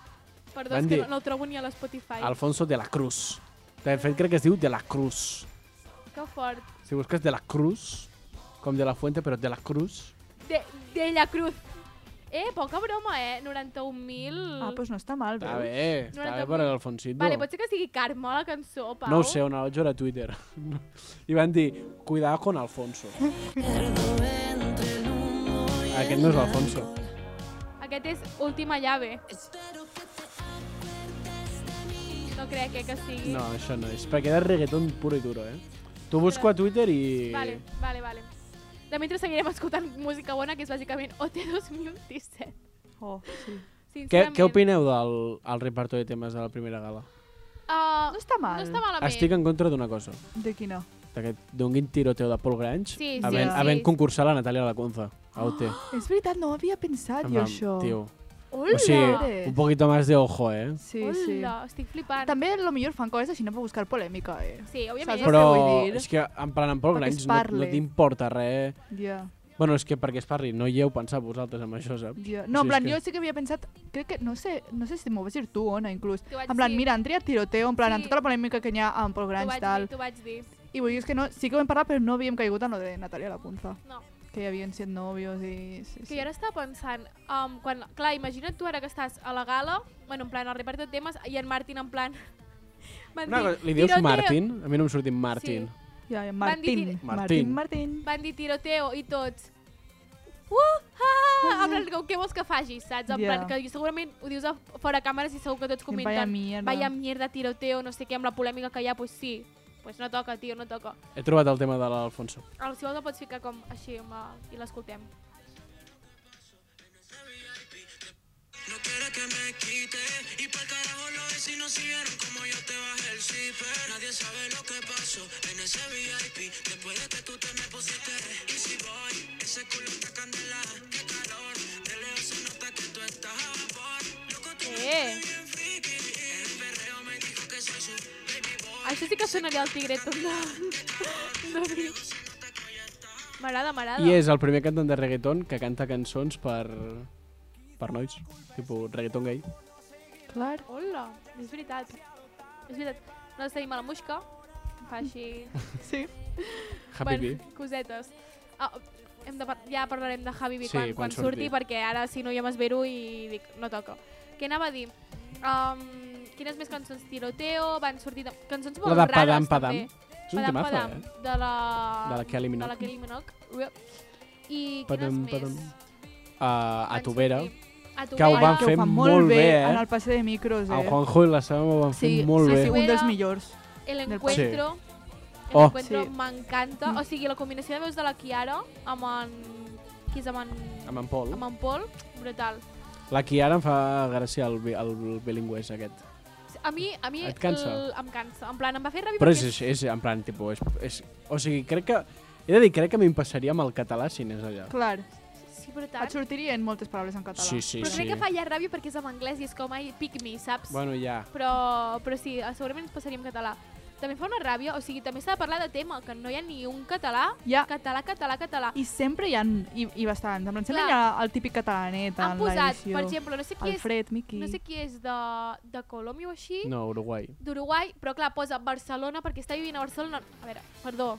[SPEAKER 2] Perdó,
[SPEAKER 3] Van
[SPEAKER 2] és que
[SPEAKER 3] dir-
[SPEAKER 2] no, no el trobo ni a l'Spotify.
[SPEAKER 3] Alfonso de la Cruz. De fet, crec que es diu de la Cruz.
[SPEAKER 2] Que fort.
[SPEAKER 3] Si busques de la Cruz, com de la Fuente, però de la Cruz...
[SPEAKER 2] De, de la Cruz. Eh, poca broma, eh? 91.000...
[SPEAKER 4] Ah, doncs no està mal,
[SPEAKER 3] Està
[SPEAKER 4] veus?
[SPEAKER 3] bé,
[SPEAKER 2] No
[SPEAKER 3] està
[SPEAKER 2] era
[SPEAKER 3] bé
[SPEAKER 2] tan
[SPEAKER 3] per
[SPEAKER 2] bo.
[SPEAKER 3] l'Alfonsito.
[SPEAKER 2] Vale, pot ser que sigui Carme la cançó, Pau?
[SPEAKER 3] No ho sé, on la vaig veure a Twitter. I van dir, cuidado con Alfonso. Aquest no és l'Alfonso.
[SPEAKER 2] Aquest és Última Llave. No crec eh, que sigui.
[SPEAKER 3] No, això no és, perquè era reggaeton puro i duro, eh? T'ho busco a Twitter i...
[SPEAKER 2] Vale, vale, vale. De mentre seguirem escoltant música bona, que és bàsicament OT 2017.
[SPEAKER 4] Oh, sí.
[SPEAKER 3] Què,
[SPEAKER 2] Sincerament.
[SPEAKER 3] què opineu del el repertori de temes de la primera gala?
[SPEAKER 2] Uh,
[SPEAKER 4] No està mal.
[SPEAKER 2] no està malament.
[SPEAKER 3] Estic en contra d'una cosa,
[SPEAKER 4] De quina?
[SPEAKER 3] d'aquest donguin tiroteo de Paul Grange
[SPEAKER 2] Sí, Ah, sí,
[SPEAKER 3] havent,
[SPEAKER 4] sí.
[SPEAKER 3] havent concursat la Natàlia Lacunza. A UT.
[SPEAKER 4] És veritat, no ho havia pensat
[SPEAKER 3] En
[SPEAKER 4] jo,
[SPEAKER 3] plan,
[SPEAKER 4] això.
[SPEAKER 3] Tio.
[SPEAKER 2] Hola!
[SPEAKER 3] O sigui,
[SPEAKER 4] Eres.
[SPEAKER 3] un poquito más de ojo, eh?
[SPEAKER 4] Sí,
[SPEAKER 2] Hola,
[SPEAKER 4] sí.
[SPEAKER 2] estic flipant.
[SPEAKER 4] També, lo millor fan coses així no per buscar polèmica, eh?
[SPEAKER 2] Sí, òbviament.
[SPEAKER 4] Saps?
[SPEAKER 2] Però...
[SPEAKER 3] Però
[SPEAKER 4] vull dir.
[SPEAKER 3] és que en plan en Paul
[SPEAKER 4] Perquè es
[SPEAKER 3] Grange no, no
[SPEAKER 4] parli.
[SPEAKER 3] t'importa res
[SPEAKER 4] Ja.
[SPEAKER 3] Bueno, és que perquè es parli, no hi heu pensat vosaltres amb això, saps?
[SPEAKER 4] Ja.
[SPEAKER 3] O
[SPEAKER 4] No,
[SPEAKER 3] sigui,
[SPEAKER 4] en plan,
[SPEAKER 3] és que-
[SPEAKER 4] jo sí que havia pensat, crec que, no sé, no sé si m'ho vas dir tu, Ona, inclús.
[SPEAKER 2] T'ho vaig
[SPEAKER 4] En plan,
[SPEAKER 2] dir.
[SPEAKER 4] mira, Andrea Tiroteo, en plan,
[SPEAKER 2] Sí.
[SPEAKER 4] en tota la polèmica que hi ha amb Paul
[SPEAKER 2] T'ho
[SPEAKER 4] Grange,
[SPEAKER 2] vaig dir,
[SPEAKER 4] tal.
[SPEAKER 2] t'ho vaig dir.
[SPEAKER 4] I vulguis que no, sí que ho hem parlat, però no havíem caigut en lo de Natàlia Lacunza,
[SPEAKER 2] No.
[SPEAKER 4] que hi havien set nòvios i... Sí,
[SPEAKER 2] Que
[SPEAKER 4] sí.
[SPEAKER 2] jo ara estava pensant, um, quan, clar, imagina't tu ara que estàs a la gala, bueno, en plan, al reparto de temes, i en Martin en plan... Van
[SPEAKER 3] Una
[SPEAKER 2] dir,
[SPEAKER 3] cosa, li dius
[SPEAKER 2] "Tiroteo".
[SPEAKER 3] Martin? A mi no em surt dir Martin. Sí.
[SPEAKER 4] Ja, i
[SPEAKER 2] Van dir-
[SPEAKER 4] Martín.
[SPEAKER 3] Martín.
[SPEAKER 4] Martín. Martín.
[SPEAKER 2] Van dir tiroteo i tots... Uh, ha, ha, ha, en plan, com, què vols que facis, saps? En
[SPEAKER 4] Ja.
[SPEAKER 2] plan, que segurament ho dius a fora càmeres i segur que tots comenten...
[SPEAKER 4] Vaya mierda.
[SPEAKER 2] Vaya mierda, tiroteo, no sé què, amb la polèmica que hi ha, pues sí. Pues no toca, tio, no toca.
[SPEAKER 3] He trobat el tema de l'Alfonso.
[SPEAKER 2] Ara, si vols, el pots ficar com així amb el, i l'escoltem.
[SPEAKER 5] No quiere que me quite Y pa'l carajo los vecinos si vieron como yo te bajé el zipper Nadie sabe lo que pasó en ese VIP Después de que tú te me pusiste Y si voy, ese culo está candela Qué calor, de lejos se nota que tú estás a vapor Loco, tú
[SPEAKER 2] Eh! Això sí que sonaria el tigret de... de... M'agrada, m'agrada.
[SPEAKER 3] I és el primer cantant de reggaeton que canta cançons per per nois, tipus reggaeton gay.
[SPEAKER 4] Clar.
[SPEAKER 2] Hola, és veritat. És veritat. Nosaltres tenim a la Muixca, que fa així...
[SPEAKER 4] Sí.
[SPEAKER 3] Happy Bee.
[SPEAKER 2] cosetes. Ah, hem de par ja parlarem de Javi B
[SPEAKER 3] Sí,
[SPEAKER 2] quan,
[SPEAKER 3] quan
[SPEAKER 2] quan, surti,
[SPEAKER 3] surti.
[SPEAKER 2] perquè ara si no ja m'esvero i dic, no toca. Què anava a dir? Um, quines més cançons? Tiroteo, van sortir... De... Cançons molt
[SPEAKER 3] La de
[SPEAKER 2] rares,
[SPEAKER 3] Padam Padam.
[SPEAKER 2] també.
[SPEAKER 3] És un temazo, eh?
[SPEAKER 2] de la...
[SPEAKER 3] De la Kylie
[SPEAKER 2] De
[SPEAKER 3] Minogue.
[SPEAKER 2] la Kelly Minogue. Ué. I
[SPEAKER 3] Padam,
[SPEAKER 2] quines
[SPEAKER 3] padam.
[SPEAKER 2] més?
[SPEAKER 3] Uh, a
[SPEAKER 2] van
[SPEAKER 3] Tubera,
[SPEAKER 2] sortir? A tu
[SPEAKER 3] que ho van
[SPEAKER 4] que
[SPEAKER 3] fer
[SPEAKER 4] ho fan
[SPEAKER 3] molt bé, eh?
[SPEAKER 4] en el passe de micros, eh?
[SPEAKER 3] El Juanjo i la Saba ho van fer
[SPEAKER 4] sí,
[SPEAKER 3] molt
[SPEAKER 4] sí,
[SPEAKER 3] bé.
[SPEAKER 4] sí, un dels millors.
[SPEAKER 2] El
[SPEAKER 4] del
[SPEAKER 2] encuentro, el
[SPEAKER 3] Oh.
[SPEAKER 2] encuentro
[SPEAKER 4] Sí.
[SPEAKER 2] m'encanta. O sigui, la combinació de veus de la Kiara amb en... Qui és amb en...
[SPEAKER 3] Amb en Pol.
[SPEAKER 2] Amb en Pol, brutal.
[SPEAKER 3] La Kiara em fa gràcia el, bi- el, bilingüe és aquest.
[SPEAKER 2] A mi, a mi
[SPEAKER 3] Et cansa?
[SPEAKER 2] el- em cansa. En plan, em va fer ràbia
[SPEAKER 3] Però és,
[SPEAKER 2] perquè
[SPEAKER 3] és, és en plan, tipus, és, és, o sigui, crec que... He de dir, crec que m'impassaria amb el català si anés allà.
[SPEAKER 4] Clar,
[SPEAKER 2] Sí, però tant.
[SPEAKER 4] et sortirien moltes paraules en català.
[SPEAKER 3] Sí, sí,
[SPEAKER 2] però
[SPEAKER 3] sí.
[SPEAKER 2] crec que fa ja ràbia perquè és en anglès i és com, ai, pick me, saps?
[SPEAKER 3] Bueno, ja.
[SPEAKER 2] Però, però sí, eh, segurament ens passaria en català. També fa una ràbia, o sigui, també s'ha de parlar de tema, que no hi ha ni un català,
[SPEAKER 4] Ja.
[SPEAKER 2] català, català, català.
[SPEAKER 4] I sempre hi ha, i, i bastants, en plan, sempre
[SPEAKER 2] Clar.
[SPEAKER 4] hi ha el típic catalanet
[SPEAKER 2] Han
[SPEAKER 4] en
[SPEAKER 2] posat,
[SPEAKER 4] l'edició.
[SPEAKER 2] per exemple, no sé qui
[SPEAKER 4] Alfred,
[SPEAKER 2] és...
[SPEAKER 4] Miqui.
[SPEAKER 2] No sé qui és de, de Colòmbia o així,
[SPEAKER 3] No, Uruguai.
[SPEAKER 2] d'Uruguai, però clar, posa Barcelona perquè està vivint a Barcelona. A veure, perdó.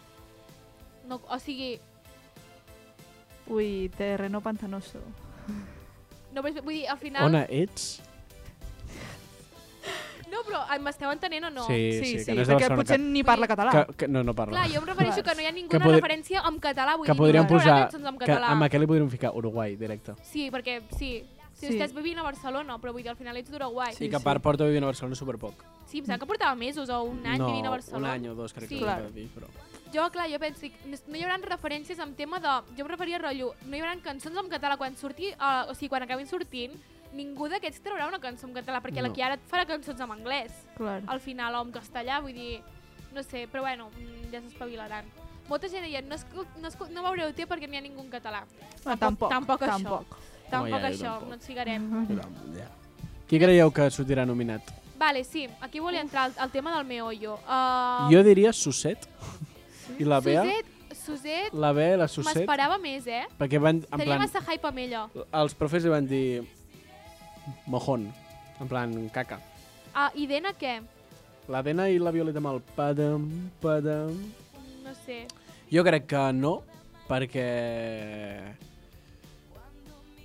[SPEAKER 2] No, o sigui,
[SPEAKER 4] Ui, terreno pantanoso.
[SPEAKER 2] no, vull dir, al final...
[SPEAKER 3] Ona, ets?
[SPEAKER 2] No, però eh, m'esteu entenent o no?
[SPEAKER 3] Sí, sí, que no és de
[SPEAKER 4] perquè
[SPEAKER 3] Barcelona,
[SPEAKER 4] potser
[SPEAKER 3] que-
[SPEAKER 4] ni parla català.
[SPEAKER 3] Que, que, no, no parla.
[SPEAKER 2] Clar, jo em refereixo que no hi ha ninguna
[SPEAKER 3] podri-
[SPEAKER 2] referència en català. Vull
[SPEAKER 3] que
[SPEAKER 2] dir,
[SPEAKER 3] podríem
[SPEAKER 2] ninguna
[SPEAKER 3] posar...
[SPEAKER 2] cançó en
[SPEAKER 3] Que
[SPEAKER 2] català.
[SPEAKER 3] amb aquest li podríem ficar Uruguai, directe.
[SPEAKER 2] Sí, perquè sí. Si
[SPEAKER 4] Sí.
[SPEAKER 2] sí. estàs vivint a Barcelona, però vull dir, al final ets d'Uruguai.
[SPEAKER 3] Sí, I que a part porta vivint a Barcelona superpoc.
[SPEAKER 2] Sí, em sembla que portava mesos o un any
[SPEAKER 3] no,
[SPEAKER 2] vivint a Barcelona.
[SPEAKER 3] un any o dos, crec
[SPEAKER 2] sí.
[SPEAKER 3] que ho he de dir, però...
[SPEAKER 2] Jo, clar, jo penso que no no hi haurà referències amb tema de... Jo em referia a rotllo, no hi haurà cançons en català quan surti, eh, o sigui, quan acabin sortint, ningú d'aquests traurà una cançó en català, perquè no.
[SPEAKER 3] No.
[SPEAKER 2] la Kiara et farà cançons en anglès.
[SPEAKER 4] Clar.
[SPEAKER 2] Al final, o en castellà, vull dir... No sé, però bueno, mm, ja s'espavilaran. Molta gent deia, no, escu no, escu no veureu té perquè n'hi ha ningú en català.
[SPEAKER 4] No, Ah, tampoc,
[SPEAKER 2] Tampoc,
[SPEAKER 4] tampoc.
[SPEAKER 2] això. Tampoc
[SPEAKER 3] Home, ja, jo
[SPEAKER 2] això,
[SPEAKER 3] tampoc.
[SPEAKER 2] no ens ficarem.
[SPEAKER 3] Ja. Qui creieu que sortirà nominat?
[SPEAKER 2] Vale, sí, aquí volia entrar al, al tema del meollo. Uh,
[SPEAKER 3] Jo diria Suset. I la Bea,
[SPEAKER 2] Suset, Suset,
[SPEAKER 3] la Bea i la Suset,
[SPEAKER 2] m'esperava més, eh?
[SPEAKER 3] perquè van, en
[SPEAKER 2] Tenia
[SPEAKER 3] plan,
[SPEAKER 2] massa hype amb ella.
[SPEAKER 3] els profes li van dir mojón, en plan caca.
[SPEAKER 2] Ah, i Dena què?
[SPEAKER 3] La Dena i la Violeta amb el padam, padam...
[SPEAKER 2] No sé.
[SPEAKER 3] Jo crec que no, perquè...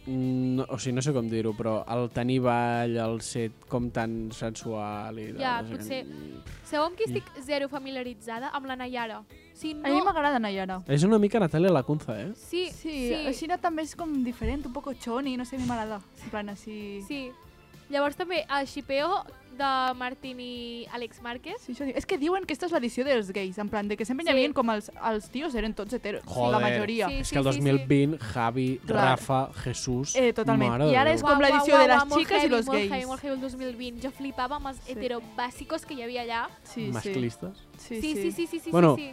[SPEAKER 3] No, o sigui, no sé com dir-ho, però el tenir ball, el ser com tan sensual i... tal,
[SPEAKER 2] Ja,
[SPEAKER 3] no sé
[SPEAKER 2] potser...
[SPEAKER 3] què.
[SPEAKER 2] Sabeu amb qui estic zero familiaritzada? Amb la Nayara. Si
[SPEAKER 4] A mi
[SPEAKER 2] no...
[SPEAKER 4] m'agrada Nayara.
[SPEAKER 3] És una mica Natalia Lacunza, eh?
[SPEAKER 2] Sí,
[SPEAKER 4] Sí, sí.
[SPEAKER 2] sí,
[SPEAKER 4] Xina també és com diferent, un poco choni, no sé, a mi m'agrada. En plan, així...
[SPEAKER 2] sí. Llavors també el xipeo de Martín i Àlex Márquez.
[SPEAKER 4] Sí, això diu. És que diuen que aquesta és l'edició dels gais, en plan, de que sempre sí. hi
[SPEAKER 2] Sí.
[SPEAKER 4] havia com els, els tios eren tots heteros, la
[SPEAKER 3] Joder.
[SPEAKER 4] majoria.
[SPEAKER 2] Sí,
[SPEAKER 3] és que el 2020, Javi,
[SPEAKER 4] Clar.
[SPEAKER 3] Rafa, Jesús...
[SPEAKER 4] Eh, totalment.
[SPEAKER 3] Mare
[SPEAKER 4] I
[SPEAKER 3] de
[SPEAKER 4] ara és
[SPEAKER 3] Déu.
[SPEAKER 4] com
[SPEAKER 2] Uau,
[SPEAKER 4] l'edició
[SPEAKER 2] uau,
[SPEAKER 4] de les
[SPEAKER 2] uau, molt
[SPEAKER 4] xiques i
[SPEAKER 2] heavy,
[SPEAKER 4] los
[SPEAKER 2] molt
[SPEAKER 4] gais.
[SPEAKER 2] Heavy, molt heavy, el 2020. Jo flipava amb els
[SPEAKER 4] Sí.
[SPEAKER 2] sí. heterobàsicos que hi havia allà.
[SPEAKER 4] Sí,
[SPEAKER 3] Masclistes.
[SPEAKER 4] Sí,
[SPEAKER 2] sí, sí, sí, sí, sí,
[SPEAKER 3] Bueno,
[SPEAKER 2] sí.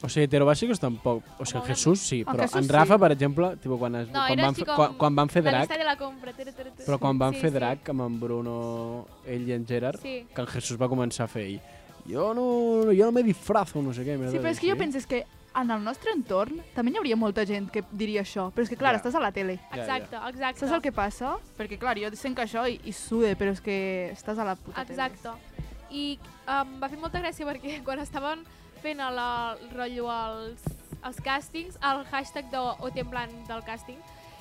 [SPEAKER 3] O sigui, heterobàsicos tampoc. O sigui,
[SPEAKER 2] Home, una
[SPEAKER 3] Jesús sí,
[SPEAKER 4] mica.
[SPEAKER 3] però
[SPEAKER 4] En Jesús
[SPEAKER 3] en Rafa,
[SPEAKER 4] sí.
[SPEAKER 3] per exemple, tipo, quan, es,
[SPEAKER 2] No,
[SPEAKER 3] quan,
[SPEAKER 2] era
[SPEAKER 3] van,
[SPEAKER 2] així
[SPEAKER 3] fer-
[SPEAKER 2] com
[SPEAKER 3] quan, quan van fer
[SPEAKER 2] La
[SPEAKER 3] drac,
[SPEAKER 2] llista de la compra. Tere, tere, tere.
[SPEAKER 3] però quan van
[SPEAKER 2] Sí,
[SPEAKER 3] fer
[SPEAKER 2] sí.
[SPEAKER 3] drac amb en Bruno, ell i en Gerard,
[SPEAKER 2] Sí.
[SPEAKER 3] que en Jesús va començar a fer ell. Jo no, jo no me disfrazo, no sé què. merda
[SPEAKER 4] Sí, però és que
[SPEAKER 3] així.
[SPEAKER 4] jo penso és que en el nostre entorn també hi hauria molta gent que diria això, però és que, clar,
[SPEAKER 3] Ja.
[SPEAKER 4] estàs a la tele.
[SPEAKER 3] Ja, ja.
[SPEAKER 2] Exacte, exacte.
[SPEAKER 4] Saps el que passa? Perquè, clar, jo sent que això i, i sude, però és que estàs a la puta
[SPEAKER 2] Exacte. I em va fer molta gràcia perquè quan estaven fent el, el rotllo als, als càstings, el hashtag de OT en plan del càsting,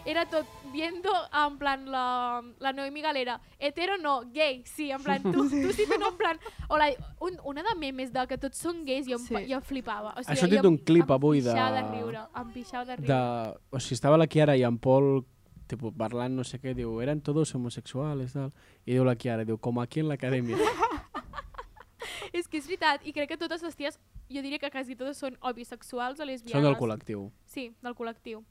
[SPEAKER 2] era tot viendo en plan la, la Noemi Galera, hetero no, gay, sí, en plan tu, tu sí, tu no, en plan... O la, un, una de memes de que tots són gais, jo, em,
[SPEAKER 4] Sí.
[SPEAKER 2] sí. jo flipava. O
[SPEAKER 3] Ha
[SPEAKER 2] sigui,
[SPEAKER 3] sortit
[SPEAKER 2] jo em-
[SPEAKER 3] un clip
[SPEAKER 2] em
[SPEAKER 3] avui de-
[SPEAKER 2] pixava de riure, em pixava de riure.
[SPEAKER 3] De, o sigui, estava la Kiara i en Pol tipo, parlant no sé què, diu, eren todos homosexuales, tal. I diu la Kiara, diu, com aquí en l'acadèmia.
[SPEAKER 2] És que és veritat, i crec que totes les ties, jo diria que quasi totes són o bisexuals o lesbianes.
[SPEAKER 3] Són del col·lectiu.
[SPEAKER 2] Sí, del col·lectiu.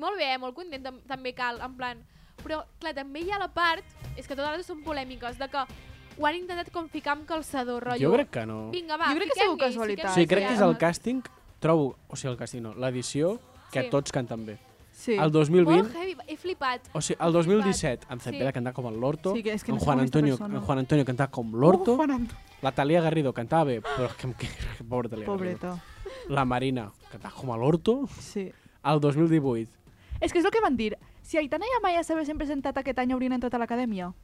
[SPEAKER 2] Molt bé, eh? molt content, tam- també cal, en plan... Però, clar, també hi ha la part, és que totes les són polèmiques, de que ho han intentat com ficar amb calçador, rotllo.
[SPEAKER 3] Jo crec que no.
[SPEAKER 2] Vinga, va,
[SPEAKER 4] Jo crec que
[SPEAKER 2] fiquem
[SPEAKER 4] segur
[SPEAKER 2] gais,
[SPEAKER 4] casualitat.
[SPEAKER 2] fiquem
[SPEAKER 3] Sí, crec que és el
[SPEAKER 2] lesbianes.
[SPEAKER 3] càsting, trobo, o sigui, el càsting no, l'edició, que
[SPEAKER 2] Sí.
[SPEAKER 3] tots canten bé.
[SPEAKER 4] Sí.
[SPEAKER 3] El
[SPEAKER 2] Molt
[SPEAKER 3] 2020,
[SPEAKER 2] heavy, he flipat.
[SPEAKER 3] o sigui, el 2017, en Cepeda
[SPEAKER 2] Sí.
[SPEAKER 3] cantava com el Lorto,
[SPEAKER 4] Sí, que és que
[SPEAKER 3] en
[SPEAKER 4] no sé
[SPEAKER 3] Juan
[SPEAKER 4] com aquesta
[SPEAKER 3] Antonio,
[SPEAKER 4] persona.
[SPEAKER 3] en Juan Antonio cantava com l'Orto,
[SPEAKER 4] Uh, Juan Antonio.
[SPEAKER 3] la Talia Garrido cantava bé, però és que, que, que pobra Talia Garrido.
[SPEAKER 4] Pobreta.
[SPEAKER 3] La Marina cantava com a l'Orto,
[SPEAKER 4] Sí.
[SPEAKER 3] el 2018.
[SPEAKER 4] És que és el que van dir. Si Aitana i Amaya s'haguessin presentat aquest any haurien entrat a l'acadèmia?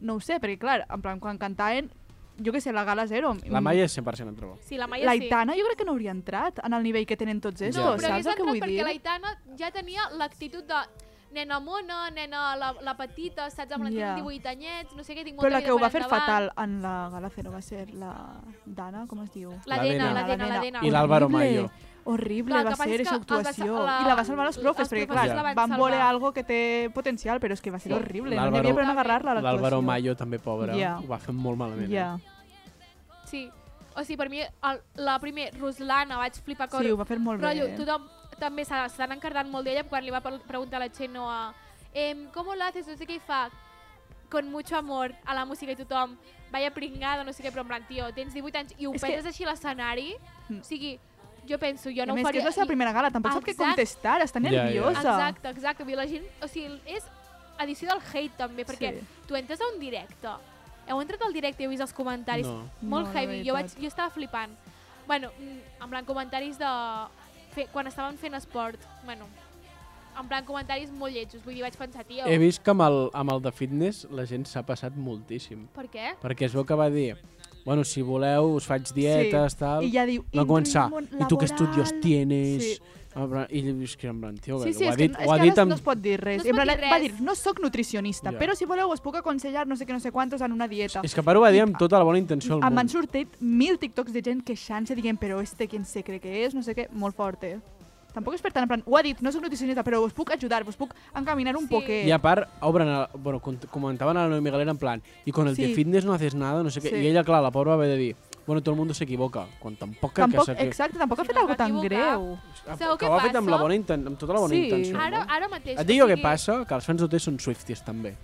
[SPEAKER 4] No ho sé, perquè clar, en plan, quan cantaven, jo què sé, la gala zero. mm,
[SPEAKER 3] La Maia és 100% en trobo.
[SPEAKER 2] Sí, la Maia
[SPEAKER 4] La
[SPEAKER 2] sí.
[SPEAKER 4] Aitana jo crec que no hauria entrat en el nivell que tenen tots estos,
[SPEAKER 2] No, però
[SPEAKER 4] saps
[SPEAKER 2] hagués
[SPEAKER 4] el que
[SPEAKER 2] entrat
[SPEAKER 4] vull
[SPEAKER 2] perquè
[SPEAKER 4] dir?
[SPEAKER 2] l'Aitana ja tenia l'actitud de nena mona, nena la, la petita, saps? Amb la
[SPEAKER 4] Ja.
[SPEAKER 2] yeah. 18 anyets, no sé què, tinc molta
[SPEAKER 4] Però la
[SPEAKER 2] vida
[SPEAKER 4] que ho
[SPEAKER 2] per
[SPEAKER 4] va fer
[SPEAKER 2] endavant.
[SPEAKER 4] fatal en la gala zero va ser la Dana, com es diu?
[SPEAKER 2] La
[SPEAKER 3] La
[SPEAKER 2] Dena,
[SPEAKER 3] Dena.
[SPEAKER 2] la Dena, la Dena.
[SPEAKER 3] I l'Àlvaro Mayo.
[SPEAKER 4] horrible
[SPEAKER 2] Clar, el
[SPEAKER 4] va
[SPEAKER 2] que passa
[SPEAKER 4] ser
[SPEAKER 2] és
[SPEAKER 4] aquesta
[SPEAKER 2] que el va
[SPEAKER 4] actuació.
[SPEAKER 2] sa- la-
[SPEAKER 4] I la va salvar els profes,
[SPEAKER 2] els
[SPEAKER 4] perquè
[SPEAKER 2] professors
[SPEAKER 4] clar,
[SPEAKER 2] la van
[SPEAKER 4] van voler
[SPEAKER 2] salvar.
[SPEAKER 4] algo que té potencial, però és que va
[SPEAKER 2] Sí.
[SPEAKER 4] ser horrible. No n'hi
[SPEAKER 3] L'Álvaro-
[SPEAKER 4] havia per on agarrar-la, a
[SPEAKER 3] L'Álvaro
[SPEAKER 4] l'actuació.
[SPEAKER 3] Mayo també, pobre,
[SPEAKER 4] Ja.
[SPEAKER 3] ho va fer molt malament. eh?
[SPEAKER 4] Ja.
[SPEAKER 2] Sí. O sigui, per mi, el, la primer, Ruslana, vaig flipar cor.
[SPEAKER 4] Sí, ho va fer molt bé.
[SPEAKER 2] Rotllo, tothom també s'ha- s'estan encardant molt d'ella quan li va per- preguntar la Xenoa em, ¿Cómo lo haces? No sé què i fa con mucho amor a la música i tothom vaya pringada, no sé què, però en plan, tio, tens 18 anys i ho
[SPEAKER 4] És que-
[SPEAKER 2] penses així a l'escenari,
[SPEAKER 4] Mm.
[SPEAKER 2] o sigui, jo penso, jo
[SPEAKER 4] I a
[SPEAKER 2] no ho
[SPEAKER 4] més, que
[SPEAKER 2] faria...
[SPEAKER 4] és la seva
[SPEAKER 2] i-
[SPEAKER 4] primera gala, tampoc sap què contestar, està
[SPEAKER 3] Ja, ja.
[SPEAKER 4] nerviosa.
[SPEAKER 2] Exacte, exacte. I la gent, o sigui, és edició del hate també, perquè
[SPEAKER 4] Sí.
[SPEAKER 2] tu entres a un directe. Heu entrat al directe i heu vist els comentaris.
[SPEAKER 3] No.
[SPEAKER 2] Molt
[SPEAKER 4] No, la
[SPEAKER 2] heavy. Jo, vaig,
[SPEAKER 4] veritat.
[SPEAKER 2] jo estava flipant. Bueno, mm, en plan comentaris de... Fe, quan estaven fent esport, bueno, en plan comentaris molt lletjos. Vull dir, vaig pensar, tio,
[SPEAKER 3] He vist que amb el, amb el de fitness la gent s'ha passat moltíssim.
[SPEAKER 2] per què?
[SPEAKER 3] Perquè es veu que va dir, bueno, si voleu us faig dietes,
[SPEAKER 4] Sí.
[SPEAKER 3] tal...
[SPEAKER 4] I ja diu,
[SPEAKER 3] va
[SPEAKER 4] "Y
[SPEAKER 3] començar,
[SPEAKER 4] ritmo
[SPEAKER 3] i tu que estudios
[SPEAKER 4] laboral".
[SPEAKER 3] tienes...
[SPEAKER 4] Sí.
[SPEAKER 3] En plan- I és que en plan, tio,
[SPEAKER 4] Sí, sí,
[SPEAKER 3] ho
[SPEAKER 4] és
[SPEAKER 3] ha
[SPEAKER 4] que,
[SPEAKER 3] dit,
[SPEAKER 4] no- és
[SPEAKER 3] ho ha
[SPEAKER 4] que
[SPEAKER 3] dit
[SPEAKER 4] ara
[SPEAKER 3] amb...
[SPEAKER 4] no es pot dir res.
[SPEAKER 2] No es
[SPEAKER 4] en
[SPEAKER 2] pot
[SPEAKER 4] plan,
[SPEAKER 2] dir res.
[SPEAKER 4] Va dir, no sóc nutricionista,
[SPEAKER 3] Ja.
[SPEAKER 4] però si voleu us puc aconsellar no sé què, no sé quantos en una dieta.
[SPEAKER 3] És que Paro va dir amb tota la bona intenció del
[SPEAKER 4] Em
[SPEAKER 3] món.
[SPEAKER 4] van sortit mil TikToks de gent queixant-se, dient, però este quin se cree que és, no sé què, molt fort, eh? Tampoc és per tant, en plan, ho ha dit, no soc nutricionista, però us puc ajudar, us puc encaminar un
[SPEAKER 2] Sí.
[SPEAKER 4] poquet.
[SPEAKER 3] Y aparte, obren a- bueno, cont- comentaban a la Noemi Galera en plan, y con el de
[SPEAKER 4] Sí.
[SPEAKER 3] fitness no haces nada, no sé qué.
[SPEAKER 4] Sí.
[SPEAKER 3] Y ella, claro, la pobre va haver de dir, bueno, todo el mundo se equivoca, quan tampoc... que
[SPEAKER 4] tampoc,
[SPEAKER 3] s'ha- que-
[SPEAKER 4] exacte, tampoc ha
[SPEAKER 2] Si
[SPEAKER 4] fet
[SPEAKER 2] no es
[SPEAKER 4] alguna
[SPEAKER 2] va
[SPEAKER 4] tan
[SPEAKER 2] equivocar.
[SPEAKER 4] greu.
[SPEAKER 3] Ah,
[SPEAKER 2] Sabeu
[SPEAKER 3] que
[SPEAKER 2] què
[SPEAKER 3] ho ha fet amb, la
[SPEAKER 2] passa?
[SPEAKER 3] bona inten- amb tota la bona
[SPEAKER 4] Sí.
[SPEAKER 3] intenció.
[SPEAKER 2] Ara,
[SPEAKER 3] no?
[SPEAKER 2] ara mateix.
[SPEAKER 3] Et dic jo
[SPEAKER 2] o
[SPEAKER 3] què
[SPEAKER 2] sigui,
[SPEAKER 3] passa, que els fans d'OT són swifties també.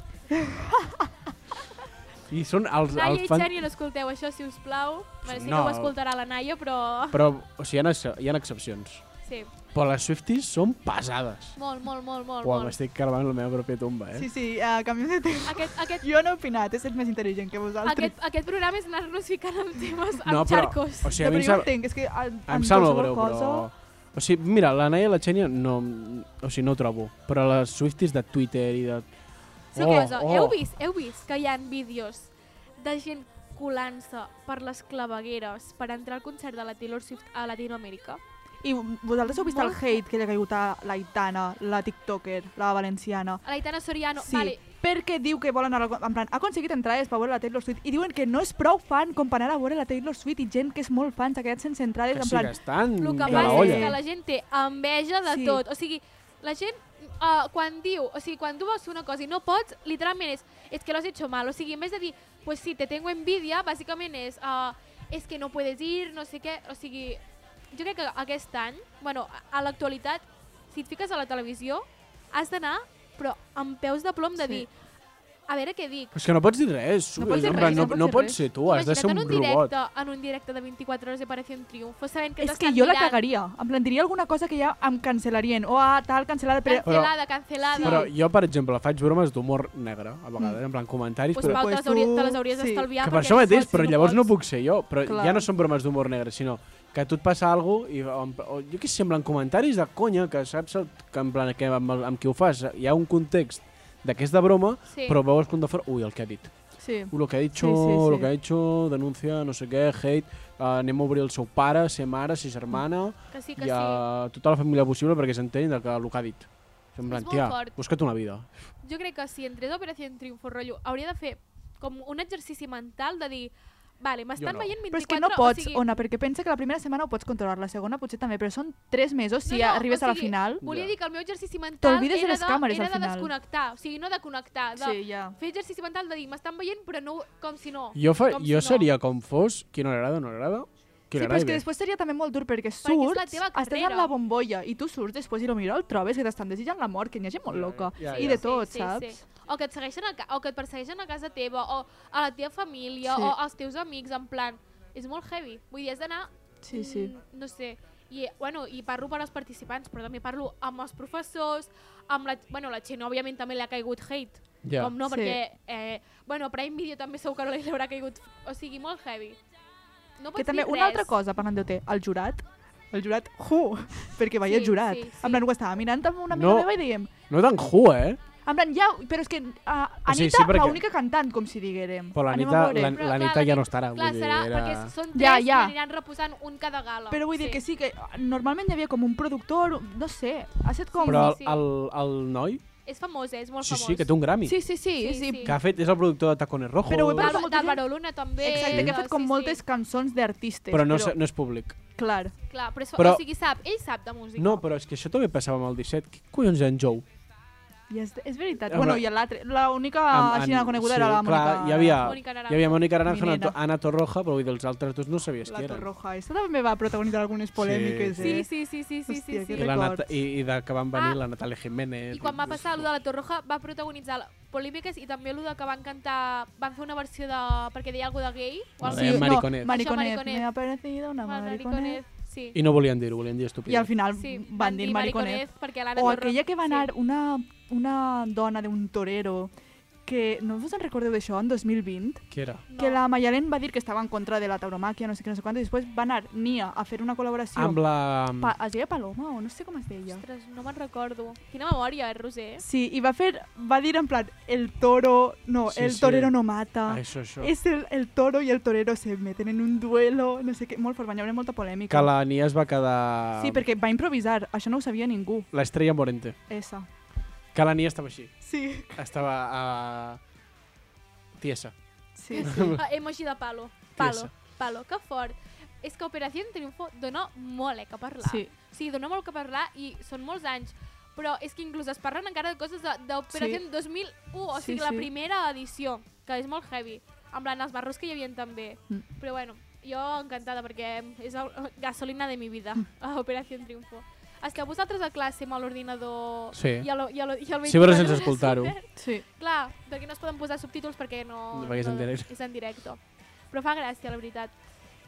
[SPEAKER 3] I són els,
[SPEAKER 2] Naya
[SPEAKER 3] els
[SPEAKER 2] i
[SPEAKER 3] fans...
[SPEAKER 2] Xeri, no escolteu això, si us plau. Bueno, sí que
[SPEAKER 3] No.
[SPEAKER 2] ho escoltarà la Naya, però...
[SPEAKER 3] Però, o sigui, hi ha, ex- hi ha excepcions.
[SPEAKER 2] Sí,
[SPEAKER 3] Però les swifties són pesades.
[SPEAKER 2] molt, molt, molt, molt.
[SPEAKER 3] Uau,
[SPEAKER 2] molt.
[SPEAKER 3] m'estic carvant la meva pròpia tomba, eh?
[SPEAKER 4] Sí, sí, uh, canviem de tema.
[SPEAKER 2] Aquest, aquest,
[SPEAKER 4] Jo no he opinat, he estat més intel·ligent que vosaltres.
[SPEAKER 2] aquest, aquest programa és anar-nos ficant amb temes, amb
[SPEAKER 3] No, però,
[SPEAKER 2] xarcos.
[SPEAKER 3] o sigui,
[SPEAKER 4] no,
[SPEAKER 3] a mi
[SPEAKER 4] però
[SPEAKER 3] em
[SPEAKER 4] jo
[SPEAKER 3] sap-
[SPEAKER 4] entenc, és que en,
[SPEAKER 3] Em
[SPEAKER 4] en
[SPEAKER 3] sap molt
[SPEAKER 4] qualsevol
[SPEAKER 3] greu,
[SPEAKER 4] cosa...
[SPEAKER 3] però... O sigui, mira, la Naya i la Xènia no, o sigui, no ho trobo, però les Swifties de Twitter i de...
[SPEAKER 2] Sí, oh, cosa, oh. heu vist, heu vist que hi ha vídeos de gent colant-se per les clavegueres per entrar al concert de la Taylor Swift a Latinoamèrica?
[SPEAKER 4] I vosaltres heu vist el
[SPEAKER 2] Molt-
[SPEAKER 4] hate que li ha caigut a l'Aitana, la tiktoker, la valenciana?
[SPEAKER 2] A la Itana Soriano,
[SPEAKER 4] Sí,
[SPEAKER 2] vale,
[SPEAKER 4] perquè diu que volen anar, en plan, ha aconseguit entrar per veure la Taylor Swift i diuen que no és prou fan com per anar a veure la Taylor Swift i gent que és molt fan s'ha quedat sense entrades,
[SPEAKER 3] Que
[SPEAKER 4] en
[SPEAKER 3] sí que
[SPEAKER 4] plan,
[SPEAKER 3] estan
[SPEAKER 2] el que
[SPEAKER 3] de la
[SPEAKER 2] passa
[SPEAKER 3] Mm. olla.
[SPEAKER 2] és que la gent té enveja de
[SPEAKER 4] Sí.
[SPEAKER 2] sí. tot. O sigui, la gent, uh, quan diu, o sigui, quan tu vols fer una cosa i no pots, literalment és, és que lo has hecho mal. O sigui, en vez de dir, pues sí, te tengo envidia, bàsicament és, uh, és que no puedes ir, no sé què, o sigui, jo crec que aquest any, bueno, a- a l'actualitat, si et fiques a la televisió, has d'anar, però amb peus de plom de
[SPEAKER 4] Sí.
[SPEAKER 2] sí. dir, a veure què dic.
[SPEAKER 3] Però és que no pots dir res.
[SPEAKER 4] No pots dir
[SPEAKER 3] en
[SPEAKER 4] res,
[SPEAKER 3] plan,
[SPEAKER 4] no
[SPEAKER 3] no,
[SPEAKER 4] pots
[SPEAKER 3] no
[SPEAKER 4] dir
[SPEAKER 3] pots
[SPEAKER 4] res.
[SPEAKER 3] ser tu, has de ser un,
[SPEAKER 2] Imagina't en
[SPEAKER 3] robot.
[SPEAKER 2] directe, en un directe de 24 hores de Operación Triunfo, sabent que
[SPEAKER 4] és que
[SPEAKER 2] t'estan
[SPEAKER 4] jo la
[SPEAKER 2] mirant,
[SPEAKER 4] cagaria, en plan, diria alguna cosa que ja em cancel·larien, o ah, tal, cancel·lada, però...
[SPEAKER 3] Cancel-
[SPEAKER 2] Cancelada, cancelada.
[SPEAKER 3] Però jo, per exemple, faig bromes d'humor negre, a vegades,
[SPEAKER 2] Mm.
[SPEAKER 3] en plan comentaris,
[SPEAKER 2] pues,
[SPEAKER 3] però...
[SPEAKER 2] Pau, te
[SPEAKER 4] Pues
[SPEAKER 2] les hauries,
[SPEAKER 4] tu-
[SPEAKER 2] te les hauries
[SPEAKER 4] sí.
[SPEAKER 2] d'estalviar.
[SPEAKER 3] que per
[SPEAKER 2] perquè
[SPEAKER 3] això
[SPEAKER 2] no
[SPEAKER 3] mateix,
[SPEAKER 2] pots,
[SPEAKER 3] però
[SPEAKER 2] no
[SPEAKER 3] llavors no
[SPEAKER 2] pots.
[SPEAKER 3] puc ser jo. Però
[SPEAKER 4] Clar.
[SPEAKER 3] ja no són bromes d'humor negre, sinó que a tu et passa alguna cosa i en pla- o, jo què sé, en plan, comentaris de conya, que saps el- que en plan, que amb, el- amb qui ho fas hi ha un context d'aquesta broma,
[SPEAKER 2] Sí.
[SPEAKER 3] però veus com de fora, ui, el que ha dit.
[SPEAKER 4] Sí.
[SPEAKER 3] Ui, el que ha dit,
[SPEAKER 4] Sí, sí, sí.
[SPEAKER 3] el que ha dit, denúncia, no sé què, hate, uh, anem a obrir el seu pare, ser mare, ser germana,
[SPEAKER 2] Que sí, que
[SPEAKER 3] i
[SPEAKER 2] sí.
[SPEAKER 3] a tota la família possible perquè s'entén del que, el que ha dit. En plan,
[SPEAKER 2] molt
[SPEAKER 3] tia,
[SPEAKER 2] fort.
[SPEAKER 3] busca't una vida.
[SPEAKER 2] Jo crec que si entrés a Operació Triunfo, rotllo, hauria de fer com un exercici mental de dir Vale, m'estan
[SPEAKER 3] no.
[SPEAKER 2] veient 24...
[SPEAKER 4] Però és que no pots,
[SPEAKER 2] o sigui,
[SPEAKER 4] Ona, perquè pensa que la primera setmana ho pots controlar, la segona potser també, però són tres mesos si
[SPEAKER 2] no, no,
[SPEAKER 4] arribes
[SPEAKER 2] o
[SPEAKER 4] a la
[SPEAKER 2] sigui,
[SPEAKER 4] final.
[SPEAKER 2] Volia
[SPEAKER 3] Ja.
[SPEAKER 2] dir que el meu exercici mental
[SPEAKER 4] T'olvides de
[SPEAKER 2] era,
[SPEAKER 4] les càmeres,
[SPEAKER 2] era
[SPEAKER 4] al
[SPEAKER 2] de
[SPEAKER 4] final.
[SPEAKER 2] desconnectar, o sigui, no de connectar, de
[SPEAKER 4] Sí, ja.
[SPEAKER 2] fer exercici mental de dir m'estan veient però no com si no.
[SPEAKER 3] Jo, fa,
[SPEAKER 2] com
[SPEAKER 3] jo
[SPEAKER 2] si
[SPEAKER 3] seria com fos, qui no li agrada, no li agrada, qui
[SPEAKER 4] Sí,
[SPEAKER 3] li
[SPEAKER 4] però és
[SPEAKER 3] agrada
[SPEAKER 4] que després seria també molt dur perquè
[SPEAKER 2] Perquè és
[SPEAKER 4] surts,
[SPEAKER 2] la teva
[SPEAKER 4] estàs en
[SPEAKER 2] carrera.
[SPEAKER 4] la bombolla i tu surts després i potser el trobes que t'estan desitjant la mort, que n'hi ha gent molt loca
[SPEAKER 3] ja,
[SPEAKER 4] i
[SPEAKER 3] ja.
[SPEAKER 4] de tot, saps?
[SPEAKER 2] O que et segueixen a, ca- o que et persegueixen a casa teva, o a la teva família,
[SPEAKER 4] Sí.
[SPEAKER 2] o als teus amics, en plan... És molt heavy. Vull dir, has d'anar
[SPEAKER 4] Sí, sí.
[SPEAKER 2] Mm, No sé. I, bueno, I parlo per als participants, però també parlo amb els professors, amb la... Bueno, la Xena, òbviament, també li ha caigut hate.
[SPEAKER 3] Ja.
[SPEAKER 2] Com no,
[SPEAKER 4] Sí.
[SPEAKER 2] perquè... Eh, bueno, Prime Video també segur que no li haurà caigut... O sigui, molt heavy. No
[SPEAKER 4] Que
[SPEAKER 2] pots
[SPEAKER 4] també,
[SPEAKER 2] dir
[SPEAKER 4] una
[SPEAKER 2] res.
[SPEAKER 4] altra cosa, parlant d'OT, el jurat, el jurat, ju, perquè veia
[SPEAKER 2] Sí,
[SPEAKER 4] el jurat.
[SPEAKER 2] sí, sí.
[SPEAKER 4] En plan, ho estava mirant amb una amiga
[SPEAKER 3] No.
[SPEAKER 4] meva i dèiem,
[SPEAKER 3] No tan ju, eh?
[SPEAKER 4] en plan, ja, però és que uh, Anita,
[SPEAKER 3] sigui, sí,
[SPEAKER 4] sí,
[SPEAKER 3] perquè-
[SPEAKER 4] l'única cantant, com si diguérem.
[SPEAKER 3] Però
[SPEAKER 4] Anem
[SPEAKER 3] l'Anita-
[SPEAKER 4] a veure.
[SPEAKER 3] l'An-
[SPEAKER 2] Però,
[SPEAKER 3] l'Anita
[SPEAKER 2] clar,
[SPEAKER 3] ja no estarà,
[SPEAKER 2] Clar,
[SPEAKER 3] vull dir,
[SPEAKER 2] serà
[SPEAKER 3] era-
[SPEAKER 2] perquè són tres
[SPEAKER 4] Ja,
[SPEAKER 2] ja, ja.
[SPEAKER 4] ja.
[SPEAKER 2] que aniran reposant un cada gala.
[SPEAKER 4] Però vull dir que sí, que ah, normalment hi havia com un productor, no sé, ha estat com...
[SPEAKER 3] Però
[SPEAKER 2] sí.
[SPEAKER 3] el, el noi,
[SPEAKER 2] És famosa, és molt
[SPEAKER 3] Sí,
[SPEAKER 2] famosa.
[SPEAKER 3] sí, que té un Grammy.
[SPEAKER 4] Sí, sí, sí, sí.
[SPEAKER 3] Que ha fet, és el productor de Tacones Rojos.
[SPEAKER 4] Però ho he parlat
[SPEAKER 2] D'Al-
[SPEAKER 4] amb molta gent.
[SPEAKER 2] D'Álvaro Luna també.
[SPEAKER 4] Exacte, que ha fet com
[SPEAKER 2] sí,
[SPEAKER 4] moltes cançons d'artistes.
[SPEAKER 3] Però no, és- no és públic.
[SPEAKER 4] Clar.
[SPEAKER 2] Sí. Clar, però, és,
[SPEAKER 3] Però-
[SPEAKER 2] o sigui, sap, ell sap de música.
[SPEAKER 3] No, però és que això també passava amb el 17. Què collons era en Joe?
[SPEAKER 4] I és, és veritat.
[SPEAKER 3] Amb
[SPEAKER 4] bueno,
[SPEAKER 3] la-
[SPEAKER 4] i l'altre, l'única
[SPEAKER 3] Amb-
[SPEAKER 4] així
[SPEAKER 3] en-
[SPEAKER 4] coneguda
[SPEAKER 3] sí,
[SPEAKER 4] era Ah, la
[SPEAKER 3] clar,
[SPEAKER 4] Mònica.
[SPEAKER 3] Hi havia,
[SPEAKER 2] Mònica Naranjo.
[SPEAKER 3] hi havia Mònica Naranjo, Ana,
[SPEAKER 4] Minera.
[SPEAKER 3] Ana Torroja, però vull dir, dels altres dos no sabies
[SPEAKER 4] La
[SPEAKER 3] qui eren.
[SPEAKER 4] Torroja. Esta també va protagonitzar algunes polèmiques,
[SPEAKER 2] Sí,
[SPEAKER 4] eh?
[SPEAKER 2] sí, sí, sí, sí, sí,
[SPEAKER 4] Hòstia,
[SPEAKER 2] sí.
[SPEAKER 4] que
[SPEAKER 3] I, la
[SPEAKER 4] records.
[SPEAKER 3] Nata, i, i de que van venir
[SPEAKER 2] Ah.
[SPEAKER 3] la Natalia Jiménez.
[SPEAKER 2] I quan va passar allò de la Torroja va protagonitzar la- polèmiques i també allò de que van cantar, van fer una versió de... perquè deia alguna de gay. O
[SPEAKER 3] Vale,
[SPEAKER 2] algo així.
[SPEAKER 3] Mar- mariconet.
[SPEAKER 4] Eh, No, mariconet.
[SPEAKER 2] Això, mariconet.
[SPEAKER 4] Me ha parecido una
[SPEAKER 2] Va,
[SPEAKER 4] mariconet.
[SPEAKER 2] Sí.
[SPEAKER 3] I no volien dir-ho, volien dir
[SPEAKER 4] I al
[SPEAKER 3] estupidesa.
[SPEAKER 4] final
[SPEAKER 2] sí.
[SPEAKER 4] van dir mariconet.
[SPEAKER 2] perquè l'Anna
[SPEAKER 4] O
[SPEAKER 2] Torroja-
[SPEAKER 4] aquella que va anar una, una dona d'un torero que, no us en recordeu d'això, en 2020?
[SPEAKER 3] Qui era?
[SPEAKER 2] Sí.
[SPEAKER 4] Que
[SPEAKER 2] No.
[SPEAKER 4] la Mayalen va dir que estava en contra de la tauromàquia, no sé què, no sé quant, i després va anar Nia a fer una col·laboració.
[SPEAKER 3] Amb la...
[SPEAKER 4] Pa es deia Paloma o no sé com es deia.
[SPEAKER 2] Ostres, no me'n recordo. Quina memòria, eh, Roser?
[SPEAKER 4] Sí, i va fer, va dir en plan, el toro, no,
[SPEAKER 3] Sí,
[SPEAKER 4] el
[SPEAKER 3] sí.
[SPEAKER 4] torero no mata.
[SPEAKER 3] Ah, això, això.
[SPEAKER 4] És el, el toro i el torero se meten en un duelo, no sé què, molt fort, van hi haver molta polèmica.
[SPEAKER 3] Que la Nia es va quedar...
[SPEAKER 4] Sí, perquè va improvisar, això no ho sabia ningú,
[SPEAKER 3] L'estrella morente.
[SPEAKER 4] esa.
[SPEAKER 3] Que la Nia estava així.
[SPEAKER 4] Sí,
[SPEAKER 3] Estava a... Tiesa.
[SPEAKER 4] sí.
[SPEAKER 2] Ah, Emoji de palo. Palo, palo, que fort. És que Operació Triunfo dona molt eh, que parlar.
[SPEAKER 4] sí.
[SPEAKER 2] Sí, dona molt que parlar i són molts anys. Però és que inclús es parlen encara de coses de- d'Operació
[SPEAKER 4] Sí.
[SPEAKER 2] sí. 2001, o
[SPEAKER 4] Sí,
[SPEAKER 2] sigui, la
[SPEAKER 4] sí.
[SPEAKER 2] primera edició, que és molt heavy. En plan, els barros que hi havia també.
[SPEAKER 4] Mm.
[SPEAKER 2] Però bueno, jo encantada perquè és el, gasolina de mi vida, mm. Operació Triunfo. Esteu vosaltres a classe amb l'ordinador
[SPEAKER 3] Sí.
[SPEAKER 2] i el, i el, i el
[SPEAKER 3] Sí, però sense
[SPEAKER 2] 24 de
[SPEAKER 3] escoltar-ho.
[SPEAKER 2] Super?
[SPEAKER 4] Sí.
[SPEAKER 2] Clar, perquè no es poden posar subtítols perquè no...
[SPEAKER 3] No, perquè és en directe.
[SPEAKER 2] És en directe. Però fa gràcia, la veritat.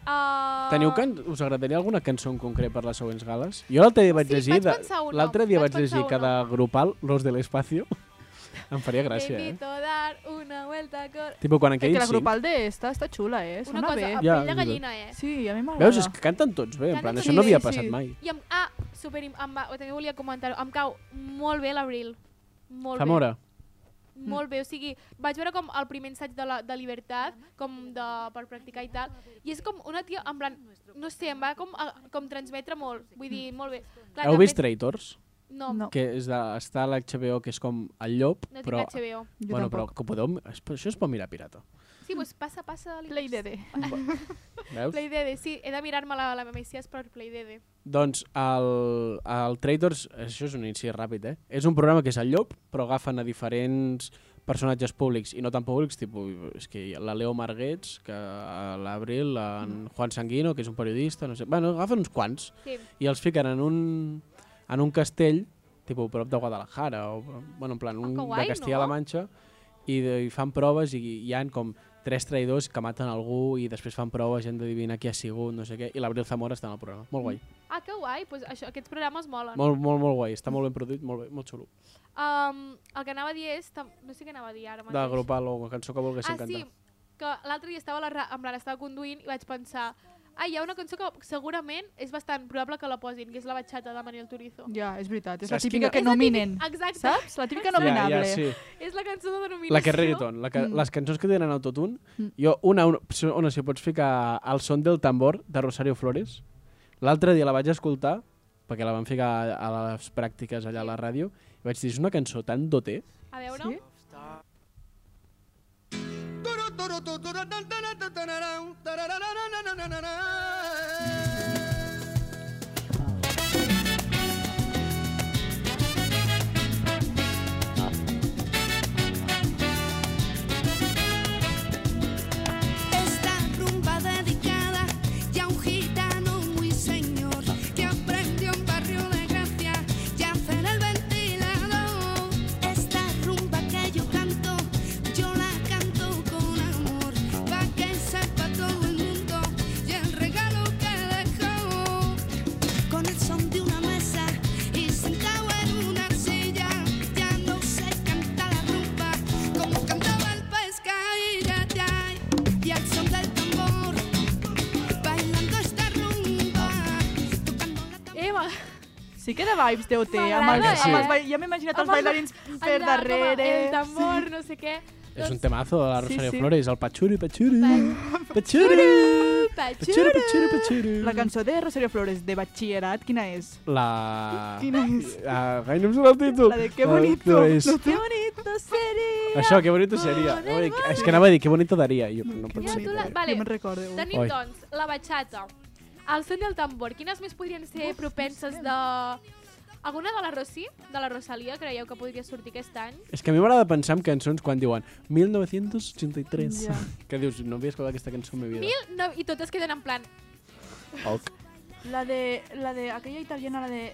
[SPEAKER 2] Uh,
[SPEAKER 3] Teniu can... Us agradaria alguna cançó en concret per les següents gales? Jo l'altre dia vaig
[SPEAKER 2] Sí,
[SPEAKER 3] llegir...
[SPEAKER 2] vaig
[SPEAKER 3] de-
[SPEAKER 2] pensar una,
[SPEAKER 3] L'altre dia
[SPEAKER 2] vaig
[SPEAKER 3] vaig llegir
[SPEAKER 2] pensar
[SPEAKER 3] que de
[SPEAKER 2] una.
[SPEAKER 3] grupal Los de l'Espacio em faria gràcia,
[SPEAKER 2] Te
[SPEAKER 3] eh?
[SPEAKER 2] invito a dar una vuelta con...
[SPEAKER 3] Tipo, quan
[SPEAKER 4] Que,
[SPEAKER 3] aquell
[SPEAKER 4] que la
[SPEAKER 3] sí.
[SPEAKER 4] grupal d'esta està xula, eh?
[SPEAKER 2] Una
[SPEAKER 4] Sona
[SPEAKER 2] cosa,
[SPEAKER 4] bé.
[SPEAKER 2] a
[SPEAKER 3] Ja,
[SPEAKER 2] pell de
[SPEAKER 3] és
[SPEAKER 2] gallina, eh?
[SPEAKER 4] Sí, a mi m'agrada.
[SPEAKER 3] Veus, és que canten tots bé, en
[SPEAKER 2] Canten
[SPEAKER 3] plan,
[SPEAKER 2] tots
[SPEAKER 3] això no
[SPEAKER 4] bé,
[SPEAKER 3] havia
[SPEAKER 4] sí.
[SPEAKER 3] passat mai.
[SPEAKER 2] I em, ah, super, em, va- també volia comentar-ho, em cau molt bé l'abril. Molt
[SPEAKER 3] Fa mora.
[SPEAKER 2] bé. Molt bé, o sigui, vaig veure com el primer ensaig de, la, de Libertat, com de, per practicar i tal, i és com una tia, en plan, no sé, em va com, a, com transmetre molt, vull dir, molt bé. Clar,
[SPEAKER 3] Heu
[SPEAKER 2] també-
[SPEAKER 3] vist Traitors?
[SPEAKER 2] No, no,
[SPEAKER 4] No,
[SPEAKER 3] Que és de, està a l'HBO, que és com el llop,
[SPEAKER 2] no tinc
[SPEAKER 3] però...
[SPEAKER 2] HBO.
[SPEAKER 4] jo
[SPEAKER 3] bueno, però
[SPEAKER 4] tampoc.
[SPEAKER 3] que podeu... es- però Això es pot mirar pirata.
[SPEAKER 2] Sí, doncs passa, passa. li
[SPEAKER 4] Play
[SPEAKER 2] veus.
[SPEAKER 4] DD.
[SPEAKER 3] Veus?
[SPEAKER 2] Play DD, sí, he de mirar-me la, la Messias per Play DD.
[SPEAKER 3] Doncs el, el Traitors, això és un incís ràpid, eh? És un programa que és el llop, però agafen a diferents personatges públics i no tan públics, tipus, és que hi ha la Leo Marguets, que a l'Abril,
[SPEAKER 2] Mm.
[SPEAKER 3] en Juan Sanguino, que és un periodista, no sé... Bueno, agafen uns quants
[SPEAKER 2] Sí.
[SPEAKER 3] i els fiquen en un, en un castell, tipus, prop de Guadalajara, o, bueno, en plan, un,
[SPEAKER 2] Ah, que guai,
[SPEAKER 3] de Castilla-La
[SPEAKER 2] no?
[SPEAKER 3] Manxa, i, de, i fan proves i hi han com tres traïdors que maten algú i després fan proves i han d'adivinar qui ha sigut, no sé què, i l'Abril Zamora està en el programa. Molt guai.
[SPEAKER 2] Ah, que guai, pues això, aquests programes molen.
[SPEAKER 3] Molt, molt, molt guai, està molt ben produït, molt, bé, molt xulo.
[SPEAKER 2] Um, el que anava a dir és... tam- No sé què anava a dir ara mateix.
[SPEAKER 3] De grupal o una cançó que vulguessin
[SPEAKER 2] Ah, sí,
[SPEAKER 3] cantar.
[SPEAKER 2] que l'altre dia estava, a la, ra- en plan, estava conduint i vaig pensar... Ai, hi ha una cançó que segurament és bastant probable que la posin, que és la batxata de Manuel Turizo.
[SPEAKER 4] Ja, és veritat. És la
[SPEAKER 3] Saps quina-
[SPEAKER 4] típica que
[SPEAKER 2] És la
[SPEAKER 4] nominen.
[SPEAKER 2] típica- Exacte.
[SPEAKER 4] Saps? La típica
[SPEAKER 3] ja,
[SPEAKER 4] nominable.
[SPEAKER 3] ja, sí.
[SPEAKER 2] És la cançó de denominació.
[SPEAKER 3] La que és reggaeton, la que,
[SPEAKER 4] Mm.
[SPEAKER 3] les cançons que tenen autotune,
[SPEAKER 4] Mm.
[SPEAKER 3] jo una, una, si- una si pots ficar al son del tambor de Rosario Flores, l'altre dia la vaig escoltar, perquè la van ficar a, a les pràctiques allà a la ràdio, i vaig dir, és una cançó tan doté,
[SPEAKER 2] A veure...
[SPEAKER 4] Sí?
[SPEAKER 10] Esta rumba dedicada ya a un gitano muy señor que aprendió en Barrio de Gracia y a hacer el ventilador. Esta rumba que yo canto, yo la canto con amor, pa' que sepa todo el mundo y el regalo que dejó. Con el son de una mesa y sentado en una silla, ya no se canta la rumba como cantaba el pescadilla, ya. Y al son del tambor, bailando esta rumba, tocando la tambora.
[SPEAKER 2] Eh, ma-
[SPEAKER 4] Sí que de vibes té OT. Amb
[SPEAKER 2] M'agrada,
[SPEAKER 4] els, amb
[SPEAKER 2] eh?
[SPEAKER 4] els, ba- ja m'he imaginat els
[SPEAKER 2] Amb el-
[SPEAKER 4] bailarins per
[SPEAKER 2] allà, com a-
[SPEAKER 4] darrere.
[SPEAKER 2] El tambor, no sé què.
[SPEAKER 3] és
[SPEAKER 2] Doncs-
[SPEAKER 3] un temazo de la
[SPEAKER 4] Sí,
[SPEAKER 3] Rosario
[SPEAKER 4] sí.
[SPEAKER 3] Flores, el patxuri, patxuri,
[SPEAKER 2] Pat-
[SPEAKER 3] patxuri,
[SPEAKER 4] Pachuro,
[SPEAKER 3] pachuro, pachuro.
[SPEAKER 2] Mm.
[SPEAKER 4] La cançó de Rosario Flores de batxillerat, quina és?
[SPEAKER 3] La...
[SPEAKER 4] Quina és?
[SPEAKER 3] Ah, gai, no em surt el títol.
[SPEAKER 4] La de Qué bonito.
[SPEAKER 3] Ah, és...
[SPEAKER 4] No, Qué bonito
[SPEAKER 2] Ah,
[SPEAKER 4] sería.
[SPEAKER 3] Això, que bonito seria. Oi, És que anava a dir, que bonito daria. Jo, no pot
[SPEAKER 2] Ja
[SPEAKER 3] ser.
[SPEAKER 2] tu la... Vale.
[SPEAKER 4] me'n recordo.
[SPEAKER 2] Tenim,
[SPEAKER 3] Oi.
[SPEAKER 2] doncs, la batxata, el son del tambor. Quines més podrien ser propenses de... Alguna de la Rosy, de la Rosalia, creieu que podria sortir aquest any?
[SPEAKER 3] És que a mi m'agrada pensar en cançons quan diuen 1983.
[SPEAKER 2] Ja.
[SPEAKER 3] Que dius, no havia escoltat aquesta cançó en la meva vida.
[SPEAKER 2] Mil no... I totes queden en plan...
[SPEAKER 3] Ok.
[SPEAKER 4] La de, la de aquella italiana, la de...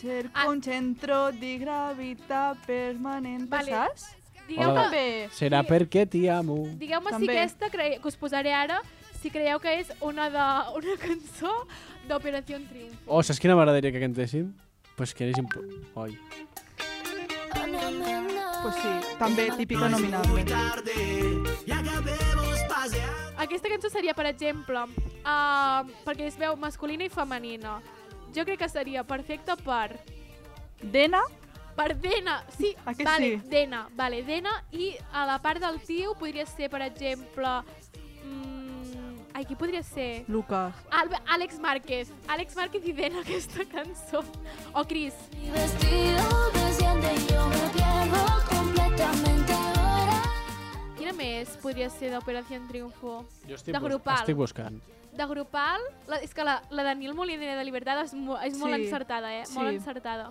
[SPEAKER 4] Ser
[SPEAKER 2] Ah.
[SPEAKER 4] un centro di gravità permanente,
[SPEAKER 2] Vale.
[SPEAKER 4] saps?
[SPEAKER 2] Digueu
[SPEAKER 3] Hola.
[SPEAKER 2] que,
[SPEAKER 3] Serà perquè t'hi amo.
[SPEAKER 2] digueu-me si
[SPEAKER 4] També.
[SPEAKER 2] aquesta cre... que us posaré ara, si creieu que és una, de... una cançó d'Operació Triunfo.
[SPEAKER 3] Oh, saps quina m'agradaria que cantéssim? Pues que és impo... Oi.
[SPEAKER 4] Pues sí,
[SPEAKER 2] Ah.
[SPEAKER 4] també típica nominable.
[SPEAKER 2] Aquesta cançó seria, per exemple, uh, perquè es veu masculina i femenina. Jo crec que seria perfecta per...
[SPEAKER 4] Dena?
[SPEAKER 2] Per Dena, sí,
[SPEAKER 4] Ah, que
[SPEAKER 2] vale,
[SPEAKER 4] sí?
[SPEAKER 2] Dena, vale, Dena. I a la part del tio podria ser, per exemple... Mm, ai, qui podria ser?
[SPEAKER 4] Lucas.
[SPEAKER 2] Al Àlex Márquez. Àlex Márquez i Dena, aquesta cançó. O Cris. Quina més podria ser d'Operació Triunfo? de grupal.
[SPEAKER 3] Estic buscant.
[SPEAKER 2] De grupal, la, és que la, la de Nil Moliner de Libertad és, mo, és molt
[SPEAKER 4] Sí,
[SPEAKER 2] encertada, eh?
[SPEAKER 4] sí.
[SPEAKER 2] Molt encertada.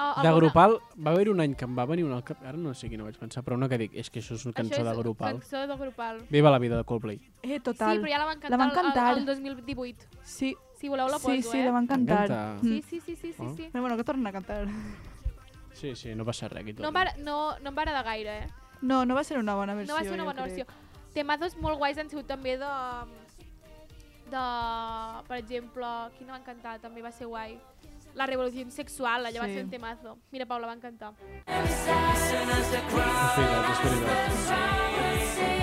[SPEAKER 2] Ah,
[SPEAKER 3] De grupal, va haver un any que em va venir una al cap, ara no sé quina vaig pensar, però una que dic, és que això és una cançó de grupal.
[SPEAKER 2] Cançó de grupal.
[SPEAKER 3] Viva la vida de Coldplay.
[SPEAKER 4] Eh,
[SPEAKER 2] Total.
[SPEAKER 4] total.
[SPEAKER 2] Sí, però ja la van cantar,
[SPEAKER 4] van cantar.
[SPEAKER 2] El, el, 2018.
[SPEAKER 4] Sí.
[SPEAKER 2] Si voleu la poso,
[SPEAKER 4] sí, sí,
[SPEAKER 2] eh?
[SPEAKER 4] la van cantar.
[SPEAKER 3] M'encanta.
[SPEAKER 4] Mm.
[SPEAKER 2] Sí, sí, sí, sí, sí,
[SPEAKER 3] Ah.
[SPEAKER 2] sí.
[SPEAKER 4] Però bueno, que tornen a cantar.
[SPEAKER 3] Sí, sí, no passa res aquí tot.
[SPEAKER 2] No, em va, no, no em va agradar gaire, eh?
[SPEAKER 4] No, no va ser una bona versió.
[SPEAKER 2] no va ser una
[SPEAKER 4] jo
[SPEAKER 2] bona
[SPEAKER 4] crec.
[SPEAKER 2] versió. Temazos molt guais han sigut també de... de... Per exemple, quina van cantar? També va ser guai. La revolució sexual, allà sí. va
[SPEAKER 4] Sí.
[SPEAKER 2] ser un temazo. Mira, Paula, van cantar.
[SPEAKER 3] És veritat, és veritat.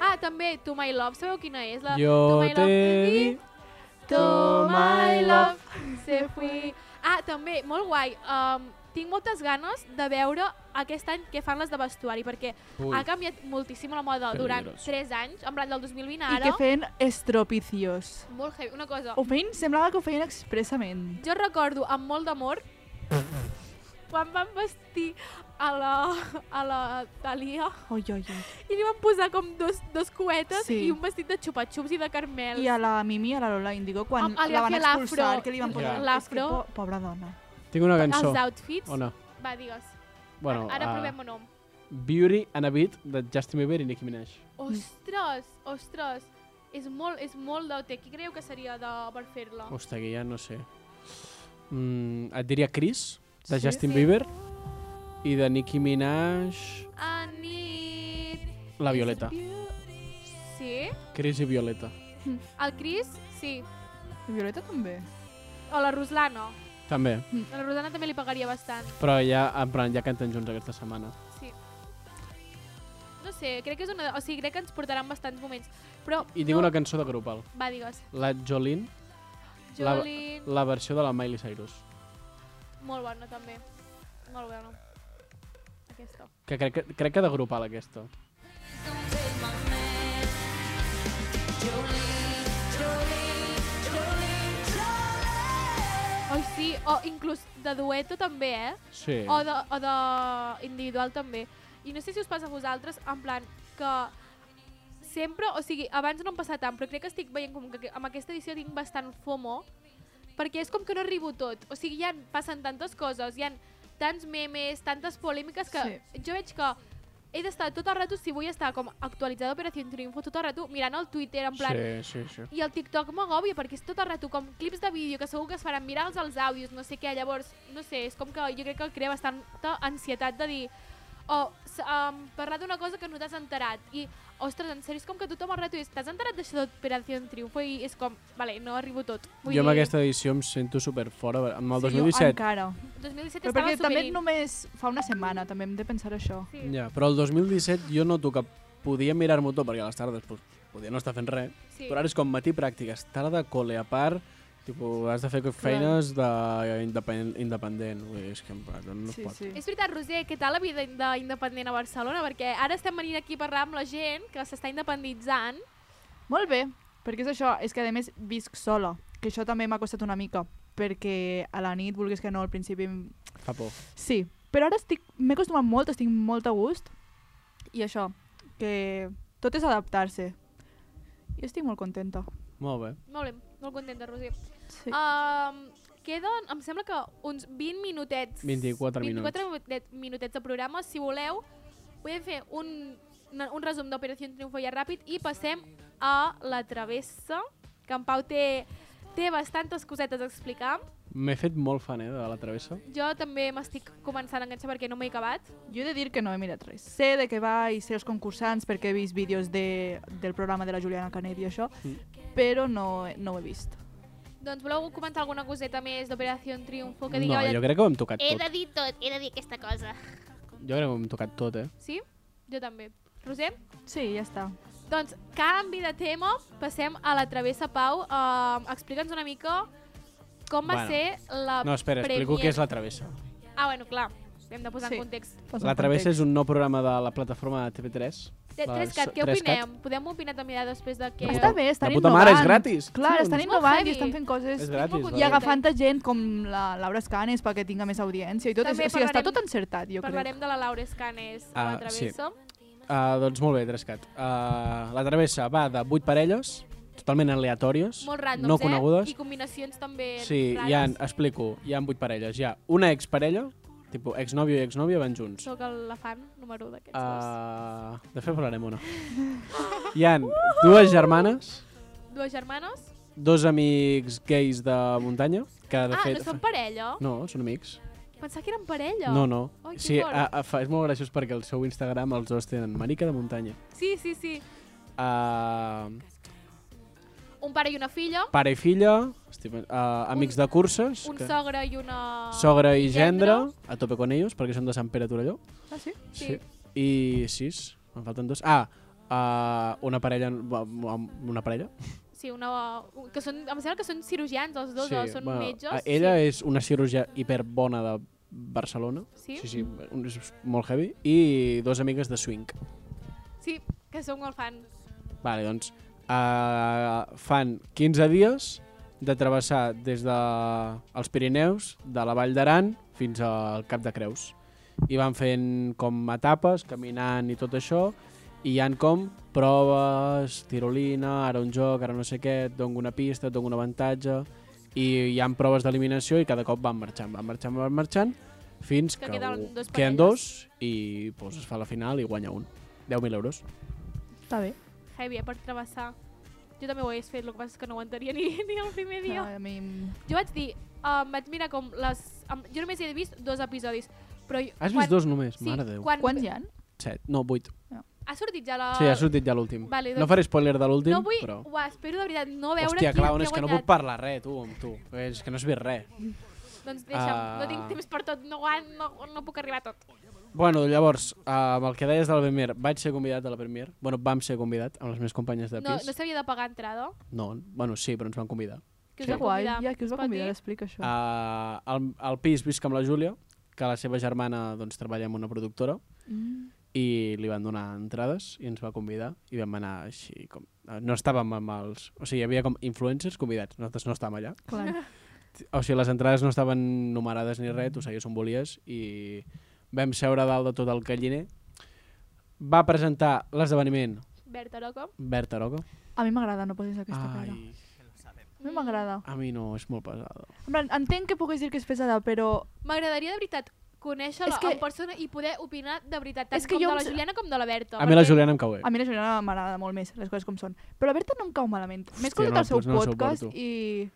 [SPEAKER 2] Ah, també, To My Love. Sabeu quina és? La
[SPEAKER 3] Jo
[SPEAKER 2] To My
[SPEAKER 3] t'he
[SPEAKER 2] Love. eh,
[SPEAKER 3] dit
[SPEAKER 2] To My Love. Se fui. Ah, també, molt guai. Um, tinc moltes ganes de veure aquest any què fan les de vestuari, perquè
[SPEAKER 3] Ui.
[SPEAKER 2] ha canviat moltíssim la moda
[SPEAKER 3] Que
[SPEAKER 2] durant
[SPEAKER 3] negros.
[SPEAKER 2] 3 anys, en plan del 2020 a
[SPEAKER 4] I
[SPEAKER 2] ara.
[SPEAKER 4] que feien estropicios.
[SPEAKER 2] Molt heavy. Una cosa,
[SPEAKER 4] Ho feien, semblava que ho feien expressament.
[SPEAKER 2] jo recordo amb molt d'amor quan van vestir a la, a la Thalia
[SPEAKER 4] Oi, oi, oi.
[SPEAKER 2] i li van posar com dos, dos coetes
[SPEAKER 4] Sí.
[SPEAKER 2] i un vestit de xupa-xups i de carmel.
[SPEAKER 4] I a la Mimi, a la Lola Indigo, quan
[SPEAKER 2] Ah, li
[SPEAKER 4] la
[SPEAKER 2] va
[SPEAKER 4] van
[SPEAKER 2] fer l'afro.
[SPEAKER 4] expulsar, que li van posar...
[SPEAKER 3] Ja.
[SPEAKER 4] És que,
[SPEAKER 2] L'afro.
[SPEAKER 4] po pobra dona.
[SPEAKER 3] Tinc una cançó.
[SPEAKER 2] Els outfits.
[SPEAKER 3] O no?
[SPEAKER 2] Va, digues.
[SPEAKER 3] Bueno,
[SPEAKER 2] ara, ara
[SPEAKER 3] ah,
[SPEAKER 2] provem un nom.
[SPEAKER 3] Beauty and a Beat de Justin Bieber i Nicki Minaj.
[SPEAKER 2] Ostres, ostres. És molt, és molt d'OT. Qui creieu que seria de, per fer-la?
[SPEAKER 3] Hosta, que ja no sé. Mm, et diria Chris, de
[SPEAKER 4] Sí?
[SPEAKER 3] Justin
[SPEAKER 2] Sí.
[SPEAKER 3] Bieber, i de Nicki Minaj,
[SPEAKER 2] A nit.
[SPEAKER 3] la Violeta.
[SPEAKER 2] Sí?
[SPEAKER 3] Chris i Violeta.
[SPEAKER 2] El Cris? Sí.
[SPEAKER 4] I Violeta també.
[SPEAKER 2] O la Ruslana.
[SPEAKER 3] També.
[SPEAKER 2] A la Ruslana també li pagaria bastant.
[SPEAKER 3] Però ja, en plan, ja canten junts aquesta setmana.
[SPEAKER 2] Sí. No sé, crec que és una... O sigui, crec que ens portaran bastants moments. Però...
[SPEAKER 3] I tinc
[SPEAKER 2] no...
[SPEAKER 3] una cançó de grupal.
[SPEAKER 2] Va, digues.
[SPEAKER 3] La Jolene, La-
[SPEAKER 2] Jolene...
[SPEAKER 3] la versió de la Miley Cyrus.
[SPEAKER 2] Molt bona, també. Molt bona. Aquesta.
[SPEAKER 3] Que crec, que- crec que de grupal, aquesta.
[SPEAKER 2] Oi, sí, o inclús de dueto també, eh?
[SPEAKER 3] Sí.
[SPEAKER 2] O de, o de individual també. I no sé si us passa a vosaltres, en plan, que sempre, o sigui, abans no em passa tant, però crec que estic veient com que amb aquesta edició tinc bastant FOMO, perquè és com que no arribo tot. O sigui, ja passen tantes coses, hi ha tants memes, tantes polèmiques, que sí. jo veig que he d'estar tot el rato, si vull estar com actualitzada d'Operació Triunfo, tot el rato mirant el Twitter, en plan,
[SPEAKER 3] Sí, sí, sí.
[SPEAKER 2] i el TikTok m'agòbia perquè és tot el rato com clips de vídeo que segur que es faran virals els àudios, no sé què, llavors, no sé, és com que jo crec que crea bastanta ansietat de dir o um, parlar d'una cosa que no t'has enterat i, ostres, en sèrio, és com que tothom al rato és t'has enterat d'això d'Operació en Triunfo i és com, vale, no arribo tot.
[SPEAKER 3] Jo amb aquesta edició em sento super fora. Amb el
[SPEAKER 4] Sí, jo
[SPEAKER 3] 2017
[SPEAKER 4] encara.
[SPEAKER 2] 2017
[SPEAKER 4] Però
[SPEAKER 2] estava
[SPEAKER 4] perquè també
[SPEAKER 2] superint.
[SPEAKER 4] només fa una setmana, també hem de pensar això.
[SPEAKER 2] Sí.
[SPEAKER 3] Ja, però el 2017 jo noto que podia mirar-m'ho tot, perquè a les tardes pues, podia no estar fent res,
[SPEAKER 2] Sí.
[SPEAKER 3] però ara és com matí pràctiques, tarda col·le a part, Tipo, has de fer feines d'independent. Independent. Vull dir, és que en plan, no es
[SPEAKER 4] Sí,
[SPEAKER 3] pot.
[SPEAKER 4] sí.
[SPEAKER 2] És veritat, Roser, què tal la vida d'independent a Barcelona? Perquè ara estem venint aquí a parlar amb la gent que s'està independitzant.
[SPEAKER 4] Molt bé, perquè és això, és que a més visc sola, que això també m'ha costat una mica, perquè a la nit, vulguis que no, al principi... em-
[SPEAKER 3] Fa por.
[SPEAKER 4] Sí, però ara estic... m'he acostumat molt, estic molt a gust, i això, que tot és adaptar-se. I estic molt contenta. Ah,
[SPEAKER 3] Molt bé.
[SPEAKER 2] Molt bé, molt contenta, Roser.
[SPEAKER 4] Sí.
[SPEAKER 2] Um, queden, em sembla que uns 20 minutets.
[SPEAKER 3] 24 minuts.
[SPEAKER 2] 24 minutet- minutets de programa. Si voleu, podem fer un, una- un resum d'Operació Triunfo ja ràpid i passem a la travessa, que en Pau té, té bastantes cosetes a explicar.
[SPEAKER 3] M'he fet molt fan, eh, de la travessa.
[SPEAKER 2] Jo també m'estic començant a enganxar perquè no m'he acabat.
[SPEAKER 4] Jo he de dir que no he mirat res. Sé de què va i sé els concursants perquè he vist vídeos de, del programa de la Juliana Canet i això,
[SPEAKER 3] Mm.
[SPEAKER 4] però no, he- no ho he vist.
[SPEAKER 2] Doncs voleu comentar alguna coseta més d'Operació Triunfo? Que
[SPEAKER 3] No,
[SPEAKER 2] digueu,
[SPEAKER 3] jo crec que ho hem tocat
[SPEAKER 2] he
[SPEAKER 3] tot.
[SPEAKER 2] de dir tot, he de dir aquesta cosa.
[SPEAKER 3] Jo crec que ho hem tocat tot, eh.
[SPEAKER 2] Sí? Jo també. Roser?
[SPEAKER 4] Sí, ja està.
[SPEAKER 2] Doncs, canvi de tema, passem a la travessa Pau. Uh, Explica'ns una mica com va
[SPEAKER 3] Bueno.
[SPEAKER 2] ser la
[SPEAKER 3] No, espera, explico què és la travessa.
[SPEAKER 2] Ah, bueno, clar, hem de posar
[SPEAKER 4] Sí.
[SPEAKER 2] en context.
[SPEAKER 3] La Travessa és un nou programa de la plataforma de TV3.
[SPEAKER 2] Tre-
[SPEAKER 3] la
[SPEAKER 2] Trescat, què
[SPEAKER 3] Trescat.
[SPEAKER 2] opinem? Podem opinar també ja després de que...
[SPEAKER 4] Està bé, estan
[SPEAKER 3] De puta mare, és
[SPEAKER 4] innovant.
[SPEAKER 3] gratis.
[SPEAKER 4] Clar,
[SPEAKER 3] Sí,
[SPEAKER 4] estan
[SPEAKER 2] és molt
[SPEAKER 4] innovant
[SPEAKER 2] heavy.
[SPEAKER 4] i estan fent coses.
[SPEAKER 3] És gratis,
[SPEAKER 2] molt
[SPEAKER 3] va.
[SPEAKER 4] I agafant a gent com la Laura Escanes perquè tinga més audiència i tot.
[SPEAKER 2] També
[SPEAKER 4] També o sigui, està
[SPEAKER 2] parlarem-
[SPEAKER 4] tot encertat, jo
[SPEAKER 2] Parlarem de la Laura Escanes a la
[SPEAKER 3] Ah, sí.
[SPEAKER 2] travessa.
[SPEAKER 3] Ah, doncs molt bé, Trescat. Ah, la Travessa va de 8 parelles, totalment aleatòries,
[SPEAKER 2] Molt ràndoms,
[SPEAKER 3] no
[SPEAKER 2] eh?
[SPEAKER 3] conegudes.
[SPEAKER 2] I combinacions també
[SPEAKER 3] Sí, hi ha,
[SPEAKER 2] rares.
[SPEAKER 3] explico, hi ha 8 parelles. Hi ha una exparella, tipus exnòvio i exnòvia van junts.
[SPEAKER 2] Soc la fan número d'aquests dos.
[SPEAKER 3] Uh, de fet, parlarem una. Hi han dues germanes,
[SPEAKER 2] Dues germanes?
[SPEAKER 3] dos amics gais de muntanya, que de
[SPEAKER 2] ah,
[SPEAKER 3] fet...
[SPEAKER 2] no són parella?
[SPEAKER 3] No, són amics.
[SPEAKER 2] Pensava que eren parella.
[SPEAKER 3] No, no.
[SPEAKER 2] Ai, que
[SPEAKER 3] sí,
[SPEAKER 2] fort.
[SPEAKER 3] a, a, fa, és molt graciós perquè al seu Instagram els dos tenen marica de muntanya.
[SPEAKER 2] Sí, sí, sí.
[SPEAKER 3] Uh,
[SPEAKER 2] Un pare i una filla,
[SPEAKER 3] pare i filla, estima, uh, amics de curses,
[SPEAKER 2] un sogre i una...
[SPEAKER 3] sogra i gendre, a tope con ellos, perquè són de Sant Pere Torelló.
[SPEAKER 4] crec. Ah, sí?
[SPEAKER 2] Sí.
[SPEAKER 3] I sis, me'n falten dos. Ah, uh, una parella, una parella.
[SPEAKER 2] Sí, una... Que són, em sembla que són cirurgians els dos, o són
[SPEAKER 3] bueno,
[SPEAKER 2] metges.
[SPEAKER 3] a- eh, Ella és una cirurgia hiperbona de Barcelona.
[SPEAKER 2] Sí?
[SPEAKER 3] Sí, sí, un- és molt heavy. I dos amigues de swing.
[SPEAKER 2] Sí, que som molt fan.
[SPEAKER 3] Vale, doncs uh, fan 15 dies de travessar des de els Pirineus, de la Vall d'Aran fins al Cap de Creus. I van fent com etapes, caminant i tot això, i hi han com proves, tirolina, ara un joc, ara no sé què, et dono una pista, et dono un avantatge, i hi han proves d'eliminació i cada cop van marxant, van marxant, van marxant, fins
[SPEAKER 2] Que
[SPEAKER 3] que,
[SPEAKER 2] queden
[SPEAKER 3] u-
[SPEAKER 2] dos
[SPEAKER 3] queden
[SPEAKER 2] parelles.
[SPEAKER 3] dos i pues, es fa la final i guanya un. 10.000 euros.
[SPEAKER 4] Està bé.
[SPEAKER 2] Heavy, eh, per travessar. Jo també ho hagués fet, el que passa és que no aguantaria ni, ni el primer dia.
[SPEAKER 4] Clar, a mi... em-
[SPEAKER 2] Jo vaig dir, em vaig mirar com les... em- jo només he vist dos episodis, però... jo-
[SPEAKER 3] Has
[SPEAKER 2] quan-
[SPEAKER 3] vist dos només?
[SPEAKER 2] Sí,
[SPEAKER 3] Mare de Déu.
[SPEAKER 2] Quan,
[SPEAKER 4] Quants hi ha?
[SPEAKER 3] Set, no, vuit.
[SPEAKER 2] Ha sortit ja la...
[SPEAKER 3] Sí, ha sortit ja l'últim.
[SPEAKER 2] Ah, Vale, doncs-
[SPEAKER 3] No faré spoiler de l'últim,
[SPEAKER 2] No vull...
[SPEAKER 3] però...
[SPEAKER 2] Ho espero de veritat, no veure
[SPEAKER 3] Hòstia,
[SPEAKER 2] qui,
[SPEAKER 3] clar,
[SPEAKER 2] qui
[SPEAKER 3] on
[SPEAKER 2] ha
[SPEAKER 3] és que no
[SPEAKER 2] guanyat.
[SPEAKER 3] puc parlar res, tu, amb tu. És que no has vist res.
[SPEAKER 2] Doncs deixa'm, no tinc
[SPEAKER 3] Ah.
[SPEAKER 2] temps per tot, no, guan- no, no puc arribar a tot.
[SPEAKER 3] Bueno, llavors, eh, amb el que deies del Premier, vaig ser convidat a la Premier. Bueno, vam ser convidat amb les meves companyes de
[SPEAKER 2] No,
[SPEAKER 3] pis.
[SPEAKER 2] no s'havia de pagar entrada.
[SPEAKER 3] No, bueno, sí, però ens van convidar.
[SPEAKER 2] Que us
[SPEAKER 3] Sí.
[SPEAKER 2] va
[SPEAKER 4] Guai,
[SPEAKER 2] convidar.
[SPEAKER 4] ja, qui us va
[SPEAKER 2] Pot
[SPEAKER 4] convidar?
[SPEAKER 2] dir?
[SPEAKER 4] Explica això.
[SPEAKER 2] Ah.
[SPEAKER 3] Uh, al, al pis visc amb la Júlia, que la seva germana doncs, treballa en una productora,
[SPEAKER 4] Mm.
[SPEAKER 3] i li van donar entrades i ens va convidar i vam anar així com... eh, No estàvem amb els... O sigui, hi havia com influencers convidats, nosaltres no estàvem allà.
[SPEAKER 4] Clar.
[SPEAKER 3] o sigui, les entrades no estaven numerades ni res, tu seguies on volies i vam seure a dalt de tot el calliner. Va presentar l'esdeveniment
[SPEAKER 2] Berta Loco.
[SPEAKER 3] Berta Roca.
[SPEAKER 4] A mi m'agrada, no posis aquesta cara.
[SPEAKER 3] Ai,
[SPEAKER 4] A mi m'agrada.
[SPEAKER 3] a mi no, és molt pesada.
[SPEAKER 4] En plan, Entenc que puguis dir que és pesada, però
[SPEAKER 2] M'agradaria de veritat conèixer-la
[SPEAKER 4] És que-
[SPEAKER 2] en persona i poder opinar de veritat, tant
[SPEAKER 4] És que
[SPEAKER 2] com
[SPEAKER 4] jo
[SPEAKER 2] de la
[SPEAKER 4] em-
[SPEAKER 2] Juliana com de la Berta.
[SPEAKER 3] A mi la
[SPEAKER 2] perquè
[SPEAKER 3] Juliana em cau bé.
[SPEAKER 4] a mi la Juliana m'agrada molt més, les coses com són. Però la Berta no em cau malament. M'he
[SPEAKER 3] Hòstia,
[SPEAKER 4] escoltat
[SPEAKER 3] no,
[SPEAKER 4] el seu
[SPEAKER 3] doncs no la
[SPEAKER 4] podcast
[SPEAKER 3] suporto.
[SPEAKER 4] i...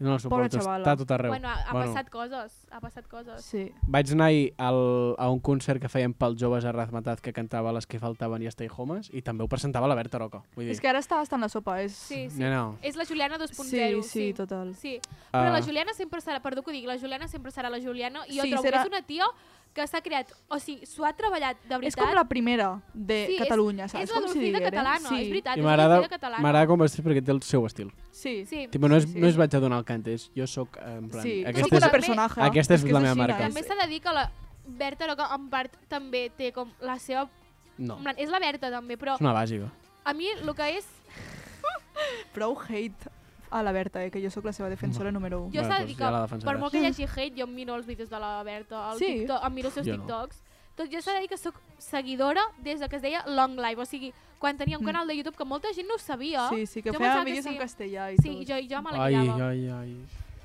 [SPEAKER 3] No la
[SPEAKER 4] pobra
[SPEAKER 3] suporto,
[SPEAKER 4] xavala.
[SPEAKER 3] està a tot arreu.
[SPEAKER 2] Bueno, ha, ha passat coses, ha passat coses.
[SPEAKER 4] Sí.
[SPEAKER 3] Vaig anar ahir al, a un concert que feien pels joves a Razmataz que cantava les que faltaven i Stay Homes i també ho presentava la Berta Roca. Vull dir,
[SPEAKER 4] És que ara està bastant la sopa, és...
[SPEAKER 2] Sí, sí.
[SPEAKER 3] no, no.
[SPEAKER 2] És la Juliana 2.0,
[SPEAKER 4] sí,
[SPEAKER 2] sí.
[SPEAKER 4] sí, total.
[SPEAKER 2] Sí, però la
[SPEAKER 3] Ah.
[SPEAKER 2] Juliana sempre serà, perdó que ho dic, la Juliana sempre serà la Juliana i jo
[SPEAKER 4] Sí,
[SPEAKER 2] trobo
[SPEAKER 4] serà-
[SPEAKER 2] que és una tia que s'ha creat, o sigui, s'ho ha treballat de veritat.
[SPEAKER 4] És com la primera de
[SPEAKER 2] Sí, és-
[SPEAKER 4] Catalunya, saps?
[SPEAKER 2] És la
[SPEAKER 4] com si
[SPEAKER 2] Dulcida
[SPEAKER 4] diguérem?
[SPEAKER 2] catalana,
[SPEAKER 4] sí.
[SPEAKER 2] és veritat,
[SPEAKER 3] I
[SPEAKER 2] és la
[SPEAKER 3] m'agrada
[SPEAKER 2] Dulcida catalana.
[SPEAKER 3] m'agrada com vestit perquè té el seu estil.
[SPEAKER 4] Sí.
[SPEAKER 2] Sí.
[SPEAKER 3] Tipo, no, és,
[SPEAKER 4] Sí, sí.
[SPEAKER 3] no es vaig adonar el marcantes. Jo sóc, eh, en plan...
[SPEAKER 4] Sí,
[SPEAKER 3] aquesta
[SPEAKER 4] sóc una
[SPEAKER 3] és-
[SPEAKER 4] personaje.
[SPEAKER 3] Aquesta és,
[SPEAKER 4] És que
[SPEAKER 3] la
[SPEAKER 4] és
[SPEAKER 3] meva
[SPEAKER 4] així,
[SPEAKER 3] marca.
[SPEAKER 2] També s'ha de dir que la Berta Roca en part també té com la seva...
[SPEAKER 3] No.
[SPEAKER 2] En plan, És la Berta també, però
[SPEAKER 3] És una bàsica.
[SPEAKER 2] a mi el que és...
[SPEAKER 4] Prou hate a la Berta, eh, que jo sóc la seva defensora número 1.
[SPEAKER 2] Jo s'ha de dir
[SPEAKER 3] doncs ja la
[SPEAKER 2] que, per
[SPEAKER 3] defensaràs.
[SPEAKER 2] molt que hi hagi hate, jo em miro els vídeos de la Berta, el
[SPEAKER 4] Sí.
[SPEAKER 2] TikTok, em miro els seus
[SPEAKER 3] Jo no.
[SPEAKER 2] TikToks. Tot jo s'ha de dir que sóc seguidora des de que es deia Long Live, o sigui, quan tenia un
[SPEAKER 4] Mm.
[SPEAKER 2] canal de YouTube que molta gent no ho sabia.
[SPEAKER 4] Sí, sí, que
[SPEAKER 2] jo
[SPEAKER 4] feia
[SPEAKER 2] pensava
[SPEAKER 4] vídeos en castellà i
[SPEAKER 2] sí,
[SPEAKER 4] tot.
[SPEAKER 2] jo, jo me la
[SPEAKER 3] Ai,
[SPEAKER 2] mirava.
[SPEAKER 3] ai, ai.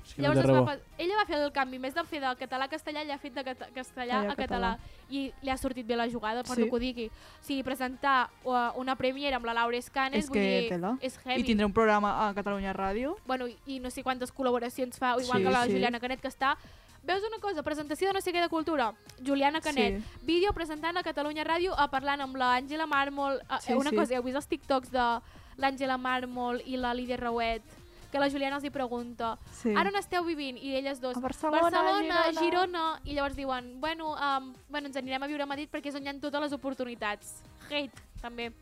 [SPEAKER 3] És que
[SPEAKER 2] Llavors,
[SPEAKER 3] no té
[SPEAKER 2] es va
[SPEAKER 3] raó.
[SPEAKER 2] pas- ella va fer el canvi, més de fer de català a castellà, ella ha fet de cata- castellà
[SPEAKER 4] Allà,
[SPEAKER 2] a català. I li ha sortit bé la jugada, per
[SPEAKER 4] Sí.
[SPEAKER 2] no que ho digui. O sigui, presentar uh, una premiera amb la Laura Escanes,
[SPEAKER 4] és
[SPEAKER 2] vull
[SPEAKER 4] que
[SPEAKER 2] dir,
[SPEAKER 4] tela.
[SPEAKER 2] és heavy.
[SPEAKER 4] I tindré un programa a Catalunya Ràdio.
[SPEAKER 2] Bueno, i, i no sé quantes col·laboracions fa, o igual
[SPEAKER 4] Sí,
[SPEAKER 2] que la
[SPEAKER 4] sí.
[SPEAKER 2] Juliana Canet, que està... Veus una cosa, presentació de no sé què de cultura, Juliana Canet,
[SPEAKER 4] Sí.
[SPEAKER 2] vídeo presentant a Catalunya Ràdio, a parlant amb l'Àngela Mármol, a,
[SPEAKER 4] Sí,
[SPEAKER 2] una
[SPEAKER 4] sí.
[SPEAKER 2] cosa, heu vist els TikToks de l'Àngela Mármol i la Lídia Rauet, que la Juliana els hi pregunta,
[SPEAKER 4] Sí.
[SPEAKER 2] ara on esteu vivint? I elles dos,
[SPEAKER 4] A Barcelona,
[SPEAKER 2] Barcelona
[SPEAKER 4] Girona."
[SPEAKER 2] Girona, i llavors diuen, bueno, um, bueno, ens anirem a viure a Madrid perquè és on hi ha totes les oportunitats. Hate, també.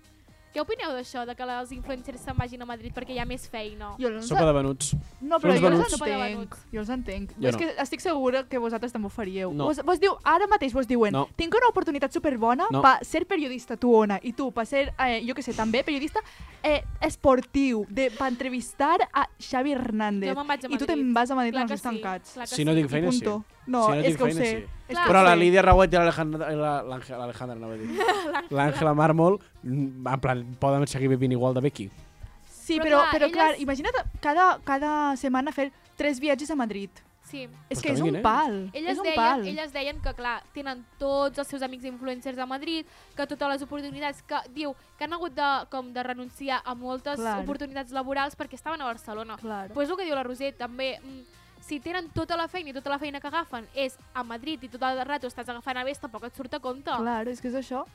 [SPEAKER 2] Què opineu d'això, de que els influencers se'n vagin a Madrid perquè hi ha més feina?
[SPEAKER 4] Jo els...
[SPEAKER 3] Sopa de venuts.
[SPEAKER 4] No,
[SPEAKER 3] Són uns
[SPEAKER 4] però jo els
[SPEAKER 3] venuts.
[SPEAKER 2] Sopa de
[SPEAKER 4] entenc.
[SPEAKER 2] venuts.
[SPEAKER 4] Jo els entenc.
[SPEAKER 3] Jo
[SPEAKER 4] és
[SPEAKER 3] no.
[SPEAKER 4] que estic segura que vosaltres també ho faríeu.
[SPEAKER 3] No.
[SPEAKER 4] Vos, vos diu, ara mateix vos diuen,
[SPEAKER 3] No.
[SPEAKER 4] tinc una oportunitat superbona
[SPEAKER 3] No.
[SPEAKER 4] per ser periodista, tu, Ona, i tu, per ser, eh, jo que sé, també periodista eh, esportiu, de, per entrevistar a Xavi Hernández.
[SPEAKER 2] Jo me'n vaig a
[SPEAKER 4] I tu te'n
[SPEAKER 2] Madrid.
[SPEAKER 4] vas a Madrid
[SPEAKER 2] Clar
[SPEAKER 4] amb
[SPEAKER 2] que
[SPEAKER 4] els ulls
[SPEAKER 2] sí,
[SPEAKER 4] tancats.
[SPEAKER 2] clar que
[SPEAKER 3] Si no tinc feina, sí.
[SPEAKER 4] Punto. No,
[SPEAKER 3] si no
[SPEAKER 4] és
[SPEAKER 3] tinc
[SPEAKER 4] que ho
[SPEAKER 3] feina,
[SPEAKER 4] sé.
[SPEAKER 3] sí.
[SPEAKER 4] És
[SPEAKER 2] Clar.
[SPEAKER 4] que ho
[SPEAKER 3] Però la
[SPEAKER 4] sé.
[SPEAKER 3] Lídia Rauet i l'Alejandra- la- l'Ange- l'Alejandra, anava a dir. L'Àngela Mármol, mm, en plan, poden seguir vivint igual de bé aquí.
[SPEAKER 4] Sí,
[SPEAKER 2] Però
[SPEAKER 4] però,
[SPEAKER 2] clar,
[SPEAKER 4] però, clar,
[SPEAKER 2] elles-
[SPEAKER 4] imagina't cada, cada setmana fer tres viatges a Madrid.
[SPEAKER 2] Sí.
[SPEAKER 3] Pues
[SPEAKER 4] És que
[SPEAKER 3] que
[SPEAKER 4] és
[SPEAKER 3] vinguin,
[SPEAKER 4] un
[SPEAKER 3] eh?
[SPEAKER 4] pal.
[SPEAKER 2] Elles
[SPEAKER 4] és un
[SPEAKER 2] deien,
[SPEAKER 4] pal.
[SPEAKER 2] elles deien que, clar, tenen tots els seus amics influencers a Madrid, que totes les oportunitats que diu que han hagut de, com de renunciar a moltes
[SPEAKER 4] Claro.
[SPEAKER 2] oportunitats laborals perquè estaven a Barcelona.
[SPEAKER 4] Claro.
[SPEAKER 2] Pues el que diu la Roser, també, mm, si tenen tota la feina i tota la feina que agafen és a Madrid i tot el rato estàs agafant a Ves, tampoc et surt a compte.
[SPEAKER 4] Clar, és que és això.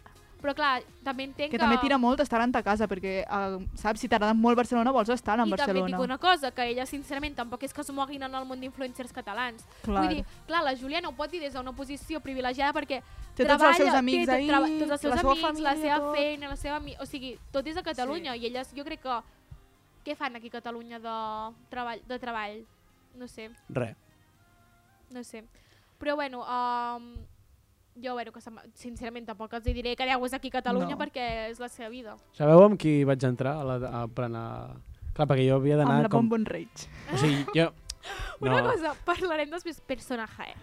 [SPEAKER 2] Però clar, també entenc que...
[SPEAKER 4] Que, també tira molt estar en ta casa, perquè, eh, saps, si t'agrada molt Barcelona, vols estar en
[SPEAKER 2] I també et
[SPEAKER 4] Barcelona.
[SPEAKER 2] dic una cosa, que elles sincerament tampoc és que es moguin en el món d'influencers catalans.
[SPEAKER 4] Clar.
[SPEAKER 2] Vull dir, clar, la Juliana ho pot dir des d'una posició privilegiada perquè
[SPEAKER 4] Té tots els
[SPEAKER 2] treballa,
[SPEAKER 4] seus amics
[SPEAKER 2] té,
[SPEAKER 4] ahí,
[SPEAKER 2] té, traba- tots els seus
[SPEAKER 4] la seva
[SPEAKER 2] amics, la
[SPEAKER 4] família,
[SPEAKER 2] seva
[SPEAKER 4] tot.
[SPEAKER 2] feina, la seva... ami- O sigui, tot és de Catalunya i elles jo crec que... Què fan aquí a Catalunya de treball? De treball? No sé,
[SPEAKER 3] Re.
[SPEAKER 2] no sé. Però bueno, um, jo, bueno, que se m- sincerament tampoc els hi diré que deu aquí a Catalunya
[SPEAKER 4] No.
[SPEAKER 2] perquè és la seva vida.
[SPEAKER 3] Sabeu amb qui vaig entrar a la, a, per anar... Clar, perquè jo havia d'anar
[SPEAKER 4] Amb la
[SPEAKER 3] com...
[SPEAKER 4] Bonbon Rage.
[SPEAKER 3] O sigui, jo...
[SPEAKER 2] Una cosa, parlarem després personatge, eh?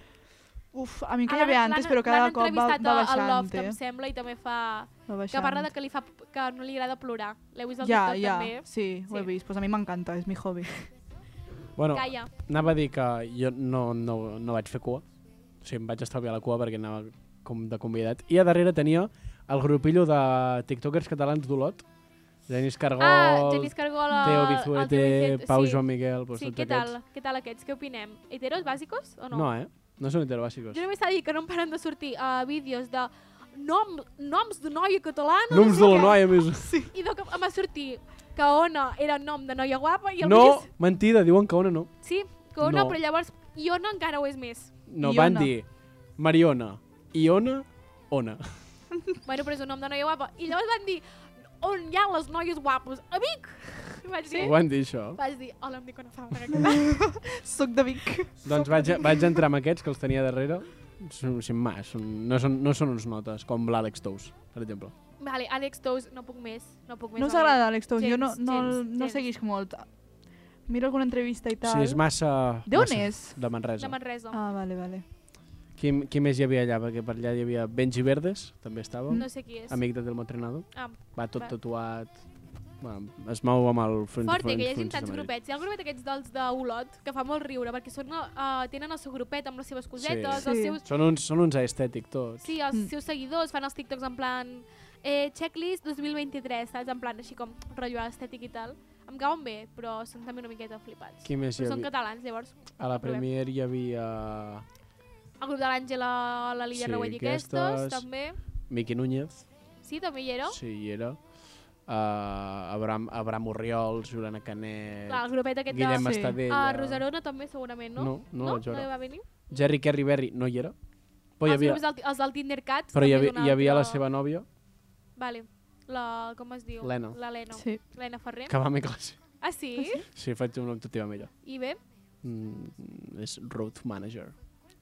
[SPEAKER 4] Uf, a mi que ja
[SPEAKER 2] Ara
[SPEAKER 4] ve antes,
[SPEAKER 2] l'han-
[SPEAKER 4] però cada
[SPEAKER 2] l'han
[SPEAKER 4] cop va,
[SPEAKER 2] entrevistat
[SPEAKER 4] va
[SPEAKER 2] a- a
[SPEAKER 4] baixant,
[SPEAKER 2] Loft,
[SPEAKER 4] eh?
[SPEAKER 2] em sembla, i també fa...
[SPEAKER 4] Va
[SPEAKER 2] Que
[SPEAKER 4] baixant.
[SPEAKER 2] parla de que, li fa, que no li agrada plorar. L'heu vist al
[SPEAKER 4] Ja,
[SPEAKER 2] TikTok
[SPEAKER 4] ja,
[SPEAKER 2] també?
[SPEAKER 4] sí, ho he
[SPEAKER 2] Sí.
[SPEAKER 4] vist. Pues a mi m'encanta, és mi hobby.
[SPEAKER 3] Bueno,
[SPEAKER 2] Calla.
[SPEAKER 3] anava a dir que jo no, no, no vaig fer cua. O sigui, em vaig estalviar la cua perquè anava com de convidat. I a darrere tenia el grupillo de tiktokers catalans d'Olot. Genís Cargol,
[SPEAKER 2] Ah, Genís Cargol, el-
[SPEAKER 3] Teo
[SPEAKER 2] el
[SPEAKER 3] Bizuete,
[SPEAKER 2] Bizuete,
[SPEAKER 3] Pau
[SPEAKER 2] sí.
[SPEAKER 3] Joan Miguel... Pues
[SPEAKER 2] sí,
[SPEAKER 3] tots
[SPEAKER 2] què tal?
[SPEAKER 3] aquests.
[SPEAKER 2] Què tal aquests? Què opinem? Heteros bàsicos o no?
[SPEAKER 3] No. eh? No són heterobàsicos.
[SPEAKER 2] Jo només t'ha dit que no em paren de sortir uh, vídeos de nom, noms de noia catalana.
[SPEAKER 3] Noms de la
[SPEAKER 2] què.
[SPEAKER 3] noia, més.
[SPEAKER 2] I de que em va sortir que Ona era nom de noia guapa i el
[SPEAKER 3] No,
[SPEAKER 2] Lluís-
[SPEAKER 3] mentida, diuen que una no.
[SPEAKER 2] Sí, que Ona,
[SPEAKER 3] No.
[SPEAKER 2] però llavors i Ona encara ho és més.
[SPEAKER 3] No,
[SPEAKER 4] Iona.
[SPEAKER 3] van dir Mariona, Iona, Ona.
[SPEAKER 2] Bueno, però és un nom de noia guapa. I llavors van dir on hi ha les noies guapes? A Vic! I vaig dir,
[SPEAKER 3] Ho van dir, això.
[SPEAKER 2] vaig dir, hola, em dic Ona Fabra. què tal?"
[SPEAKER 4] Soc de Vic.
[SPEAKER 3] Doncs vaig, vaig entrar amb aquests que els tenia darrere. Són, sin más, són, no, són, no són uns notes, com l'Àlex Tous, per exemple.
[SPEAKER 2] Vale, Àlex Tous, no puc més. No puc més.
[SPEAKER 4] No us
[SPEAKER 2] home.
[SPEAKER 4] agrada Alex Tous, jo
[SPEAKER 2] Gens,
[SPEAKER 4] no, no,
[SPEAKER 2] gens,
[SPEAKER 4] no
[SPEAKER 2] gens.
[SPEAKER 4] seguix molt. Miro alguna entrevista i tal.
[SPEAKER 3] Sí, és massa...
[SPEAKER 4] D'on
[SPEAKER 3] massa.
[SPEAKER 4] és?
[SPEAKER 3] De Manresa.
[SPEAKER 2] De Manresa.
[SPEAKER 4] Ah, vale, vale.
[SPEAKER 3] Qui, qui més hi havia allà? Perquè per allà hi havia Benji Verdes, també estava.
[SPEAKER 2] No sé qui és.
[SPEAKER 3] Amic de Telmo Trenado.
[SPEAKER 2] Ah,
[SPEAKER 3] Va tot
[SPEAKER 2] Va.
[SPEAKER 3] tatuat. Bueno, es mou amb el front
[SPEAKER 2] Fort, eh,
[SPEAKER 3] front-
[SPEAKER 2] que hi hagi
[SPEAKER 3] fronts de
[SPEAKER 2] tants
[SPEAKER 3] Madrid.
[SPEAKER 2] grupets. Hi ha el grupet aquests dels d'Olot, que fa molt riure, perquè són, uh, tenen el seu grupet amb les seves cosetes,
[SPEAKER 4] Sí.
[SPEAKER 2] els
[SPEAKER 4] Sí.
[SPEAKER 2] seus...
[SPEAKER 3] Són uns, són uns aestètic tots.
[SPEAKER 2] Sí, els
[SPEAKER 4] Mm.
[SPEAKER 2] seus seguidors fan els TikToks en plan eh, checklist 2023, saps? En plan així com rotllo estètic i tal. Em cauen bé, però són també una miqueta flipats.
[SPEAKER 3] Qui més hi
[SPEAKER 2] Però són
[SPEAKER 3] havia?
[SPEAKER 2] catalans, llavors.
[SPEAKER 3] A la
[SPEAKER 2] Trobem.
[SPEAKER 3] Premier hi havia
[SPEAKER 2] El grup de l'Àngela, la Lídia
[SPEAKER 3] Sí,
[SPEAKER 2] Rauet i
[SPEAKER 3] aquestes.
[SPEAKER 2] aquestes, també.
[SPEAKER 3] Miqui Núñez,
[SPEAKER 2] Sí, també hi era.
[SPEAKER 3] sí, hi era. Uh, Abraham, Abraham Oriol, Juliana Canet,
[SPEAKER 2] Clar, el grupet aquest Ah, de...
[SPEAKER 3] Guillem
[SPEAKER 4] Sí.
[SPEAKER 3] Estadella...
[SPEAKER 2] A Rosarona també, segurament, no?
[SPEAKER 3] No, no
[SPEAKER 2] no,
[SPEAKER 3] vaig veure.
[SPEAKER 2] no hi va venir?
[SPEAKER 3] Jerry Kerry Berry no hi era, però hi
[SPEAKER 2] els,
[SPEAKER 3] havia,
[SPEAKER 2] grups del, els del Tindercat.
[SPEAKER 3] però hi
[SPEAKER 2] també
[SPEAKER 3] havia,
[SPEAKER 2] d'una
[SPEAKER 3] hi havia la
[SPEAKER 2] altra-
[SPEAKER 3] seva nòvia,
[SPEAKER 2] Vale. La, com es diu?
[SPEAKER 3] L'Ena.
[SPEAKER 2] L'Helena.
[SPEAKER 4] Sí.
[SPEAKER 2] Eh? L'Helena Ferrer.
[SPEAKER 3] que va a mi classe.
[SPEAKER 2] Ah, sí?
[SPEAKER 3] Sí, faig una optativa millor.
[SPEAKER 2] I bé,
[SPEAKER 3] mm, és road manager.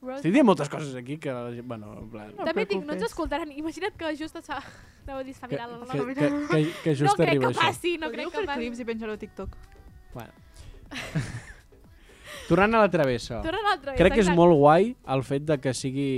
[SPEAKER 2] Road-
[SPEAKER 3] Estic dient moltes coses aquí que... la gent- Bueno, en plan...
[SPEAKER 2] També et dic, no ens escoltaran. Imagina't que just es fa... Anava a dir, es fa
[SPEAKER 3] Que-
[SPEAKER 2] viral.
[SPEAKER 3] que- que- que- que just
[SPEAKER 2] no crec
[SPEAKER 3] arriba
[SPEAKER 2] que
[SPEAKER 3] això.
[SPEAKER 2] passi, no
[SPEAKER 4] Ho
[SPEAKER 2] crec
[SPEAKER 4] diu
[SPEAKER 2] que
[SPEAKER 4] per
[SPEAKER 2] passi.
[SPEAKER 4] clips i penja-lo a TikTok.
[SPEAKER 3] Bueno. Tornant a la travessa.
[SPEAKER 2] Tornant a la travessa,
[SPEAKER 3] Crec que és
[SPEAKER 2] exacte.
[SPEAKER 3] molt guai el fet de que sigui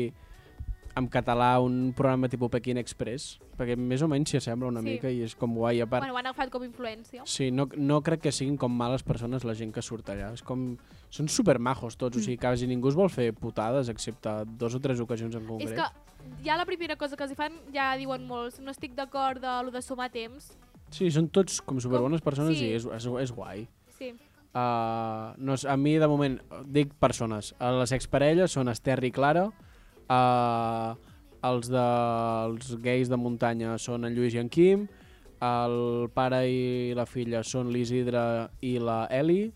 [SPEAKER 3] en català un programa tipus Pequín Express, perquè més o menys s'hi assembla una
[SPEAKER 2] Sí.
[SPEAKER 3] mica i és com guai. A part,
[SPEAKER 2] Bueno, ho han agafat com a influència.
[SPEAKER 3] Sí, no, no crec que siguin com males persones la gent que surt allà. És com... Són supermajos tots,
[SPEAKER 2] Mm.
[SPEAKER 3] o sigui, quasi ningú es vol fer putades, excepte dos o tres ocasions en
[SPEAKER 2] És
[SPEAKER 3] concret.
[SPEAKER 2] que ja la primera cosa que els hi fan, ja diuen molts, no estic d'acord de lo de sumar temps.
[SPEAKER 3] Sí, són tots com superbones persones
[SPEAKER 2] sí.
[SPEAKER 3] i és, és, és guai.
[SPEAKER 2] Sí.
[SPEAKER 3] Uh, no, sé, a mi, de moment, dic persones. Eh, Les exparelles són Esther i Clara, uh, els, de, els gais de muntanya són en Lluís i en Quim, el pare i la filla són l'Isidre i la Eli,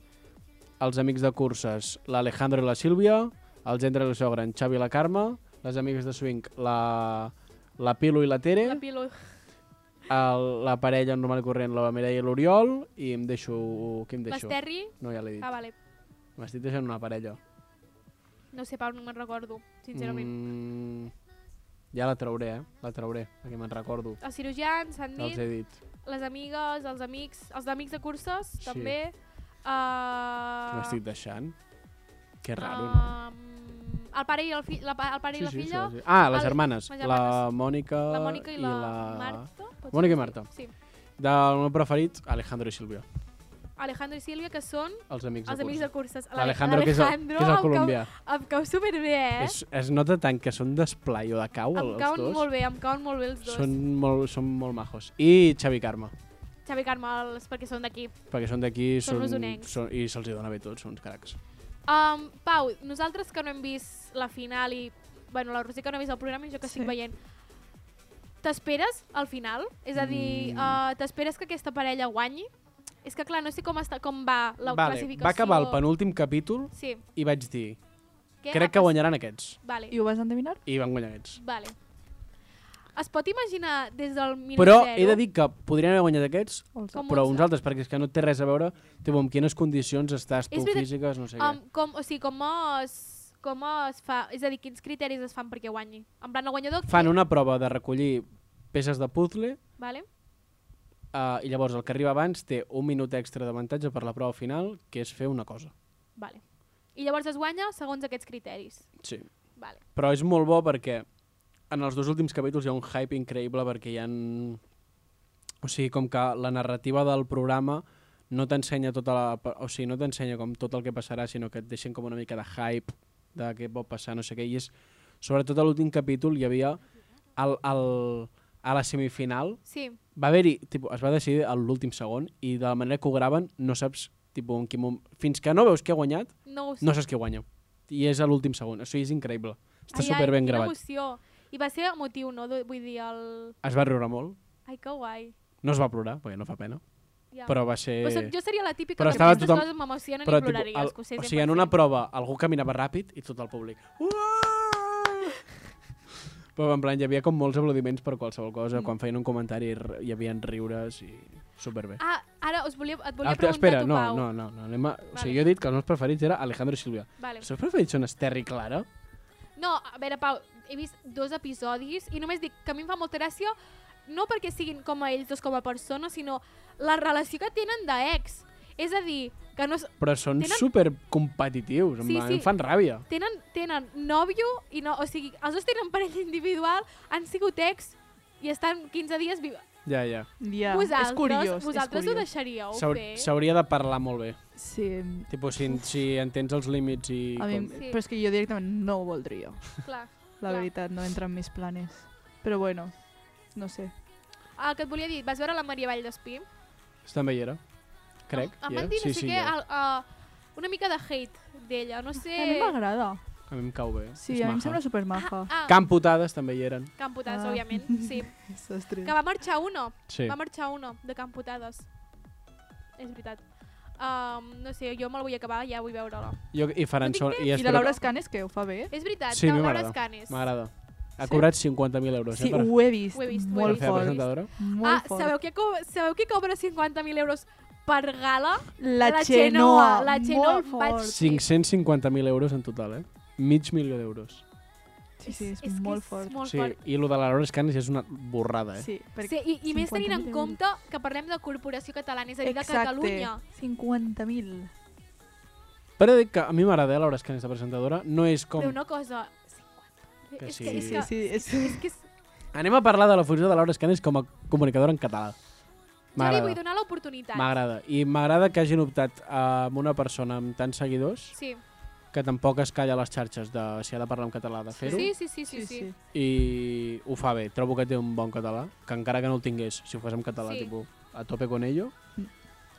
[SPEAKER 3] els amics de curses, l'Alejandro i la Sílvia, el gendre i la sogra, en Xavi i la Carme, les amigues de swing, la, la Pilo i la Tere,
[SPEAKER 2] La pilo...
[SPEAKER 3] el, la parella normal i corrent, la Mireia i l'Oriol, i em deixo... Què em deixo?
[SPEAKER 2] L'Esterri...
[SPEAKER 3] No, ja l'he dit.
[SPEAKER 2] Ah, vale.
[SPEAKER 3] M'estic deixant una parella.
[SPEAKER 2] No sé, Pau, no me'n recordo, sincerament.
[SPEAKER 3] Mm, ja la trauré, eh? La trauré, perquè me'n recordo.
[SPEAKER 2] Els cirurgians, s'han
[SPEAKER 3] Ja Mm.
[SPEAKER 2] dit,
[SPEAKER 3] els he dit.
[SPEAKER 2] les amigues, els amics, els d'amics de curses,
[SPEAKER 3] Sí.
[SPEAKER 2] també.
[SPEAKER 3] Uh...
[SPEAKER 2] Uh,
[SPEAKER 3] M'estic deixant. Que raro, no?
[SPEAKER 2] um, el pare i, el fi, la, pa- el pare i la filla,
[SPEAKER 3] sí. Ah, les
[SPEAKER 2] el-
[SPEAKER 3] germanes.
[SPEAKER 2] les
[SPEAKER 3] La Mònica,
[SPEAKER 2] La Mònica i la Marta, pot
[SPEAKER 3] Mònica
[SPEAKER 2] ser?
[SPEAKER 3] i Marta.
[SPEAKER 2] Sí.
[SPEAKER 3] Del meu preferit, Alejandro i Silvio.
[SPEAKER 2] Alejandro i Sílvia, que són
[SPEAKER 3] Els amics
[SPEAKER 2] els
[SPEAKER 3] de
[SPEAKER 2] amics de curses.
[SPEAKER 3] L'Alejandro, que és el- que és el colombià.
[SPEAKER 2] Em cau, em cau superbé, eh?
[SPEAKER 3] Es, es nota tant que són d'esplai o de cau,
[SPEAKER 2] em
[SPEAKER 3] els
[SPEAKER 2] cauen
[SPEAKER 3] dos.
[SPEAKER 2] molt bé, em cauen molt bé els dos.
[SPEAKER 3] Són molt, són molt majos. I Xavi i Carme,
[SPEAKER 2] Xavi i Carme, els, perquè són d'aquí.
[SPEAKER 3] perquè són d'aquí
[SPEAKER 2] Són
[SPEAKER 3] són,
[SPEAKER 2] usonencs.
[SPEAKER 3] són, i se'ls hi dona bé tots, són uns cracs.
[SPEAKER 2] Um, Pau, nosaltres que no hem vist la final i... Bueno, la Roser que no ha vist el programa i jo que sí. estic veient. T'esperes al final? És a dir, mm. uh, t'esperes que aquesta parella guanyi? És que clar, no sé com, està, com va la
[SPEAKER 3] vale,
[SPEAKER 2] classificació.
[SPEAKER 3] va acabar el penúltim capítol
[SPEAKER 2] Sí.
[SPEAKER 3] i vaig dir,
[SPEAKER 2] Què ha
[SPEAKER 3] crec que
[SPEAKER 2] passat?
[SPEAKER 3] guanyaran aquests.
[SPEAKER 2] Vale.
[SPEAKER 4] I ho vas endevinar?
[SPEAKER 3] I van guanyar aquests.
[SPEAKER 2] Vale. Es pot imaginar des del minut
[SPEAKER 3] Però
[SPEAKER 2] zero?
[SPEAKER 3] he de dir que podrien haver guanyat aquests,
[SPEAKER 2] Com
[SPEAKER 3] però
[SPEAKER 2] uns
[SPEAKER 3] uns altres, perquè és que no té res a veure tipo, amb quines condicions estàs tu,
[SPEAKER 2] És veritat.
[SPEAKER 3] físiques, no sé
[SPEAKER 2] um,
[SPEAKER 3] què.
[SPEAKER 2] com, o sigui, com es, com es fa... És a dir, quins criteris es fan perquè guanyi? En plan, el guanyador...
[SPEAKER 3] Fan una prova de recollir peces de puzzle
[SPEAKER 2] Vale?
[SPEAKER 3] uh, i llavors el que arriba abans té un minut extra d'avantatge per la prova final, que és fer una cosa.
[SPEAKER 2] Vale. I llavors es guanya segons aquests criteris.
[SPEAKER 3] Sí.
[SPEAKER 2] Vale.
[SPEAKER 3] Però és molt bo perquè en els dos últims capítols hi ha un hype increïble perquè hi ha... O sigui, com que la narrativa del programa no t'ensenya tota la... O sigui, no t'ensenya com tot el que passarà, sinó que et deixen com una mica de hype de què pot passar, no sé què. I és... Sobretot a l'últim capítol hi havia el, el, a la semifinal
[SPEAKER 2] Sí.
[SPEAKER 3] va haver-hi, tipo, es va decidir a l'últim segon i de la manera que ho graven no saps tipo, en quin moment, fins que no veus qui ha guanyat
[SPEAKER 2] No ho sé.
[SPEAKER 3] no saps qui guanya i és a l'últim segon, això és increïble
[SPEAKER 2] Ai,
[SPEAKER 3] està
[SPEAKER 2] ai,
[SPEAKER 3] super ben
[SPEAKER 2] quina
[SPEAKER 3] gravat
[SPEAKER 2] Emoció. I va ser emotiu, no? Du- Vull dir, el...
[SPEAKER 3] es va riure molt,
[SPEAKER 2] Ai, que guai.
[SPEAKER 3] no es va plorar perquè no fa pena
[SPEAKER 2] Ja.
[SPEAKER 3] però va ser...
[SPEAKER 2] Però soc- jo seria la típica
[SPEAKER 3] però
[SPEAKER 2] que
[SPEAKER 3] estava
[SPEAKER 2] aquestes
[SPEAKER 3] tothom-
[SPEAKER 2] coses m'emocionen i
[SPEAKER 3] però,
[SPEAKER 2] ploraries,
[SPEAKER 3] el-
[SPEAKER 2] que ho sé
[SPEAKER 3] o sigui, en una prova algú caminava ràpid i tot el públic "Uah!" però en plan hi havia com molts aplaudiments per qualsevol
[SPEAKER 2] Mm.
[SPEAKER 3] cosa, quan feien un comentari r- hi havia riures i superbé
[SPEAKER 2] Ah, ara us volia, et volia
[SPEAKER 3] Ah,
[SPEAKER 2] preguntar
[SPEAKER 3] espera,
[SPEAKER 2] a tu,
[SPEAKER 3] no,
[SPEAKER 2] Pau.
[SPEAKER 3] no, no, no, anem a... O
[SPEAKER 2] Vale.
[SPEAKER 3] sigui, jo he dit que els meus preferits era Alejandro i Silvia.
[SPEAKER 2] Vale.
[SPEAKER 3] Els seus preferits són Esther i Clara?
[SPEAKER 2] No, a veure, Pau, he vist dos episodis i només dic que a mi em fa molta gràcia no perquè siguin com a ells dos com a persones, sinó la relació que tenen d'ex. És a dir, que no... es-
[SPEAKER 3] Però són
[SPEAKER 2] Tenen-
[SPEAKER 3] Tenen... supercompetitius,
[SPEAKER 2] Sí,
[SPEAKER 3] sí,
[SPEAKER 2] sí.
[SPEAKER 3] em fan ràbia.
[SPEAKER 2] Tenen, tenen nòvio i no... O sigui, els dos tenen parella individual, han sigut ex i estan 15 dies... Vi...
[SPEAKER 3] Ja, ja.
[SPEAKER 4] Ja,
[SPEAKER 2] vosaltres,
[SPEAKER 4] és curiós.
[SPEAKER 2] vosaltres
[SPEAKER 4] és
[SPEAKER 2] ho
[SPEAKER 4] curiós.
[SPEAKER 2] deixaríeu
[SPEAKER 3] S'hau-
[SPEAKER 2] fer?
[SPEAKER 3] S'hauria de parlar molt bé.
[SPEAKER 4] Sí,
[SPEAKER 3] Tipo, si, si entens els límits i...
[SPEAKER 4] a mi,
[SPEAKER 3] Com...
[SPEAKER 2] Sí.
[SPEAKER 4] però és que jo directament no ho voldria.
[SPEAKER 2] Clar.
[SPEAKER 4] La
[SPEAKER 2] Clar.
[SPEAKER 4] veritat, no entra en mis planes. Però bueno, no sé.
[SPEAKER 2] El que et volia dir, vas veure la Maria Vall d'Espí? Ah,
[SPEAKER 3] També hi era. Crec.
[SPEAKER 2] Em
[SPEAKER 3] hi era.
[SPEAKER 2] van dir, no
[SPEAKER 3] sí,
[SPEAKER 2] sé
[SPEAKER 3] sí, hi
[SPEAKER 2] què,
[SPEAKER 3] era.
[SPEAKER 2] el, uh, una mica de hate d'ella, no sé...
[SPEAKER 4] A mi m'agrada.
[SPEAKER 3] A mi em cau bé.
[SPEAKER 4] Sí,
[SPEAKER 3] és
[SPEAKER 4] a mi em
[SPEAKER 3] maja.
[SPEAKER 4] sembla supermaja.
[SPEAKER 2] Ah,
[SPEAKER 3] Camputades també hi eren.
[SPEAKER 2] Camputades,
[SPEAKER 4] Ah.
[SPEAKER 2] òbviament, sí.
[SPEAKER 4] Sostres.
[SPEAKER 2] Que va marxar uno.
[SPEAKER 3] Sí.
[SPEAKER 2] Va marxar uno de Camputades. És veritat. Um, no sé, jo me'l vull acabar, ja vull veure-la.
[SPEAKER 3] Jo, I faran...
[SPEAKER 2] No tinc
[SPEAKER 3] sol-
[SPEAKER 2] temps.
[SPEAKER 3] I,
[SPEAKER 4] I la
[SPEAKER 3] espero-
[SPEAKER 4] Laura Escanes, que ho fa bé.
[SPEAKER 2] És veritat,
[SPEAKER 3] Sí, a mi
[SPEAKER 2] la Laura
[SPEAKER 3] m'agrada.
[SPEAKER 2] Escanes.
[SPEAKER 3] M'agrada. Ha
[SPEAKER 4] Sí?
[SPEAKER 3] cobrat 50.000 euros.
[SPEAKER 4] Sí,
[SPEAKER 3] eh, per,
[SPEAKER 4] ho he vist.
[SPEAKER 2] Ho he vist, ho he
[SPEAKER 3] per
[SPEAKER 4] Molt
[SPEAKER 2] vist,
[SPEAKER 3] fer
[SPEAKER 2] ho he
[SPEAKER 4] fort.
[SPEAKER 2] vist.
[SPEAKER 3] presentadora.
[SPEAKER 4] Molt
[SPEAKER 2] Ah,
[SPEAKER 4] fort.
[SPEAKER 2] sabeu qui, co sabeu qui cobra 50.000 euros per gala
[SPEAKER 4] La Xenoa,
[SPEAKER 2] La Xenoa.
[SPEAKER 4] molt
[SPEAKER 2] Vaig...
[SPEAKER 4] fort.
[SPEAKER 3] 550.000 euros en total, eh? Mig milió d'euros.
[SPEAKER 4] Sí, sí, és,
[SPEAKER 2] és que
[SPEAKER 4] molt
[SPEAKER 2] és
[SPEAKER 4] fort.
[SPEAKER 2] molt
[SPEAKER 3] Sí,
[SPEAKER 2] fort.
[SPEAKER 3] i el de la Laura Escanes és una borrada, eh?
[SPEAKER 4] Sí,
[SPEAKER 2] Sí,
[SPEAKER 4] perquè...
[SPEAKER 2] i, i més tenint en
[SPEAKER 4] 50.000
[SPEAKER 2] compte que parlem de Corporació Catalana, és a dir, de Catalunya.
[SPEAKER 4] 50.000.
[SPEAKER 3] Però dic que a mi m'agrada, eh, Laura Escanes, de presentadora. No és com...
[SPEAKER 2] Però una cosa... 50.
[SPEAKER 3] Que
[SPEAKER 2] és,
[SPEAKER 3] sí.
[SPEAKER 2] que, és,
[SPEAKER 4] Sí,
[SPEAKER 2] que,
[SPEAKER 4] sí, és...
[SPEAKER 2] és que és...
[SPEAKER 3] Anem a parlar de la funció de Laura Escanes com a comunicadora en català.
[SPEAKER 2] jo li vull
[SPEAKER 3] M'agrada.
[SPEAKER 2] donar l'oportunitat.
[SPEAKER 3] M'agrada. I m'agrada que hagin optat eh, amb una persona amb tants seguidors
[SPEAKER 2] Sí.
[SPEAKER 3] que tampoc es calla a les xarxes de si ha de parlar en català, de fer-ho.
[SPEAKER 2] Sí, sí, sí, sí, sí.
[SPEAKER 3] I ho fa bé. Trobo que té un bon català, que encara que no el tingués, si ho fas en català,
[SPEAKER 2] Sí. Mm.
[SPEAKER 3] tipus, a tope con ello.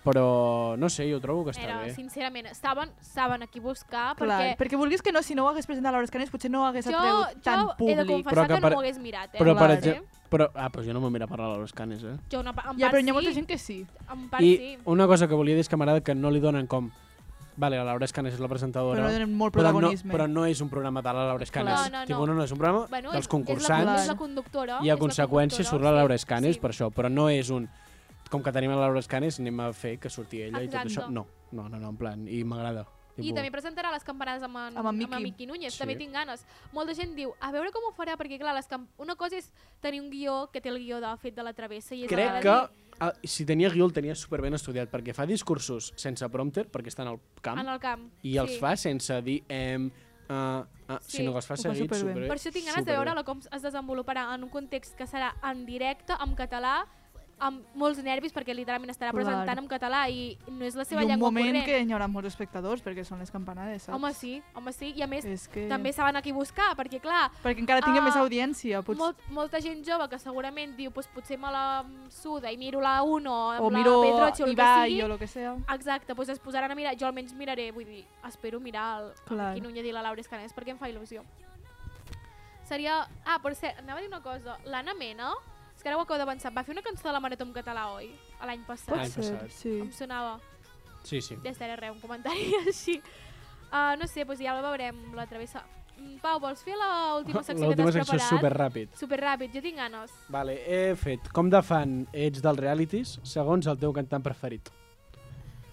[SPEAKER 3] Però, no sé, jo trobo que està
[SPEAKER 2] Era,
[SPEAKER 3] bé.
[SPEAKER 2] sincerament, saben, saben a qui buscar
[SPEAKER 4] Clar, perquè...
[SPEAKER 2] perquè...
[SPEAKER 4] vulguis que no, si no ho hagués presentat a l'Hora Escanes, potser no ho hagués
[SPEAKER 2] Jo,
[SPEAKER 4] atreut
[SPEAKER 2] jo
[SPEAKER 4] tant
[SPEAKER 2] he de
[SPEAKER 4] públic.
[SPEAKER 2] confessar
[SPEAKER 3] Però que
[SPEAKER 2] que,
[SPEAKER 3] per-
[SPEAKER 2] no m'ho hagués mirat, eh?
[SPEAKER 3] Però, per
[SPEAKER 4] Clar,
[SPEAKER 3] exemple... Però, ah, però jo no m'ho miro a parlar a Laura Escanes, eh?
[SPEAKER 2] Jo, una, pa- en
[SPEAKER 4] Ja,
[SPEAKER 2] part
[SPEAKER 4] però hi ha molta
[SPEAKER 2] sí,
[SPEAKER 4] gent que sí.
[SPEAKER 2] en part
[SPEAKER 3] I
[SPEAKER 2] sí.
[SPEAKER 3] una cosa que volia dir és que m'agrada que no li donen com... Vale, la Laura Escanes és la presentadora.
[SPEAKER 4] Però no donen molt
[SPEAKER 3] però no,
[SPEAKER 4] protagonisme.
[SPEAKER 3] però no és un programa de la Laura Escanes.
[SPEAKER 2] No, no, no.
[SPEAKER 3] Tipo, no, no és un programa bueno, dels
[SPEAKER 2] És la,
[SPEAKER 3] concursants
[SPEAKER 2] és la conductora.
[SPEAKER 3] i
[SPEAKER 2] és
[SPEAKER 3] a
[SPEAKER 2] la
[SPEAKER 3] conseqüència
[SPEAKER 2] conductora,
[SPEAKER 3] surt la Laura Escanes
[SPEAKER 2] sí.
[SPEAKER 3] per això, però no és un... Com que tenim la Laura Escanes, anem a fer que surti ella
[SPEAKER 2] Exacte.
[SPEAKER 3] i tot això. No, no, no, no en plan, i m'agrada.
[SPEAKER 2] I també presentarà les campanades amb en,
[SPEAKER 4] Amb en Miqui.
[SPEAKER 2] amb en Miqui Núñez,
[SPEAKER 3] Sí.
[SPEAKER 2] també tinc ganes. Molta gent diu, a veure com ho farà, perquè clar, les camp... una cosa és tenir un guió que té el guió de fet de la travessa. I és
[SPEAKER 3] Crec
[SPEAKER 2] de
[SPEAKER 3] que
[SPEAKER 2] dir,
[SPEAKER 3] ah, si tenia guió el tenia superben estudiat, perquè fa discursos sense prompter, perquè està en el camp,
[SPEAKER 2] En el camp.
[SPEAKER 3] i els
[SPEAKER 2] sí.
[SPEAKER 3] fa sense dir... Em, uh, uh,
[SPEAKER 2] Sí.
[SPEAKER 3] sinó que els fa
[SPEAKER 4] Ho fa
[SPEAKER 3] seguit
[SPEAKER 4] superbé.
[SPEAKER 3] superbé.
[SPEAKER 2] Per això tinc ganes de
[SPEAKER 3] eh, superbé.
[SPEAKER 2] veure com es desenvoluparà en un context que serà en directe, en català, amb molts nervis, perquè literalment estarà
[SPEAKER 4] Clar.
[SPEAKER 2] presentant en català i no és la
[SPEAKER 4] I
[SPEAKER 2] seva
[SPEAKER 4] un
[SPEAKER 2] llengua
[SPEAKER 4] moment
[SPEAKER 2] corrent.
[SPEAKER 4] que hi haurà molts espectadors, perquè són les campanades, saps?
[SPEAKER 2] Home, sí, home, sí. I a més,
[SPEAKER 4] és que...
[SPEAKER 2] també saben a qui buscar, perquè clar,
[SPEAKER 4] Perquè encara tingui
[SPEAKER 2] Ah,
[SPEAKER 4] més audiència,
[SPEAKER 2] Pots...
[SPEAKER 4] potser.
[SPEAKER 2] Molt, molta gent jove que segurament diu pues, potser me la suda i miro la 1
[SPEAKER 4] o
[SPEAKER 2] o la
[SPEAKER 4] miro
[SPEAKER 2] Pedroche o el que
[SPEAKER 4] Ibai
[SPEAKER 2] sigui.
[SPEAKER 4] o lo que sea.
[SPEAKER 2] Exacte, doncs es posaran a mirar, jo almenys miraré, vull dir, espero mirar el
[SPEAKER 4] Clar.
[SPEAKER 2] Quim Núñez i la Laura Escanés perquè em fa il·lusió. Seria... Ah, per cert, anava a dir una cosa. L'Anna Mena, és que ara ho acabo de pensar, va fer una cançó de la Marató en català, oi? A L'any passat.
[SPEAKER 3] Pot L'any ser, Ah, passat.
[SPEAKER 4] sí.
[SPEAKER 2] Em sonava.
[SPEAKER 3] Sí, sí.
[SPEAKER 2] Des d'ara res, un comentari així. Uh, no sé, doncs ja la veurem, la travessa. Mm, Pau, vols fer l'última secció que
[SPEAKER 3] L'última
[SPEAKER 2] t'has
[SPEAKER 3] secció
[SPEAKER 2] preparat?
[SPEAKER 3] és superràpid.
[SPEAKER 2] Superràpid, jo tinc ganes.
[SPEAKER 3] Vale, he fet com de fan ets dels realities segons el teu cantant preferit.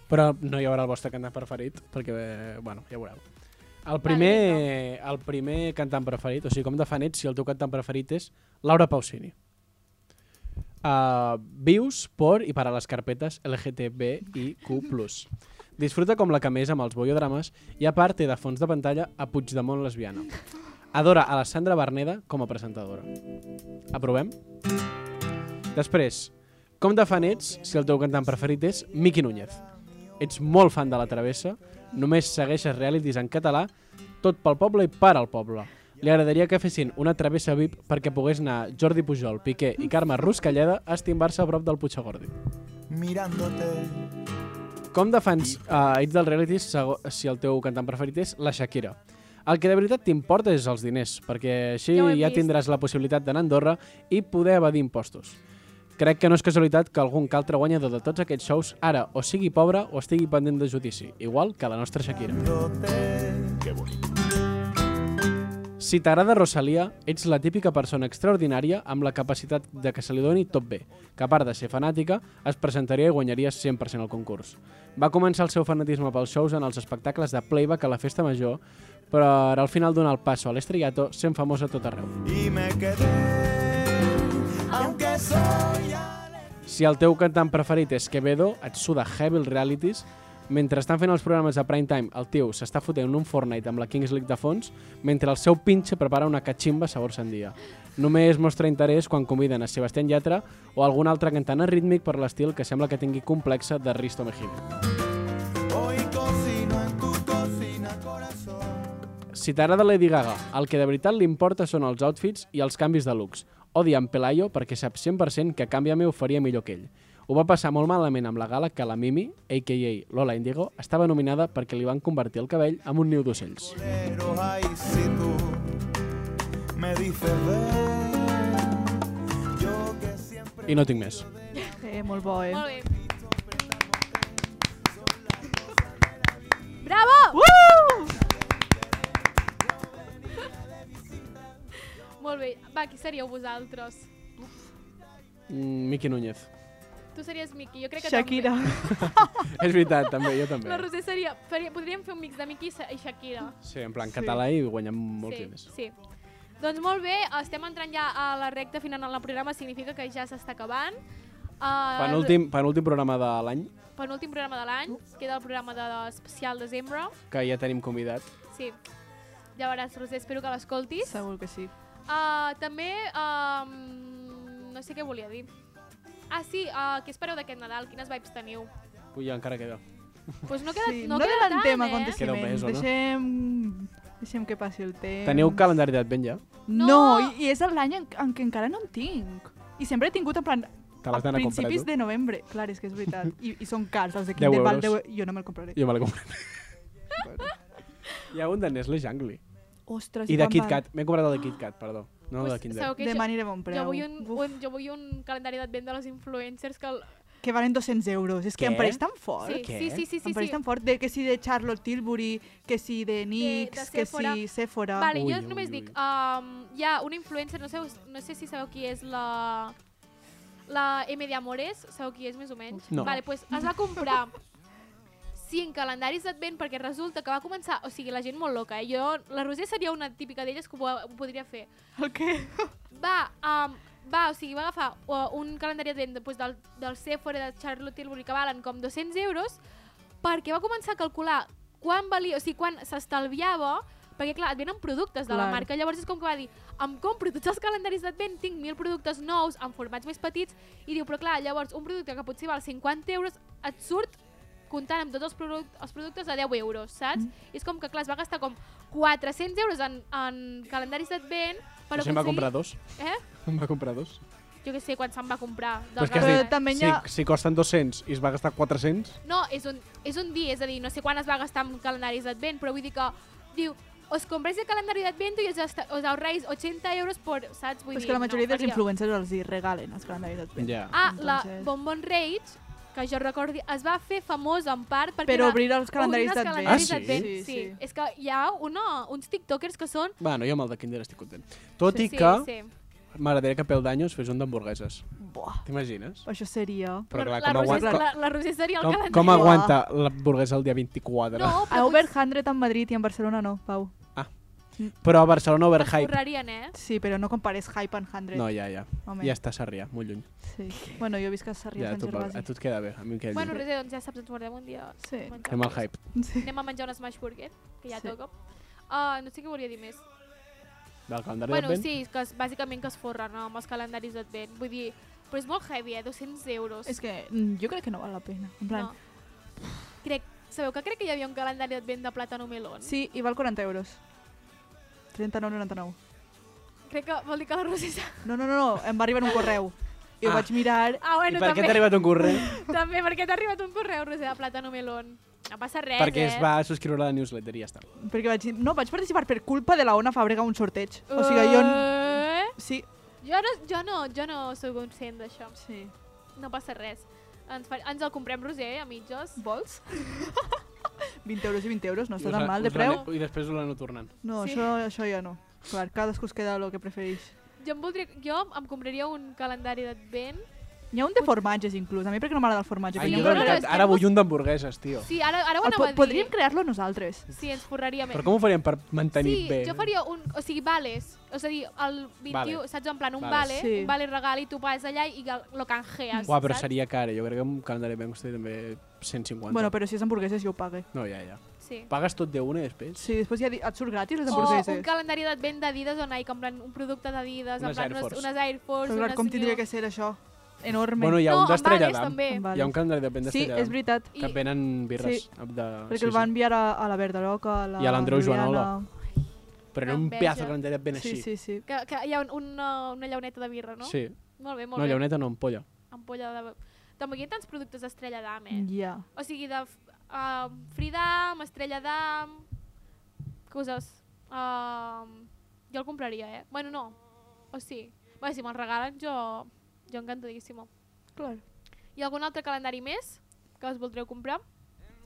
[SPEAKER 3] Però no hi haurà el vostre cantant preferit, perquè, eh, bueno, ja ho veureu. El primer, el primer cantant preferit, o sigui, com de fan ets si el teu cantant preferit és Laura Pausini. Uh, vius por i per a les carpetes LGTBIQ+. Disfruta com la que més amb els bollodrames i a part té de fons de pantalla a Puigdemont lesbiana. Adora a la Sandra Berneda com a presentadora. Aprovem? Després, com de fan ets si el teu cantant preferit és Miqui Núñez? Ets molt fan de la travessa, només segueixes realities en català, tot pel poble i per al poble. Li agradaria que fessin una travessa VIP perquè pogués anar Jordi Pujol, Piqué i Carme Ruscalleda a estimbar-se a prop del Puigagordi.
[SPEAKER 5] Mirándote.
[SPEAKER 3] Com defens uh, ets del reality sego- si el teu cantant preferit és la Shakira? El que de veritat t'importa és els diners, perquè així
[SPEAKER 2] Ja ho
[SPEAKER 3] ja,
[SPEAKER 2] hem vist.
[SPEAKER 3] tindràs la possibilitat d'anar a Andorra i poder evadir impostos. Crec que no és casualitat que algun que altre guanyador de tots aquests shows ara o sigui pobre o estigui pendent de judici, igual que la nostra Shakira. Si t'agrada Rosalia, ets la típica persona extraordinària amb la capacitat de que se li doni tot bé, que a part de ser fanàtica, es presentaria i guanyaria 100% el concurs. Va començar el seu fanatisme pels shows en els espectacles de playback a la Festa Major, però ara al final donar el passo a l'estrellato sent famosa a tot arreu.
[SPEAKER 5] Y me quedé, aunque soy ale-
[SPEAKER 3] Si el teu cantant preferit és Quevedo, et suda Heavy el Realities, mentre estan fent els programes de prime time, el tio s'està fotent un Fortnite amb la Kings League de fons, mentre el seu pinche prepara una catximba sabor sandia. Només mostra interès quan conviden a Sebastián Yatra o algun altre cantant rítmic per l'estil que sembla que tingui complexa de Risto Mejide.
[SPEAKER 5] Hoy cocino en tu cocina, corazón.
[SPEAKER 3] Si t'agrada Lady Gaga, el que de veritat li importa són els outfits i els canvis de looks. Odia en Pelayo perquè sap 100% que a canvi meu ho faria millor que ell. Ho va passar molt malament amb la gala que la Mimi, a.k.a. Lola Indigo, estava nominada perquè li van convertir el cabell en un niu d'ocells.
[SPEAKER 5] Pero ay, si tú me dices ven, yo que siempre
[SPEAKER 3] I no tinc més.
[SPEAKER 4] Eh, molt bo, eh?
[SPEAKER 2] Molt bé. Bravo!
[SPEAKER 4] Uh!
[SPEAKER 2] Molt bé. Va, qui seríeu vosaltres?
[SPEAKER 3] Mm, Miqui Núñez.
[SPEAKER 2] Tu series Miki, jo crec que
[SPEAKER 4] Shakira.
[SPEAKER 3] És veritat, també, jo
[SPEAKER 2] també. La
[SPEAKER 3] també.
[SPEAKER 2] Roser seria... Faria, podríem fer un mix de Miki i Sha- i Shakira.
[SPEAKER 3] Sí, en plan
[SPEAKER 4] Sí.
[SPEAKER 3] català i guanyem molts
[SPEAKER 2] sí,
[SPEAKER 3] diners.
[SPEAKER 2] Sí. Doncs molt bé, estem entrant ja a la recta final del programa, significa que ja s'està acabant. Eh, Uh,
[SPEAKER 4] Ah,
[SPEAKER 3] Penúltim, penúltim programa de l'any,
[SPEAKER 2] penúltim programa de l'any, queda el programa de, especial desembre.
[SPEAKER 3] que ja tenim convidat.
[SPEAKER 2] Sí. Ja veuràs, Roser, espero que l'escoltis.
[SPEAKER 4] Segur que sí.
[SPEAKER 2] Uh, també, um, no sé què volia dir. Ah, sí, uh, què espereu d'aquest Nadal? Quines vibes teniu?
[SPEAKER 3] Ui, encara queda.
[SPEAKER 2] Pues no queda,
[SPEAKER 4] Sí,
[SPEAKER 2] no
[SPEAKER 4] no
[SPEAKER 2] queda tant,
[SPEAKER 4] adelantem
[SPEAKER 2] eh?
[SPEAKER 4] aconteciments.
[SPEAKER 3] Queda un mes, o no?
[SPEAKER 4] Deixem... Deixem que passi el temps.
[SPEAKER 3] Teniu calendaritat ben ja?
[SPEAKER 4] No,
[SPEAKER 2] No!
[SPEAKER 4] i, i és l'any en, en què encara no en tinc. I sempre he tingut en plan...
[SPEAKER 3] Te l'has
[SPEAKER 4] a
[SPEAKER 3] d'anar a comprar,
[SPEAKER 4] principis
[SPEAKER 3] tu?
[SPEAKER 4] de novembre. Clar, és que és veritat. I, i són cars, els de
[SPEAKER 3] 10
[SPEAKER 4] Kinder Val.
[SPEAKER 3] euros.
[SPEAKER 4] deu e- Jo no me'l compraré.
[SPEAKER 3] Jo me l'he comprat. Hi ha un de Nestle Jungly.
[SPEAKER 4] Ostres,
[SPEAKER 3] I de
[SPEAKER 4] quan
[SPEAKER 3] Kit
[SPEAKER 4] van?
[SPEAKER 3] Kat. M'he comprat el de Kit Kat, perdó. No el de
[SPEAKER 2] Pues,
[SPEAKER 3] Kinder.
[SPEAKER 2] sabeu què?
[SPEAKER 4] Demà
[SPEAKER 2] Jo-
[SPEAKER 4] aniré a bon preu.
[SPEAKER 2] Jo vull un,
[SPEAKER 4] Uf.
[SPEAKER 2] un, jo vull un calendari d'advent de les influencers que... El...
[SPEAKER 4] Que valen 200 euros. És que em
[SPEAKER 3] Què?
[SPEAKER 4] pareix tan fort.
[SPEAKER 2] Sí,
[SPEAKER 3] què?
[SPEAKER 2] sí, sí, sí,
[SPEAKER 4] em
[SPEAKER 2] sí,
[SPEAKER 4] pareix
[SPEAKER 2] sí.
[SPEAKER 4] tan fort. De, que si de Charlotte Tilbury, que si de
[SPEAKER 2] de
[SPEAKER 4] NYX, que
[SPEAKER 2] Sephora.
[SPEAKER 4] si Sephora.
[SPEAKER 2] Vale,
[SPEAKER 3] Ui,
[SPEAKER 2] jo
[SPEAKER 3] ui,
[SPEAKER 2] només
[SPEAKER 3] ui.
[SPEAKER 2] dic, um, hi ha una influencer, no sé, no sé si sabeu qui és la... La M de Amores, sabeu qui és més o menys?
[SPEAKER 3] No.
[SPEAKER 2] Vale, pues es va comprar 5 calendaris d'advent perquè resulta que va començar... O sigui, la gent molt loca, eh? Jo, la Roser seria una típica d'elles que ho, ho podria fer.
[SPEAKER 4] El què?
[SPEAKER 2] Va, um, va, o sigui, va agafar uh, un calendari d'advent doncs, del, del Sephora, de Charlotte Tilbury, que valen com 200 euros, perquè va començar a calcular quan valia, o sigui, quan s'estalviava, perquè clar, et venen productes de la
[SPEAKER 4] Clar.
[SPEAKER 2] marca, llavors és com que va dir, em compro tots els calendaris d'advent, tinc mil productes nous, en formats més petits, i diu, però clar, llavors un producte que potser val 50 euros, et surt comptant amb tots els, produc els productes a 10 euros, saps? Mm. I és com que, clar, es va gastar com 400 euros en, en calendaris d'advent per
[SPEAKER 3] Però si em va
[SPEAKER 2] aconseguir-
[SPEAKER 3] comprar dos.
[SPEAKER 2] Eh?
[SPEAKER 3] Em va comprar dos.
[SPEAKER 2] Jo què sé, quan se'n va comprar. del
[SPEAKER 3] Però és que has
[SPEAKER 2] Galvez.
[SPEAKER 4] dit- També hi
[SPEAKER 3] Si,
[SPEAKER 4] ha-
[SPEAKER 3] si costen 200 i es va gastar 400,
[SPEAKER 2] No, és un, és un dia, és a dir, no sé quan es va gastar en calendaris d'advent, però vull dir que diu, os compráis el calendario de advento y os, gasta- os ahorráis 80 euros por, saps? Vull
[SPEAKER 4] És
[SPEAKER 2] dir,
[SPEAKER 4] que la majoria
[SPEAKER 2] no,
[SPEAKER 4] dels
[SPEAKER 2] faria.
[SPEAKER 4] influencers els hi regalen els calendaris d'advent.
[SPEAKER 3] ja.
[SPEAKER 2] Ah, la
[SPEAKER 4] Entonces-
[SPEAKER 2] Bonbon Rage, que jo recordi, es va fer famosa en part perquè
[SPEAKER 4] Per
[SPEAKER 2] era
[SPEAKER 4] obrir els
[SPEAKER 2] obrir
[SPEAKER 4] calendaris
[SPEAKER 2] els
[SPEAKER 4] d'advent.
[SPEAKER 2] calendaris
[SPEAKER 3] Ah, sí?
[SPEAKER 2] d'advent, Sí,
[SPEAKER 4] Sí,
[SPEAKER 2] sí.
[SPEAKER 4] sí.
[SPEAKER 2] És que hi ha una, uns tiktokers que són...
[SPEAKER 3] Bueno, jo amb el de Kinder estic content. Tot i
[SPEAKER 2] sí,
[SPEAKER 3] que
[SPEAKER 2] sí.
[SPEAKER 3] m'agradaria que Peu d'Anyos fes un d'hamburgueses.
[SPEAKER 4] Buah,
[SPEAKER 3] T'imagines?
[SPEAKER 4] això seria...
[SPEAKER 3] Però
[SPEAKER 2] la,
[SPEAKER 3] clar, com,
[SPEAKER 2] Roser,
[SPEAKER 3] aguanta,
[SPEAKER 2] la, la Roser seria el
[SPEAKER 3] com,
[SPEAKER 2] calendari.
[SPEAKER 3] com
[SPEAKER 4] calendari.
[SPEAKER 3] aguanta l'hamburguesa el dia 24?
[SPEAKER 2] No,
[SPEAKER 4] A
[SPEAKER 2] però
[SPEAKER 4] Over 100 en Madrid i en Barcelona no, Pau.
[SPEAKER 3] Però a Barcelona
[SPEAKER 2] potser
[SPEAKER 3] overhype.
[SPEAKER 2] escorrarien, eh?
[SPEAKER 4] Sí, però no compares Hype and 100.
[SPEAKER 3] No, ja, ja.
[SPEAKER 4] home.
[SPEAKER 3] Ja està a Sarrià, molt lluny.
[SPEAKER 4] Sí. Bueno, jo visc a
[SPEAKER 3] Ja,
[SPEAKER 4] Sarrià
[SPEAKER 3] Ah, a
[SPEAKER 4] Sant
[SPEAKER 3] tu, va-
[SPEAKER 4] Gervasi.
[SPEAKER 3] a tu et queda bé, a mi em queda
[SPEAKER 2] Bueno,
[SPEAKER 3] lluny.
[SPEAKER 2] res, doncs ja saps, ens guardem un dia.
[SPEAKER 4] Sí.
[SPEAKER 2] Menjar.
[SPEAKER 3] Fem el hype.
[SPEAKER 4] Sí.
[SPEAKER 2] Anem a menjar un smash burger, que ja
[SPEAKER 4] Sí.
[SPEAKER 2] sí. toca. Uh, no sé què volia dir més.
[SPEAKER 3] Del calendari
[SPEAKER 2] Bueno,
[SPEAKER 3] d'advent?
[SPEAKER 2] sí, és que és, bàsicament que es forren no, amb els calendaris d'advent. Vull dir, però és molt heavy, eh? 200 euros.
[SPEAKER 4] És que mm, jo crec que no val la pena. En plan, no.
[SPEAKER 2] Crec, sabeu que crec que hi havia un calendari d'advent de plàtano melón?
[SPEAKER 4] sí, i val 40 euros. 39,99.
[SPEAKER 2] Crec que vol dir que la Rosi... s'ha-
[SPEAKER 4] No, no, no, no, em va arribar un correu. I
[SPEAKER 3] Ah.
[SPEAKER 4] ah. ho vaig mirar...
[SPEAKER 2] Ah,
[SPEAKER 3] I
[SPEAKER 2] bueno,
[SPEAKER 3] per què
[SPEAKER 2] també,
[SPEAKER 3] t'ha arribat un correu?
[SPEAKER 2] també, perquè t'ha arribat un correu, Rosi, de plàtano melón. No passa res,
[SPEAKER 3] Perquè
[SPEAKER 2] eh?
[SPEAKER 3] es va subscriure a la newsletter i ja està.
[SPEAKER 4] Perquè vaig dir... No, vaig participar per culpa de la Ona Fàbrega a un sorteig. O sigui, jo... n-
[SPEAKER 2] Eh?
[SPEAKER 4] Sí,
[SPEAKER 2] Jo no, jo no, jo no soc conscient d'això.
[SPEAKER 4] sí.
[SPEAKER 2] No passa res. Ens, fa, ens el comprem, Roser, a mitges.
[SPEAKER 4] Vols? 20 euros i 20 euros, no
[SPEAKER 3] I
[SPEAKER 4] està
[SPEAKER 3] us
[SPEAKER 4] tan
[SPEAKER 3] la-
[SPEAKER 4] mal de
[SPEAKER 3] us la
[SPEAKER 4] preu.
[SPEAKER 3] aneu- I després us l'aneu tornant.
[SPEAKER 4] No,
[SPEAKER 2] Sí.
[SPEAKER 4] això, això ja no. Clar, cadascú es queda el que prefereix.
[SPEAKER 2] Jo em, voldria, jo em compraria un calendari d'advent.
[SPEAKER 4] N'hi ha un de formatges, inclús. A mi perquè no m'agrada el formatge.
[SPEAKER 3] Ai,
[SPEAKER 4] Ai,
[SPEAKER 3] jo
[SPEAKER 2] no,
[SPEAKER 3] de
[SPEAKER 2] no,
[SPEAKER 3] veritat,
[SPEAKER 2] és que
[SPEAKER 3] ara
[SPEAKER 2] no-
[SPEAKER 3] vull un d'hamburgueses, tio.
[SPEAKER 2] Sí, ara, ara ho
[SPEAKER 4] el
[SPEAKER 2] anava
[SPEAKER 4] po
[SPEAKER 2] a dir.
[SPEAKER 4] podríem crear-lo nosaltres.
[SPEAKER 2] Sí, ens forraria més.
[SPEAKER 3] Però com ho faríem per mantenir
[SPEAKER 2] sí,
[SPEAKER 3] bé?
[SPEAKER 2] jo faria un... O sigui, vales. O sigui, el 21,
[SPEAKER 3] Vale.
[SPEAKER 2] saps? En plan, un
[SPEAKER 3] Vale.
[SPEAKER 2] vale,
[SPEAKER 4] Sí.
[SPEAKER 2] un vale regal i tu vas allà i el- lo canjeas,
[SPEAKER 3] Uah, però
[SPEAKER 2] saps?
[SPEAKER 3] seria cara. Jo crec que un calendari ben costaria també 150.
[SPEAKER 4] Bueno, però si és hamburgueses jo ho pague.
[SPEAKER 3] No, ja, ja.
[SPEAKER 2] Sí.
[SPEAKER 3] Pagues tot d'una i després?
[SPEAKER 4] Sí, després ja di- et surt gratis les
[SPEAKER 2] O
[SPEAKER 4] hamburgueses.
[SPEAKER 2] Oh, un calendari d'advent d'Adidas o Nike, en plan, un producte d'Adidas, en
[SPEAKER 3] Unes
[SPEAKER 2] plan,
[SPEAKER 3] Air
[SPEAKER 2] unes,
[SPEAKER 3] Force.
[SPEAKER 2] unes Air Force,
[SPEAKER 4] Però clar,
[SPEAKER 2] unes
[SPEAKER 4] com tindria
[SPEAKER 2] New-
[SPEAKER 4] que ser això? Enorme.
[SPEAKER 3] Bueno, hi ha
[SPEAKER 2] no,
[SPEAKER 3] un d'Estrella
[SPEAKER 2] No,
[SPEAKER 3] d'Am.
[SPEAKER 2] també.
[SPEAKER 4] Amb vales.
[SPEAKER 3] Hi ha un calendari de ben
[SPEAKER 4] sí,
[SPEAKER 3] d'Estrella
[SPEAKER 4] és
[SPEAKER 3] d'Am.
[SPEAKER 4] veritat.
[SPEAKER 3] Que
[SPEAKER 2] I-
[SPEAKER 3] et venen birres.
[SPEAKER 4] Sí,
[SPEAKER 3] amb De...
[SPEAKER 4] Perquè el van enviar a, a la Verdaroca, a la
[SPEAKER 3] I a l'Andreu
[SPEAKER 4] Juliana.
[SPEAKER 3] Joanola. Però era un
[SPEAKER 2] Enveja.
[SPEAKER 3] pedazo de calendari ben
[SPEAKER 4] Sí,
[SPEAKER 3] així.
[SPEAKER 4] sí, sí.
[SPEAKER 2] Que, que hi ha un, una, una llauneta de birra, no?
[SPEAKER 3] sí.
[SPEAKER 2] Molt bé, molt
[SPEAKER 3] No,
[SPEAKER 2] bé.
[SPEAKER 3] llauneta no, ampolla.
[SPEAKER 2] Ampolla de... També hi ha tants productes d'Estrella d'Am, eh?
[SPEAKER 4] Ja. Yeah.
[SPEAKER 2] O sigui, de uh, Freedom, Estrella d'Am... Coses... Uh, jo el compraria, eh? Bueno, no. O sí. Bé, si me'l regalen, jo... Jo encantadíssimo.
[SPEAKER 4] Clar.
[SPEAKER 2] Hi ha algun altre calendari més que us voldreu comprar?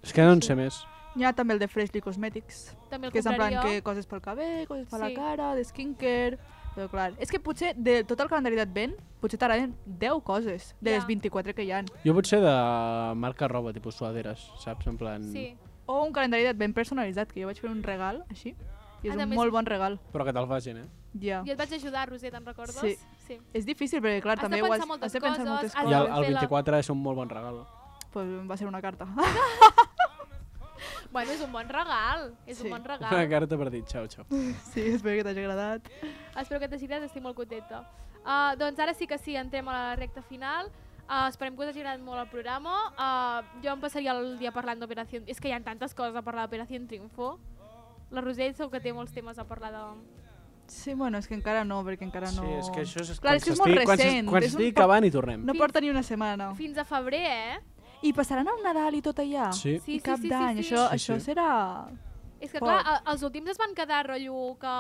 [SPEAKER 3] És que no en sé més.
[SPEAKER 4] Hi ha també el de Freshly Cosmetics,
[SPEAKER 2] També el
[SPEAKER 4] que és en plan
[SPEAKER 2] compraria.
[SPEAKER 4] que coses pel cabell, coses per la
[SPEAKER 2] Sí.
[SPEAKER 4] cara, de skincare, Però clar, és que potser de tot el calendari d'advent, potser t'agraden 10 coses de les
[SPEAKER 2] Ja.
[SPEAKER 4] 24 que hi han.
[SPEAKER 3] Jo potser de marca roba, tipus suaderes, saps? En plan...
[SPEAKER 2] Sí.
[SPEAKER 4] O un calendari d'advent personalitzat, que jo vaig fer un regal així, i
[SPEAKER 2] Ah,
[SPEAKER 4] és un
[SPEAKER 2] també
[SPEAKER 4] molt
[SPEAKER 2] és-
[SPEAKER 4] bon regal.
[SPEAKER 3] Però que te'l facin, eh?
[SPEAKER 4] Ja.
[SPEAKER 2] Jo et vaig ajudar, Roser, te'n recordes?
[SPEAKER 4] Sí.
[SPEAKER 2] sí.
[SPEAKER 4] És difícil, perquè clar,
[SPEAKER 2] Has de
[SPEAKER 4] també
[SPEAKER 2] pensar
[SPEAKER 4] has,
[SPEAKER 2] moltes
[SPEAKER 4] has de pensar
[SPEAKER 2] coses,
[SPEAKER 4] moltes
[SPEAKER 2] has
[SPEAKER 4] coses.
[SPEAKER 3] I el,
[SPEAKER 2] fer
[SPEAKER 3] el
[SPEAKER 2] la-
[SPEAKER 3] 24 és un molt bon regal.
[SPEAKER 4] Pues va ser una carta.
[SPEAKER 2] Bueno, és un bon regal. És
[SPEAKER 4] Sí.
[SPEAKER 2] un bon
[SPEAKER 3] Una
[SPEAKER 2] regal.
[SPEAKER 3] carta per dir, xau, xau.
[SPEAKER 4] sí, espero que t'hagi agradat.
[SPEAKER 2] Espero que t'hagi agradat, estic molt contenta. Uh, doncs ara sí que sí, entrem a la recta final. Uh, esperem que us hagi agradat molt el programa. Uh, jo em passaria el dia parlant d'Operació... És que hi ha tantes coses a parlar d'Operació Triunfo. La Roser segur que té molts temes a parlar de...
[SPEAKER 4] Sí, bueno, és que encara no, perquè encara no...
[SPEAKER 3] Sí, és que això és...
[SPEAKER 4] Clar, és que és molt
[SPEAKER 3] s'estigui- quan s'es-
[SPEAKER 4] recent.
[SPEAKER 3] Quan
[SPEAKER 4] és un
[SPEAKER 3] s'estigui
[SPEAKER 4] poc-
[SPEAKER 3] acabant i tornem.
[SPEAKER 4] No
[SPEAKER 2] Fins-
[SPEAKER 4] porta ni una setmana.
[SPEAKER 2] Fins a febrer, eh?
[SPEAKER 4] I passaran el Nadal i tot allà?
[SPEAKER 3] Sí.
[SPEAKER 2] Sí,
[SPEAKER 4] I cap
[SPEAKER 2] sí, sí,
[SPEAKER 4] d'any.
[SPEAKER 2] sí, sí.
[SPEAKER 4] Això,
[SPEAKER 3] Sí,
[SPEAKER 4] això
[SPEAKER 3] sí.
[SPEAKER 4] serà...
[SPEAKER 2] És que,
[SPEAKER 4] Poc.
[SPEAKER 2] clar, el- els últims es van quedar rotllo que...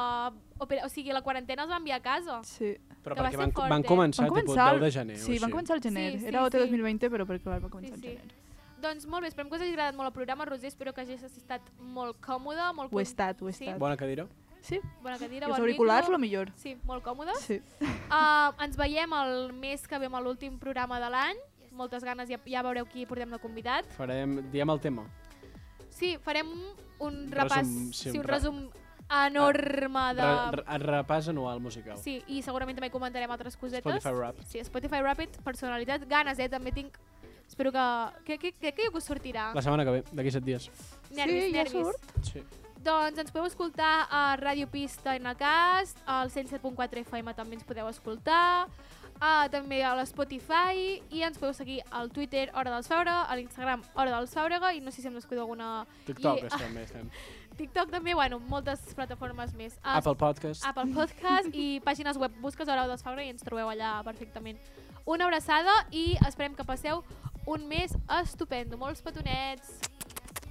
[SPEAKER 2] opera- O sigui, la quarantena els va enviar a casa.
[SPEAKER 4] Sí.
[SPEAKER 3] Però
[SPEAKER 2] que va
[SPEAKER 3] perquè
[SPEAKER 2] ser
[SPEAKER 3] van,
[SPEAKER 2] fort,
[SPEAKER 3] van
[SPEAKER 2] eh?
[SPEAKER 3] començar,
[SPEAKER 4] Van
[SPEAKER 3] tipus,
[SPEAKER 4] començar...
[SPEAKER 3] 10 de gener. o
[SPEAKER 4] sí, van
[SPEAKER 3] així.
[SPEAKER 4] començar al gener.
[SPEAKER 2] Sí, sí,
[SPEAKER 4] Era OT
[SPEAKER 2] sí.
[SPEAKER 4] 2020, però perquè clar, va començar al
[SPEAKER 2] sí.
[SPEAKER 4] gener.
[SPEAKER 2] Doncs molt bé, esperem que us hagi agradat molt el programa, Roser. Espero que hagis estat molt còmoda, molt... con-
[SPEAKER 4] Ho he estat, ho he
[SPEAKER 2] Sí.
[SPEAKER 4] estat.
[SPEAKER 3] Bona cadira.
[SPEAKER 4] Sí,
[SPEAKER 2] Bona
[SPEAKER 4] i
[SPEAKER 2] cadira,
[SPEAKER 4] els
[SPEAKER 2] bon
[SPEAKER 4] auriculars,
[SPEAKER 2] micro.
[SPEAKER 4] lo millor.
[SPEAKER 2] Sí, molt còmodes.
[SPEAKER 4] Sí.
[SPEAKER 2] Uh, ens veiem el mes que ve amb l'últim programa de l'any. Moltes ganes, ja, ja veureu qui portem de convidat.
[SPEAKER 3] Farem, diem el tema.
[SPEAKER 2] Sí, farem un, un
[SPEAKER 3] Resum-
[SPEAKER 2] repàs, sí,
[SPEAKER 3] sí, un
[SPEAKER 2] un
[SPEAKER 3] re-
[SPEAKER 2] resum enorme Ah, de...
[SPEAKER 3] Re, re, el repàs anual musical.
[SPEAKER 2] Sí, i segurament també comentarem altres cosetes.
[SPEAKER 3] Spotify Wrapped.
[SPEAKER 2] Sí, Spotify Rapid, personalitat, ganes, eh? També tinc... Espero que... Que, que, que, que us sortirà.
[SPEAKER 3] La setmana que ve, d'aquí 7 dies.
[SPEAKER 2] Nervis,
[SPEAKER 4] Sí, ja
[SPEAKER 2] nervis.
[SPEAKER 4] surt.
[SPEAKER 3] Sí.
[SPEAKER 2] Doncs ens podeu escoltar a Ràdio Pista en el cast, al 107.4 FM també ens podeu escoltar, a, també a l'Spotify i ens podeu seguir al Twitter Hora dels Fàbrega, a l'Instagram Hora dels Fàbrega i no sé si hem descuidat alguna
[SPEAKER 3] TikTok,
[SPEAKER 2] I-
[SPEAKER 3] I... també estem.
[SPEAKER 2] TikTok també, bueno, moltes plataformes més. A-
[SPEAKER 3] Apple Podcast.
[SPEAKER 2] Apple Podcast i pàgines web busques Hora dels Fàbrega i ens trobeu allà perfectament. Una abraçada i esperem que passeu un mes estupendo. Molts petonets.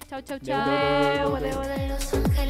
[SPEAKER 2] Xau, xau, xau.
[SPEAKER 3] Adéu, adéu, adéu, adéu.
[SPEAKER 8] Vuelve, vuelve los ángeles.